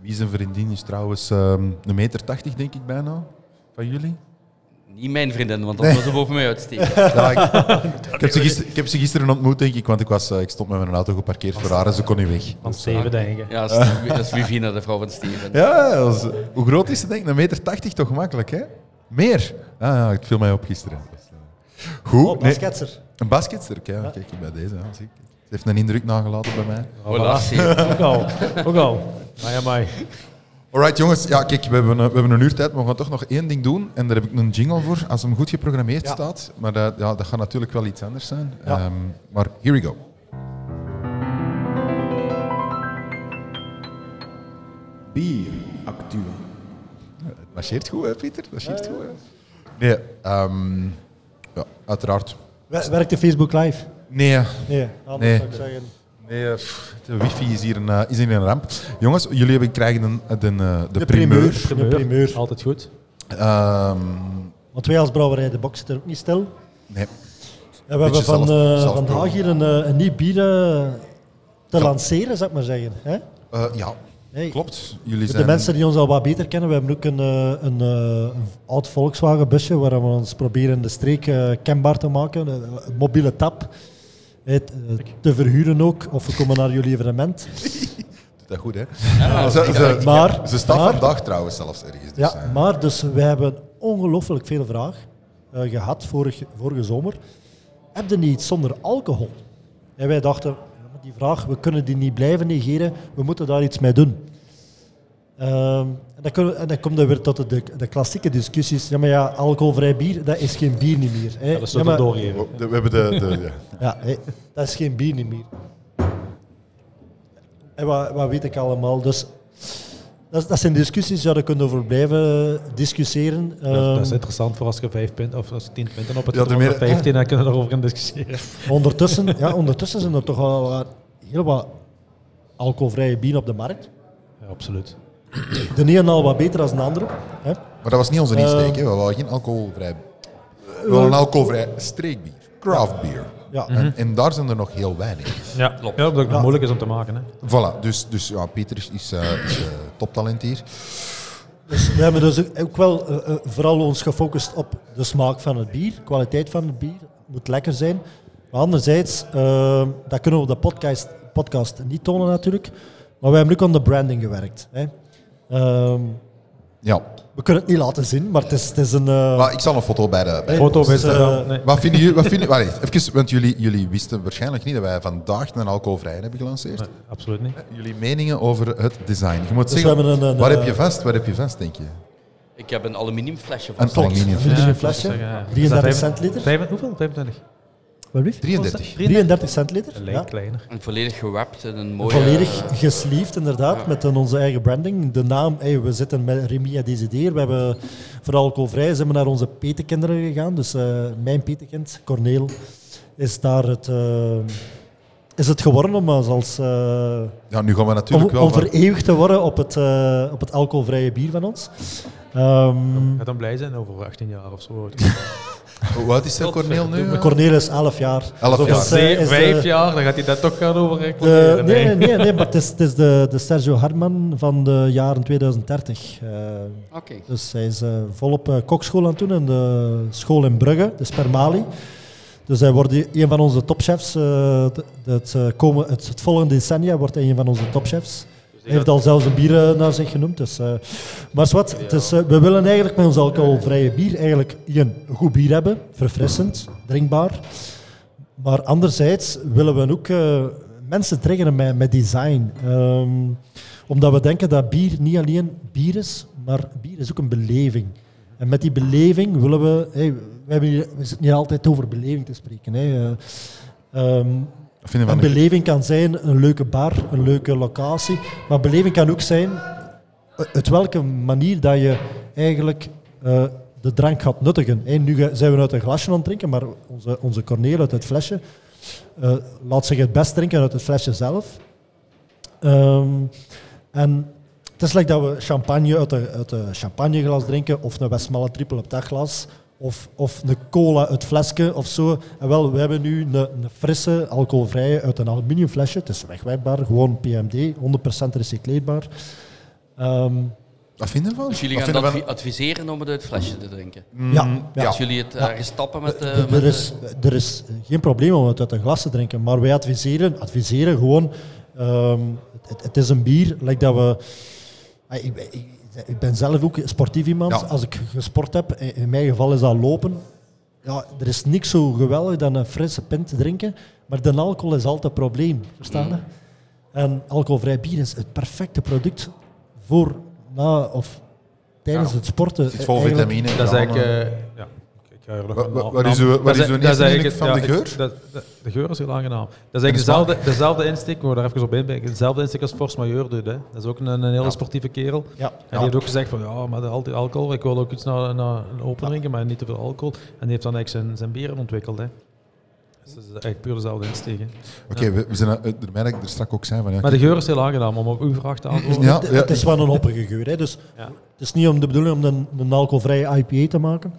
A: Wie zijn vriendin is trouwens ehm een meter tachtig, denk ik bijna, van jullie.
E: Niet mijn vriendin, want dat zou ze boven mij uitsteken.
A: Ja, ik, ik, heb ze gister- ik heb ze gisteren ontmoet, denk ik, want ik, was, eh, ik stond met mijn auto geparkeerd voor haar en ze kon niet weg.
D: Van Steven, denk ik.
E: Ja, dat is- dat is Vivina, de vrouw van Steven.
A: Ja, dat was- hoe groot is ze, denk ik? Een meter tachtig toch makkelijk, hè? Meer. Ah, ja, het viel mij op gisteren. Dat is, eh, Goed.
B: Oh,
A: nee,
B: basketser.
A: een basketster, kijk, kijk hier bij deze. ja, zie ik. Ze heeft een indruk nagelaten bij mij.
E: Voilà, Steven.
D: Ook al. Ook al. Maar ja, maar.
A: Alright, jongens. Ja, kijk, we hebben, eh, we hebben een uur tijd, maar we gaan toch nog één ding doen. En daar heb ik een jingle voor, als hem goed geprogrammeerd staat. Maar eh, ja, dat gaat natuurlijk wel iets anders zijn. Ehm, maar here we go.
H: Bier actueel.
A: Eh, Het marcheert goed, hè, Pieter? Dat marcheert goed, hè? Nee, ehm, ja, uiteraard.
B: Wer- Werkt de Facebook Live?
A: Nee,
B: Nee, anders
A: Nee.
B: zou ik zeggen.
A: nee pff, de wifi is hier, een, eh, is hier een ramp. Jongens, jullie hebben, krijgen een, een, eh, de, primeur.
B: De primeur.
D: Altijd goed.
A: Ehm,
B: Want wij als brouwerij de box zitten ook niet stil.
A: nee,
B: En we hebben van,
A: zelf-
B: eh,
A: zelf
B: vandaag
A: proeven.
B: hier een, eh, een nieuw bier eh, te lanceren, zou ik maar zeggen. Hè?
A: eh, ja,
B: Nee.
A: klopt. Jullie
B: Voor
A: zijn...
B: de mensen die ons al wat beter kennen, we hebben ook een, eh, een, eh, een oud Volkswagen busje waar we ons proberen de streek eh, kenbaar te maken. Een, een mobiele tap. Eh, t- eh, te verhuren ook, of we komen naar jullie evenement.
A: Doet dat goed, hè? ze, ze,
B: Maar-
A: ze staat
B: maar-
A: vandaag trouwens zelfs ergens. Dus,
B: ja,
A: eh,
B: maar dus wij hebben ongelooflijk veel vraag eh, gehad vorig, vorige zomer. Heb je niet iets zonder alcohol? En wij dachten, ja, maar die vraag, we kunnen die niet blijven negeren, we moeten daar iets mee doen. Ehm, en, dan kunnen, we- en dan komt er weer tot de, de, klassieke discussies. Ja, maar ja, alcoholvrij bier, dat is geen bier niet meer. Hè.
D: Dat is zo
B: Ja, maar-
D: doorgeven.
A: we, we hebben de... de ja.
B: ja, hé, dat is geen bier niet meer. En wat, wat weet ik allemaal? Dus, dat, dat zijn discussies, ja, daar kunnen we over blijven eh, discussiëren.
D: Dat, dat is
B: Ehm,
D: interessant voor als je vijf punten of als je tien punten op het
A: Ja,
D: ja,
A: de meer-
D: 15 dan kunnen we erover gaan discussiëren.
B: ondertussen, ja, ondertussen zijn er toch al wat- heel wat alcoholvrije bieren op de markt.
D: Ja, absoluut.
B: De ene al wat beter dan de andere. Hè?
A: Maar dat was niet onze
B: Eh,
A: insteek, hè? We wouden geen alcoholvrij... We wilden een alcoholvrij streekbier. Craft beer.
B: Ja. Mhm.
D: Mhm.
A: En, en daar zijn er nog heel weinig.
D: Ja, klopt. Ja, omdat het nog moeilijk is om te maken. Hè.
A: Voilà, dus, dus ja, Pieter is, is, eh, is eh, toptalent hier.
B: Dus we hebben dus ook wel eh, eh, vooral ons gefocust op de smaak van het bier, kwaliteit van het bier. Het moet lekker zijn. Maar anderzijds, eh, dat kunnen we op de podcast, podcast niet tonen natuurlijk. Maar we hebben ook aan de branding gewerkt. Hè. Ehm,
A: Ja,
B: we kunnen het niet laten zien, maar het is, het is een... eh,
A: maar ik zal een foto bij de... bij-
D: Foto op
B: Dus,
D: Instagram.
B: eh,
D: nee.
A: Wat vinden jullie... Wat vinden, wacht, even, want jullie, jullie wisten waarschijnlijk niet dat wij vandaag een alcoholvrij hebben gelanceerd.
D: Absoluut niet.
A: Jullie meningen over het design. Je moet
B: Dus we
A: zeggen,
B: hebben een- een,
A: waar
B: eh,
A: heb je vast, waar heb je vast, denk je?
E: Ik heb een aluminiumflesje van
A: Een
E: Steven.
A: aluminium.
B: Vind je
D: Ja,
B: een
D: dat is,
B: flesje?
D: eh,
B: 33
D: is dat
B: centiliter.
D: Vijf- hoeveel? 25?
B: Wat lief?
A: 33.
B: 33 centiliter.
D: Lijkt
B: Ja.
D: kleiner.
E: En volledig gewapt in een mooie...
B: Volledig
A: eh,
B: gesleeved, inderdaad, met een- onze eigen branding. De naam, hey, we zitten met Remia Desideer. We hebben voor alcoholvrij zijn we naar onze petekinderen gegaan. Dus eh, mijn petekind, Corneel, is daar het, eh, is het geworden om als, als, eh,
A: Ja, nu gaan we natuurlijk
B: om,
A: wel...
B: om
A: van-
B: vereeuwigd te worden op het, eh, op het alcoholvrije bier van ons. Ehm
D: Gaat dan blij zijn over 18 jaar of zo.
A: Hoe oud is er Corneel nu?
B: Corneel is 11 jaar.
A: 11
B: Dus
A: jaar.
B: dat is, eh, is, eh,
D: Vijf jaar, dan gaat hij dat toch gaan over
B: De,
D: reclameren.
B: nee, nee, nee, nee, maar het is, het is de, de Sergio Harman van de jaren 2030. eh.
E: Oké.
B: dus hij is eh, volop eh, kokschool aan het doen in de school in Brugge, de Spermali. Dus hij wordt die- een van onze topchefs. eh, de- de- het, eh, komen, het, het volgende decennia wordt hij een van onze topchefs. Hij heeft al zelfs een bier eh, naar zich genoemd. Dus, eh, maar is wat, het is, eh, we willen eigenlijk met ons alcoholvrije bier eigenlijk één, een goed bier hebben, verfrissend, drinkbaar. Maar anderzijds willen we ook eh, mensen triggeren met, met design. Ehm, omdat we denken dat bier niet alleen bier is, maar bier is ook een beleving. En met die beleving willen we... hey, we, hebben hier, we zitten hier altijd over beleving te spreken. hè. Eh, ehm,
A: Wat vinden we
B: een
A: van-
B: beleving kan zijn een leuke bar, een leuke locatie. Maar beleving kan ook zijn eh, uit welke manier dat je eigenlijk eh, de drank gaat nuttigen. Hé, nu ge- zijn we uit een glasje aan het drinken, maar onze, onze Corneel uit het flesje eh, laat zich het best drinken uit het flesje zelf. Ehm, en het is like dat we champagne uit een uit een champagneglas drinken, of een Westmalle triple op dat glas, of, of een cola uit flesje of zo. En wel, we hebben nu een, een frisse, alcoholvrije uit een aluminium flesje. Het is wegwerkbaar, gewoon PMD, 100% recycleerbaar. Ehm,
A: Wat vinden we van?
E: Dus jullie
A: Wat
E: gaan
A: vinden we
E: advi- adviseren om het uit het flesje te drinken.
B: Ja, ja.
E: Als jullie het ergens stappen met... eh,
B: Er-
E: met
B: er, is, er is geen probleem om het uit een glas te drinken, maar wij adviseren, adviseren gewoon, ehm, het, het is een bier, like dat we... Ah, Ik, ben- ik, ik ben zelf ook sportief iemand.
A: Ja.
B: Als ik gesport heb, in, in mijn geval is dat lopen. Ja, er is niks zo geweldig dan een frisse pint te drinken, maar de alcohol is altijd een probleem, verstaan
A: Mm.
B: je? En alcoholvrij bier is het perfecte product voor, na of tijdens
A: Ja.
B: het sporten. eh,
A: Het zit vol
B: Eigenlijk-
A: vitamine.
D: Dat is
A: Ja,
D: eigenlijk...
A: maar-
D: eh, ja. ik- ik ga er nog
A: Wa-
D: een
A: wa-
D: naam-
A: wat is
D: naam-
A: uw- wat
D: dat
A: is uw
D: dat
A: eerste
D: eigenlijk
A: indruk van
D: het-
A: de
D: ja,
A: geur?
D: ik- dat- dat- de geur is heel aangenaam. Dat is
A: de
D: eigenlijk
A: smaak?
D: dezelfde, dezelfde insteek, maar daar even op inbreken. Dezelfde insteek als Force Majeur doet. Hè. Dat is ook een, een hele sportieve kerel.
B: Ja.
D: En die heeft ook gezegd van ja, maar altijd alcohol. Ik wil ook iets naar, naar een open drinken, maar niet te veel alcohol. En die heeft dan eigenlijk zijn, zijn bieren ontwikkeld. Hè. Dus dat is eigenlijk puur dezelfde insteek. hè.
A: Oké, we, we zijn er er- mij dat ik er strak ook zijn van. Ja,
D: Maar de geur is heel aangenaam om op uw vraag te antwoorden.
A: ja,
B: Het-
A: ja,
B: Het is wel een hoppige geur. Hè. Dus
D: Ja.
B: Het is niet om de bedoeling om een, een alcoholvrije IPA te maken.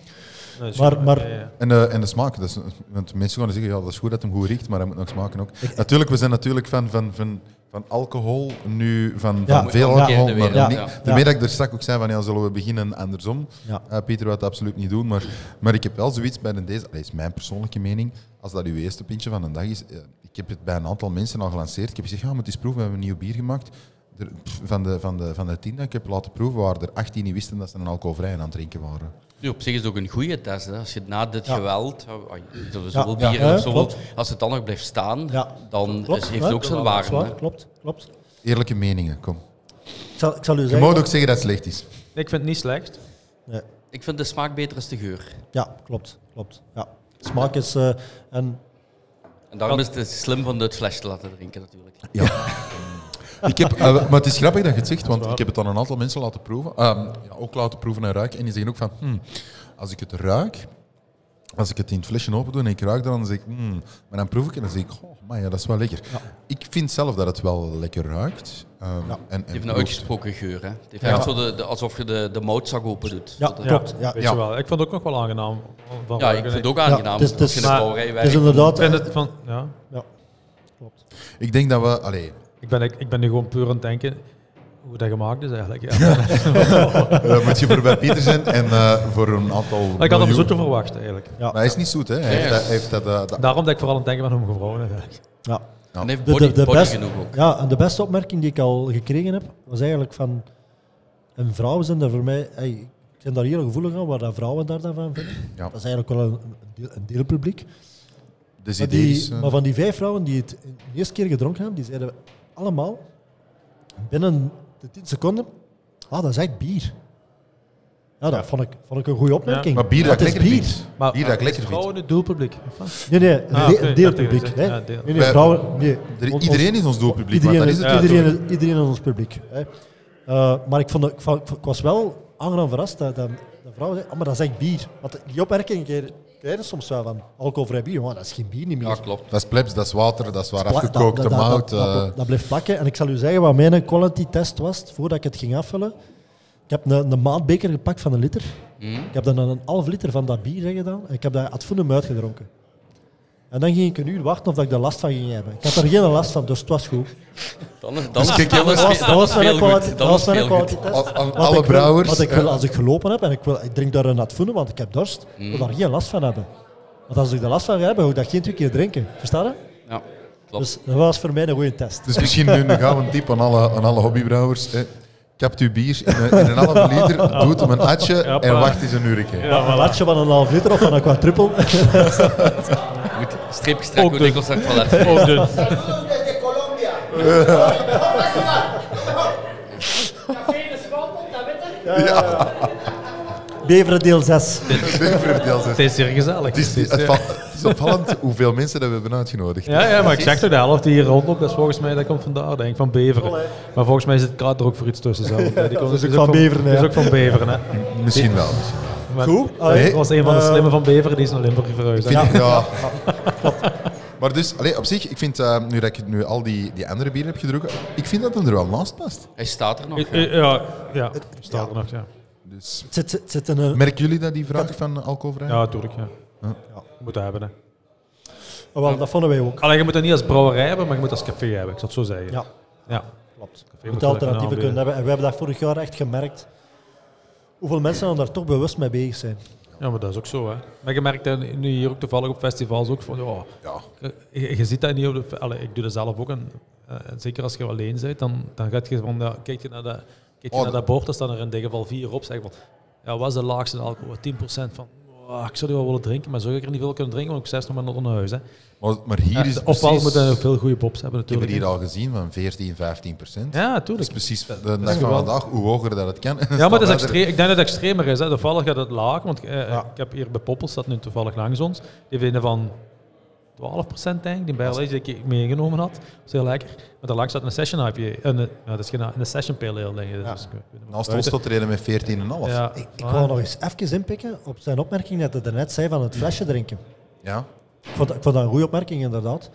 D: Nee,
B: Maar-
D: sure.
B: maar-
D: Ja, ja, ja.
A: En, eh, en de smaak, dat is, want mensen gaan zeggen, ja, dat is goed dat hem goed riekt, maar hij moet nog smaken ook. Natuurlijk, we zijn natuurlijk van, van, van, van alcohol, nu van,
B: Ja.
A: van veel
B: Ja.
A: alcohol,
E: Ja.
A: maar
E: Ja.
A: niet.
E: Ja.
A: Daarmee dat ik er straks ook zei van, ja, zullen we beginnen andersom?
B: Ja.
A: Eh, Pieter wil dat absoluut niet doen, maar, maar ik heb wel zoiets bij een deze, dat is mijn persoonlijke mening, als dat uw eerste pintje van een dag is, eh, ik heb het bij een aantal mensen al gelanceerd, ik heb gezegd, ja, moet eens proeven, we hebben een nieuw bier gemaakt. Er- pff, van, de, van, de, van de tien dat ik heb laten proeven, waren er 18 die wisten dat ze een alcoholvrij aan het drinken waren.
E: Nu, op zich is het ook een goede test. Hè. Als je na dit
B: Ja.
E: geweld, eh, ah, dat we zoveel
B: Ja,
E: bieren
B: ja,
E: of zoveel,
B: klopt.
E: als het dan nog blijft staan,
B: Ja.
E: dan
B: Klopt,
E: is, heeft
B: hè?
E: het ook zijn
B: Dat is waar,
E: waarde. hè.
B: Klopt, klopt.
A: Eerlijke meningen, kom.
B: Ik zal, ik zal u
A: Je
B: zeggen...
A: moet ook zeggen dat het slecht is.
D: Ik vind het niet slecht.
B: Nee.
E: Ik vind de smaak beter als de geur.
B: Ja, klopt, klopt. Ja. Smaak is... eh, en,
E: En daarom is het slim van het flesje te laten drinken natuurlijk.
A: Ik heb, eh, maar het is grappig dat je het zegt, want ik heb het aan een aantal mensen laten proeven. Ehm, ja, ook laten proeven en ruiken. En die zeggen ook van, hmm, als ik het ruik, als ik het in het flesje open doe en ik ruik dan, dan zeg ik, hmm. maar dan proef ik het en dan zeg ik, oh, maar ja, dat is wel lekker. Ik vind zelf dat het wel lekker ruikt. ehm, en,
E: Het
A: en
E: heeft een
A: proeft.
E: uitgesproken geur. Hè. Het heeft echt zo de, de- alsof je de, de moutzak open doet.
B: ja,
E: Dat het-
B: klopt. Ja.
D: Weet
A: Ja.
D: je wel. Ik vond het ook nog wel aangenaam. Van
E: Ja, ik
D: ruiken.
E: vind het ook
B: Ja,
E: aangenaam.
B: het is- het
E: als je
B: is-
E: in de brouwerij
B: Het is
E: werkt.
B: inderdaad...
D: Ik vind het van... Ja.
B: Ja, klopt.
A: Ik denk dat we, allee,
D: Ik ben, ik, ik ben nu gewoon puur aan het denken hoe dat gemaakt is eigenlijk. Ja.
A: eh, moet je voor bij Pieter zijn en eh, voor een aantal
D: Maar ik had hem
A: miljoen-
D: zoeter verwacht eigenlijk.
A: Maar hij is niet zoet, hè. Hij heeft,
E: Ja.
A: dat- hij heeft dat... nou, eh, dat-
D: Daarom dat ik vooral aan het denken ben om gewoon eigenlijk.
B: Ja.
E: En heeft
B: De,
E: body,
B: de, de
E: body
B: best-
E: genoeg ook.
B: Ja, en de beste opmerking die ik al gekregen heb, was eigenlijk van... En vrouwen zijn daar voor mij... Hey, ik ben daar heel gevoelig aan, waar dat vrouwen daar dan van vinden.
A: Ja.
B: Dat is eigenlijk wel een, een deel- een deelpubliek.
A: dus
B: Maar,
A: idee
B: die-
A: is, eh,
B: maar van die vijf vrouwen die het de eerste keer gedronken hebben, die zeiden allemaal binnen de 10 seconden: ah, dat is echt bier. Ja, dat Vond, ik, vond ik een goede opmerking.
A: maar bier
B: Ja,
A: dat ik
B: het
A: lekker
B: is bier.
A: vind.
D: Maar
A: Bier dat ik lekker vind.
D: Vrouwen het doelpubliek. of wat?
B: Nee, nee, een
D: Ah,
B: de-
D: oké,
B: een
D: dat
B: deelpubliek.
D: is-
B: Hè.
D: ja, deel.
B: Nee, nee,
A: Wij-
B: vrouwen, nee.
A: Er-
B: Ons-
A: Iedereen is ons doelpubliek, maar
B: Iedereen,
A: dat is het.
D: Ja,
B: iedereen, iedereen in ons publiek. Hè. Eh, maar ik, vond, dat- ik, vond- ik vond- ik was wel aangenaam verrast dat, dat, dat vrouwen zeiden, ah, maar dat is echt bier. Want die opmerking krijg je- krijg je soms wel van alcoholvrij bier. Maar dat is geen bier niet meer.
E: Ja, klopt.
A: Dat is plebs, dat is water, dat is waar
B: Pla- dat-
A: afgekookte
B: dat- dat-
A: mout.
B: Dat, dat,
A: eh.
B: dat blijft plakken. En ik zal u zeggen wat mijn quality test was, voordat ik het ging afvullen. Ik heb een, een maatbeker gepakt van een liter. Ik heb dan een half liter van dat bier gedaan. En ik heb dat ad fundum uitgedronken. En dan ging ik een uur wachten of dat ik daar last van ging hebben. Ik had er geen last van, dus het was goed.
E: Dan is, dan
A: Dus
E: is-
A: kijk,
E: dan
A: dat
E: is-
B: Dat was, dat
E: dan
B: was
E: is
B: mijn
E: veel
B: quality,
E: goed.
B: dat was mijn
E: veel goed.
B: quality test.
A: Aan- aan
B: Wat
A: alle
B: ik wil-
A: brouwers, eh.
B: Wat ik
A: ja.
B: wil als ik gelopen heb en ik, wil, ik drink daar een ad fundum, want ik heb dorst, wil daar geen last van hebben. Want als ik daar last van heb, ga ik dat geen twee keer drinken. Verstaan je?
E: Ja, klopt.
B: Dus dat was voor mij een goede test.
A: Dus misschien nu een gouden tip aan alle, aan alle hobbybrouwers. Hè. Kapt uw bier in een, in een halve liter, doe het om een atje en wacht eens een uurtje.
B: Een latje van een half liter of van een quadruppel. Dus-
E: Je moet streep gestrekt hoe dikwijls naar het toilet.
D: Ook de-
B: Beveren deel 6.
A: Nee, vertel ze.
D: het is hier gezellig.
A: Het is, het va- het is opvallend hoeveel mensen dat we hebben uitgenodigd.
D: Ja, ja, maar ik zeg toch, de helft die hier rondloopt, dat is volgens mij, dat komt vandaar, denk ik, van Beveren. Maar volgens mij zit Kraat er ook voor iets tussen zelf. hè. Die komt
B: is ook van
D: natuurlijk
B: Beveren,
D: Dat is
B: ja.
D: ook van Beveren, hè.
A: Misschien wel. misschien.
D: Maar
B: Goed.
A: Nee.
D: Dat was een van de
B: Eh,
D: slimme van Beveren, die is naar Limburg verhuisd.
A: Vind
D: hè.
A: ik- ja. Maar dus, allee, op zich, ik vind, eh, nu dat ik nu al die, die andere bieren heb gedronken, ik vind dat hem er wel naast past.
E: Hij staat er nog.
D: Ja,
E: ja.
D: ja, ja, staat er nog, ja.
A: Dus,
B: Het zit, het zit in een,
A: merken jullie dat die vraag van alcoholvrij?
D: Ja, tuurlijk, ja. Ja. Moet dat hebben, hè.
B: wel, dat vonden wij ook.
D: Alleen je moet het niet als brouwerij hebben, maar je moet het als café hebben, ik zal het zo zeggen.
B: Ja,
D: Ja.
B: klopt.
D: Café
B: Je
D: moet
B: moet
D: wel
B: alternatieven
D: aanbieden.
B: kunnen hebben. En we hebben dat vorig jaar echt gemerkt. hoeveel mensen dan daar toch bewust mee bezig zijn.
D: Ja, maar dat is ook zo. Hè. Maar je merkt dat nu hier ook toevallig op festivals ook van, ja,
A: Ja.
D: je, je ziet dat niet op de... fe- Allee, ik doe dat zelf ook. En, eh, en zeker als je alleen bent, dan, dan gaat je van, ja, kijk je naar dat, kijk je
A: Oh,
D: naar
A: dat-
D: dat bord, daar staan er in dit geval vier op. Zeg van, ja, wat is de laagste alcohol? 10% van, wow, ik zou die wel willen drinken, maar zou ik er niet veel kunnen drinken, want ik zes nog maar nog naar huis. Hè.
A: Maar, maar hier is het
D: Ofwel
A: precies...
D: moeten we veel goede pops hebben
A: Ik heb
D: natuurlijk.
A: het hier al gezien van 14, 15 procent.
D: Ja,
A: Dat is
D: tuurlijk.
A: precies de dag
D: is
A: van
D: geweldig.
A: vandaag, hoe hoger dat het kan.
D: Ja, maar dat is
A: dat
D: extreem, ik denk dat het extremer is. Hè. Toevallig gaat het laag, want eh, ik heb hier bij Poppels, dat nu toevallig langs ons, die vinden van 12% denk ik, die barrel die ik meegenomen had. Dat is heel lekker. Maar daarlangs staat een session IPA, een, nou, dat is geen, een session pale ale denk ik. Dus, ik weet niet
A: Naast
D: wat
A: ons
D: het
A: tot reden met 14,5. Ja.
D: buiten-
B: Ik, ik
D: Ah.
B: wou nog eens even inpikken op zijn opmerking dat hij daarnet zei van het flesje drinken.
A: ja.
B: Ik vond, dat- ik vond dat een goede opmerking, inderdaad.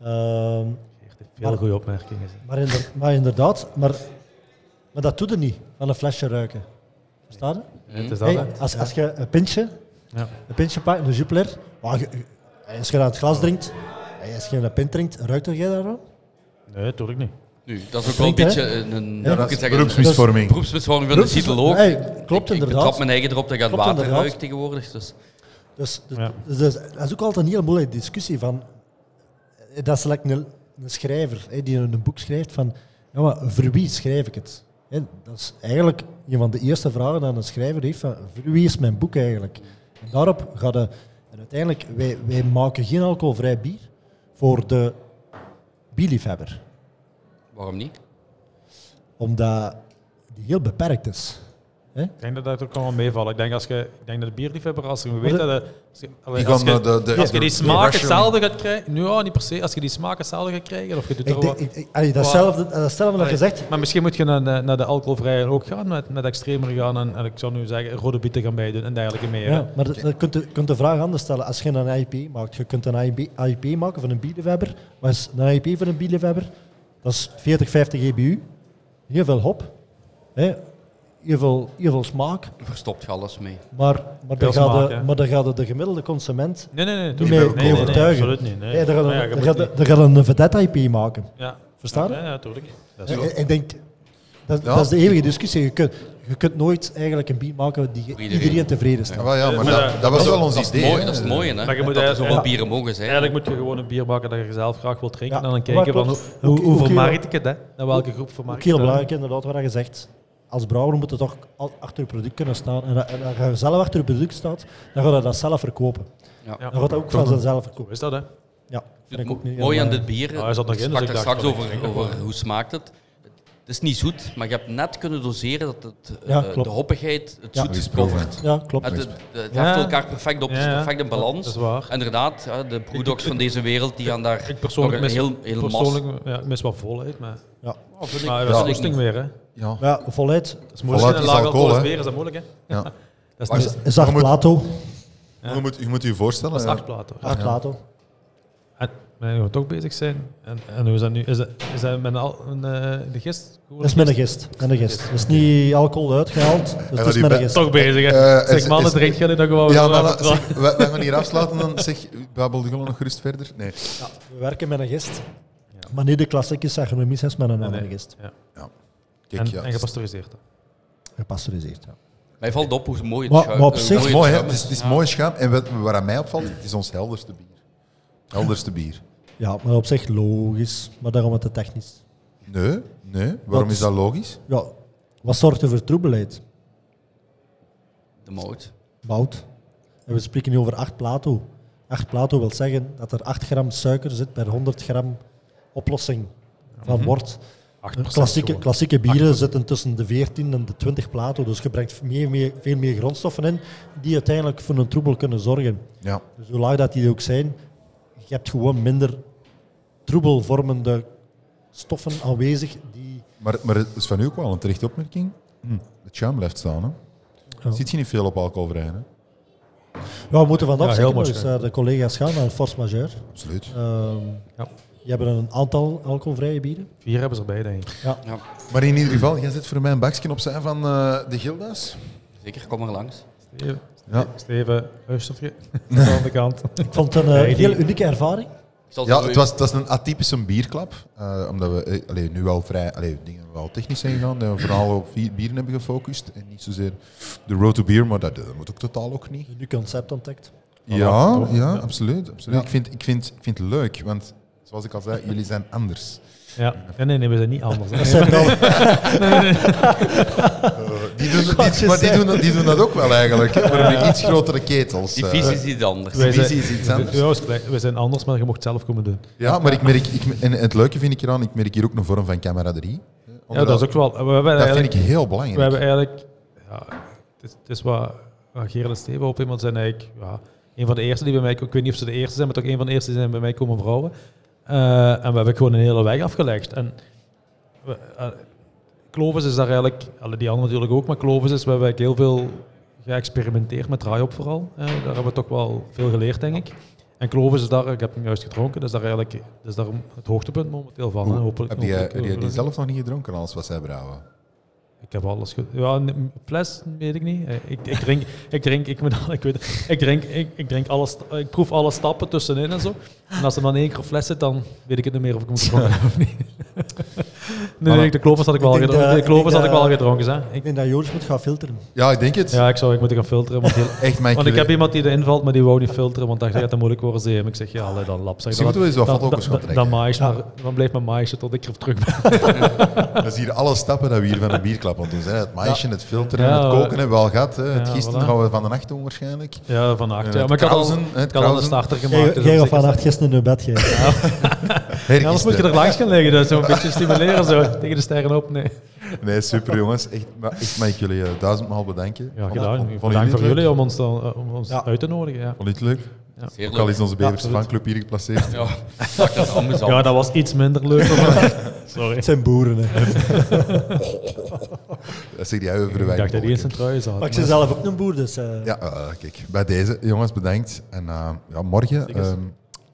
B: Ehm,
D: Geert heeft Veel goede opmerkingen.
B: maar, inder- maar inderdaad, maar, maar dat doet er niet, van een flesje ruiken. Verstaan je?
D: Het is dat,
B: Hey,
D: hè.
B: als, als je een pintje,
D: Ja.
B: een pintje pakt, een jupiler, maar je- je- als je dat aan het glas drinkt, hey, als je een pint drinkt, ruikt er jij daarvan?
D: Nee, natuurlijk niet.
E: Nu, dat is ook wel een
B: Klinkt,
E: beetje een, een
B: Ja,
E: hoe
A: dat
E: ik het
A: is
E: zeggen, een
A: beroepsmisvorming.
E: beroepsbesvorming van de
B: Beroepsbesvo-
E: titel ook.
B: Hey,
E: Ik-
B: klopt
E: Ik betrap
B: inderdaad.
E: mijn eigen erop dat ik aan het
B: Klopt
E: water
B: inderdaad.
E: ruik tegenwoordig. Dus.
B: Dus, d-
D: Ja.
B: dus dat is- dat is ook altijd een heel moeilijke discussie. Van, eh, dat is like een, een schrijver hè, die een een boek schrijft van ja, maar voor wie schrijf ik het? Hè, dat is eigenlijk een van de eerste vragen die een schrijver heeft van voor wie is mijn boek eigenlijk? En daarop gaat de, en uiteindelijk, wij, wij maken geen alcoholvrij bier voor de bierliefhebber.
E: Waarom niet?
B: Omdat die heel beperkt is.
D: Ik denk dat dat ook allemaal meevalt. Ik denk, als je, ik denk dat de bierliefhebber, als je weet
B: Maar
D: dat... de- als je- allee,
A: Die
D: als
A: gaan
D: je-
A: naar de, de,
D: als je die
A: de
D: smaak
A: Russian-
D: hetzelfde gaat krijgen, nu ja, niet per se, als je die smaak hetzelfde gaat krijgen, of je doet er
B: Ik, denk-
D: wat...
B: ik, ik, allee, datzelfde, datzelfde dat je zegt,
D: Maar misschien moet je naar de, naar de alcoholvrije ook gaan, met, met extremer gaan en, en ik zou nu zeggen rode bieten gaan bijdoen en dergelijke meer.
B: Ja, maar je kunt, de- kunt de vraag anders stellen. Als je een IP maakt, je kunt een IP, IP maken van een bielefebber. Wat is een IP van een bielefebber? Dat is 40, 50 EBU. Heel veel hop. Hè? Heel, veel, heel veel smaak.
E: Verstopt je alles mee.
B: Maar, maar,
D: Veel
B: dan gaat
D: smaak,
B: de,
D: hè?
B: maar dan gaat de, de gemiddelde consument...
D: Nee, nee, nee.
B: Niet mee,
D: tuurlijk. nee, nee, nee,
B: overtuigen.
D: absoluut niet. Nee. Nou
B: hè, dan gaat
D: Ja,
B: een-
D: je
B: dan
D: moet
B: gaat
D: niet-
B: de- dan gaat een vedette IP maken.
D: Ja.
B: Verstaan?
D: Ja, ja, tuurlijk. Dat is
B: Ik-
D: zo.
B: ik- Eh, Ik denk, dat,
A: Ja.
B: dat is de eeuwige discussie. Je kunt, je kunt nooit eigenlijk een bier maken die
E: Voor
B: iedereen,
E: iedereen.
B: tevreden stelt.
A: Ja, wel, ja, maar
D: Maar
A: dat,
D: dat-
A: dat was wel ons
E: Dat is
A: idee.
E: mooi,
A: hè.
E: dat is het mooie, hè?
D: Maar je moet
E: dat er
D: eigenlijk-
E: zoveel bieren mogen zijn.
D: Eigenlijk moet je gewoon een bier maken dat je zelf graag wilt drinken
B: Ja,
D: en dan
B: maar
D: kijken van hoe,
B: klopt.
D: hoe,
B: Ook-
D: hoe
B: ook heel-
D: vermarkt ik het, hè? Naar welke groep vermarkt
B: Ook
D: ik
B: heel
D: het, hè?
B: belangrijk inderdaad wat je zegt. Als brouwer moet je toch al- achter je product kunnen staan. En, en als je zelf achter je product staat, dan ga je dat zelf verkopen.
D: Ja.
B: Dan gaat dat ook van zichzelf
D: Hoe
B: verkopen.
D: is dat, hè?
B: Ja, vind ik ook
E: Het
B: niet
E: mooie aan
B: helemaal-
E: dit bier,
D: Ah, hij zat nog
E: ik
D: in,
E: sprak
D: dus ik
E: daar
D: dacht,
E: straks
D: dat
E: over,
D: denk ik
E: over
D: wel.
E: hoe smaakt het. Het is niet zoet, maar je hebt net kunnen doseren dat het, eh,
B: Ja, klopt.
E: de hoppigheid, het
B: Ja.
E: zoet
A: Eens proeven.
E: covert.
B: Ja, klopt.
E: Het, het, het
D: Ja.
E: heft elkaar perfect op, het is
D: Ja, ja.
E: perfect in balans.
D: Dat is waar.
E: Inderdaad, hè, de broedoks van deze wereld die gaan daar
D: Ik persoonlijk
E: nog
D: mis,
E: een heel, heel mas.
D: persoonlijk, ja, ik mis wat volheid, maar...
B: Ja.
D: Maar dat is
A: Ja.
D: goesting weer, hè?
A: Ja.
B: Ja, voluit.
D: Dat is moeilijk.
A: Volheid
D: Een
A: is alcohol,
D: laag alcohol is
A: hè?
D: weer, is dat moeilijk, hè?
A: Ja.
D: Dat
A: Maar
D: is
A: is-
B: Is dat
A: Je moet-
B: Plato?
A: Je, moet, je moet je voorstellen,
D: een
A: eh,
D: achtplaat, hoor.
B: Ach, Plato.
D: En en we toch bezig zijn. En, en hoe is dat nu? Is dat, is dat met al, een, eh, de gist?
B: Dat is met een gist. Met een gist. Dat is niet alcohol uitgehaald, dus
A: maar
B: dat is
A: die
B: met een
A: be-
B: gist.
D: Toch bezig, hè?
A: Eh, is-
D: zeg, man,
A: is-
D: het drinkt geen Oh, dat gewoon.
A: Ja,
D: Ja,
A: maar dat- zeg, we, we gaan hier afsluiten dan. Zeg, babbel de gewoon nog gerust verder. Nee.
B: Ja, we werken met een gist. Maar niet de klassieke agronomie is met een andere gist.
D: Ja.
A: Kijk,
D: En,
A: ja,
D: en
A: het is-
D: gepasteuriseerd. hè.
B: Gepasteuriseerd. Ja.
E: Mij valt op hoe mooi het
B: Maar-
E: schuim
B: maar op
E: eh, hoe
A: het is
B: zich-
E: mooi het
A: mooi, hè?
E: schuim
A: Het is, het is mooi schaam. En wat, wat aan mij opvalt, het is ons helderste bier. Helderste bier.
B: ja, maar op zich logisch, maar daarom het te technisch.
A: Nee, nee. Waarom
B: Wat-
A: is dat logisch?
B: Ja, wat zorgt er voor troebelheid?
E: De mout.
B: Bout. En we spreken nu over 8 plato. 8 plato wil zeggen dat er 8 gram suiker zit per 100 gram oplossing van wort. Klassieke, klassieke bieren zitten tussen de 14 en de 20 plato. Dus je brengt meer, meer, veel meer grondstoffen in die uiteindelijk voor een troebel kunnen zorgen.
A: Ja.
B: Dus hoe laag dat die ook zijn, je hebt gewoon minder troebelvormende stoffen aanwezig die
A: Maar, maar het is van u ook wel een terechte opmerking. Hm. Het schuim blijft staan. Hè?
B: Ja.
A: Ziet je niet veel op alcoholvrij? Hè?
B: Ja, we moeten vandaag
D: Ja, heel
B: zeker nog eens
D: waarschijnlijk.
B: eh, de collega's gaan naar een force majeure.
A: Absoluut.
B: Ehm,
D: Ja.
B: Die hebben een aantal alcoholvrije bieren.
D: Vier hebben ze erbij, denk ik.
A: Maar in ieder geval, jij zit voor mij een bakje opzij van eh, de Gildas.
E: Zeker, kom maar langs.
D: Steven,
A: Ja.
D: Steven luister je? Aan de kant.
B: Ik vond het een eh,
D: Nee, die-
B: heel unieke ervaring.
E: zal
A: Ja,
E: zo
A: het was, het was een atypische bierklap. eh, omdat we eh, allee, nu wel vrij allee, dingen wel technisch zijn gegaan. Dat we vooral op vier bieren hebben gefocust. En niet zozeer de road to beer, maar dat, dat moet ook totaal ook niet.
B: Nu concept ontdekt.
A: Ja,
D: tof.
A: ja,
D: Ja.
A: absoluut. absoluut. Ik, vind, ik, vind, ik vind het leuk, want zoals ik al zei, jullie zijn anders.
D: Ja. Nee, nee, nee, we zijn niet anders. hè.
A: Die doen,
B: Wat
A: die,
B: je
A: maar die
B: zei.
A: doen, dat- die doen dat ook wel eigenlijk, hè, maar met iets grotere ketels.
E: Die
A: eh.
E: visie is iets anders.
A: Die
D: Wij zijn-
A: visie is iets anders.
D: Ja, is gelijk. we zijn anders, maar je mocht zelf komen doen.
A: Ja, maar ik merk, ik, en het leuke vind ik eraan, ik merk hier ook een vorm van camaraderie. eh,
D: Ja,
A: onder
D: dat is ook wel. We hebben
A: dat
D: eigenlijk-
A: vind ik heel belangrijk.
D: We hebben eigenlijk, ja, het is, het is wat, wat Gerard en Steven op iemand zijn eigenlijk, ja, een van de eerste die bij mij, ik weet niet of ze de eerste zijn, maar toch een van de eerste die zijn bij mij komen vrouwen. Eh, en we hebben gewoon een hele weg afgelegd. En we, eh, Clovis is daar eigenlijk, alle die anderen natuurlijk ook, maar Clovis is, we hebben eigenlijk heel veel geëxperimenteerd met draai op vooral. Eh, daar hebben we toch wel veel geleerd, denk ik. En Clovis is daar, ik heb hem juist gedronken, dat is daar eigenlijk dat is daar het hoogtepunt momenteel van. hè. Hopelijk,
A: heb je, heb
D: hopelijk-
A: je die
D: hopelijk-
A: zelf nog niet gedronken, alles wat zij brouwen?
D: ik heb alles goed. Ja, een fles weet ik niet. Eh, Ik, ik drink, ik drink, ik, moet al- ik weet het. ik drink, ik, ik drink alles, ik proef alle stappen tussenin en zo. En als er dan één keer een fles zit, dan weet ik het niet meer of ik hem gedronken heb of niet. Nee, nee, de klovers had ik wel
B: Ik denk
D: gedronken.
B: dat-
D: De klovers
B: ik
D: had ik
B: denk
D: wel
B: dat-
D: gedronken, hè.
B: Ik
D: Ik,
B: denk dat Joris moet gaan filteren.
A: Ja, ik denk het.
D: ja, ik zou, ik moet gaan filteren. Want, heel-
A: Echt, mijn
D: want ik heb iemand die er invalt, maar die wou niet filteren, want dacht, dat gaat te moeilijk worden, zei hem. Ik zeg, ja, allee, dan lap. Zeg,
A: Misschien moeten we eens wat fotokopjes gaan
D: dan, dan,
A: trekken.
D: maïs maar, dan blijft mijn maïsje tot ik er terug ben.
A: Dat is hier alle stappen dat we hier van een bierklap aan doen zijn. Het maïsje, het filteren,
D: Ja,
A: het
D: we-
A: koken hebben we al gehad. Hè. het
D: Ja,
A: gisteren
D: voilà.
A: gaan we van de nacht doen waarschijnlijk.
D: Ja, vannacht. Ja,
A: het
D: maar ik had al,
A: krausen, hè, het
D: ik had al een
A: krausen.
D: starter
B: Jij
D: gemaakt. dus
B: jij
D: op
B: gaat
D: zich is dat-
B: vannacht gisteren naar bed gaan.
A: Hergisteren.
D: Ja, anders moet je er langs gaan liggen, dus zo een beetje stimuleren zo, tegen de sterren op. Nee.
A: Nee, super jongens. Echt, maar echt mag ik jullie eh, duizendmaal bedanken.
D: Ja,
A: Vond-
D: gedaan.
A: vond- vonden het
D: Bedankt voor
A: leuk?
D: jullie om ons, dan, eh, om ons
B: Ja.
D: uit te nodigen. Ja.
A: Vond je het leuk?
E: Zeer
A: Ook al
E: leuk.
A: is onze Bevers
D: absoluut.
A: fanclub hier eh, geplaceerd.
E: Ja, dat is amusant.
D: ja, dat was iets minder leuk. maar- Sorry.
B: Het zijn boeren. Hè.
A: Dat zeg jij over de
D: Ik dacht dat die in
A: wijk.
D: zijn trui zat.
B: Maar ik ben zelf ook een boer, dus... eh,
A: Ja, eh, kijk, bij deze. Jongens, bedankt. En eh, ja, morgen... ehm,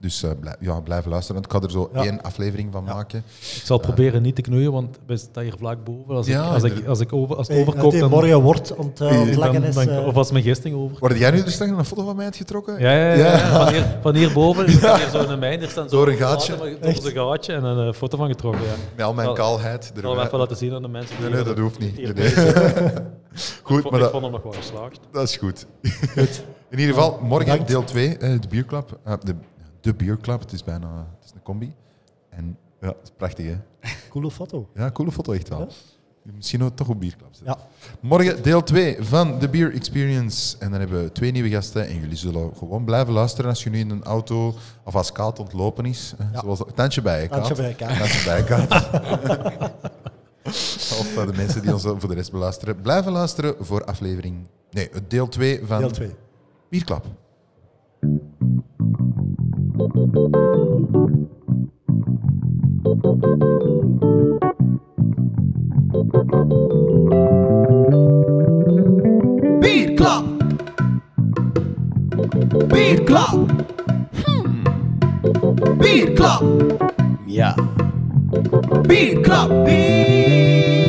A: dus eh, blij- ja, blijven luisteren. want Ik ga er zo
B: Ja.
A: één aflevering van maken.
D: Ik zal proberen niet te knoeien, want we staan hier vlak boven. Als,
A: Ja,
D: ik, als, ik,
A: inderdaad.
D: als, ik over, als het
B: Hey,
D: overkookt,
B: dat
D: dan,
B: die morgen wordt ontlakken
D: dan,
B: is.
D: dan-
B: eh,
D: Of als mijn gisting over.
A: Word jij nu er straks nog een foto van mij uitgetrokken?
D: Ja, ja, ja, ja. Van, hier, van hierboven is er zo een mijn. Er staan zo
A: Door een gaatje.
D: Door zo'n gaatje en een eh, foto van getrokken. Ja. Ik
A: Met al mijn
D: Wel,
A: kaalheid. erbij.
D: zal hem even laten zien aan de mensen. Die
A: Nee, nee,
D: hier-
A: dat hoeft niet.
D: hier
A: Nee, nee. Goed, maar
D: Ik vond ik
A: dat,
D: vond hem nog wel geslaagd.
A: dat is goed. In ieder geval, morgen
B: Bedankt.
A: deel 2, de bierklap. Eh, de, de bierklap, het is bijna het is een combi. En ja, het is prachtig, hè?
B: Coole foto.
A: Ja, coole foto, echt wel. Misschien ook toch op bierklap zetten.
B: Ja.
A: Morgen deel 2 van de Beer Experience. En dan hebben we twee nieuwe gasten. En jullie zullen gewoon blijven luisteren als je nu in een auto of als Kaat ontlopen is. eh, Zoals, tandje bij, hè, Kaat.
B: Tandje bij, Kaat.
A: Tandje bij, Kaat. of eh, de mensen die ons voor de rest beluisteren. Blijven luisteren voor aflevering... Nee, het deel 2 van
B: Deel 2.
A: Bierklap.
C: Beer Club. Beer Club. Beer Club. Ja. Beer Club. Beer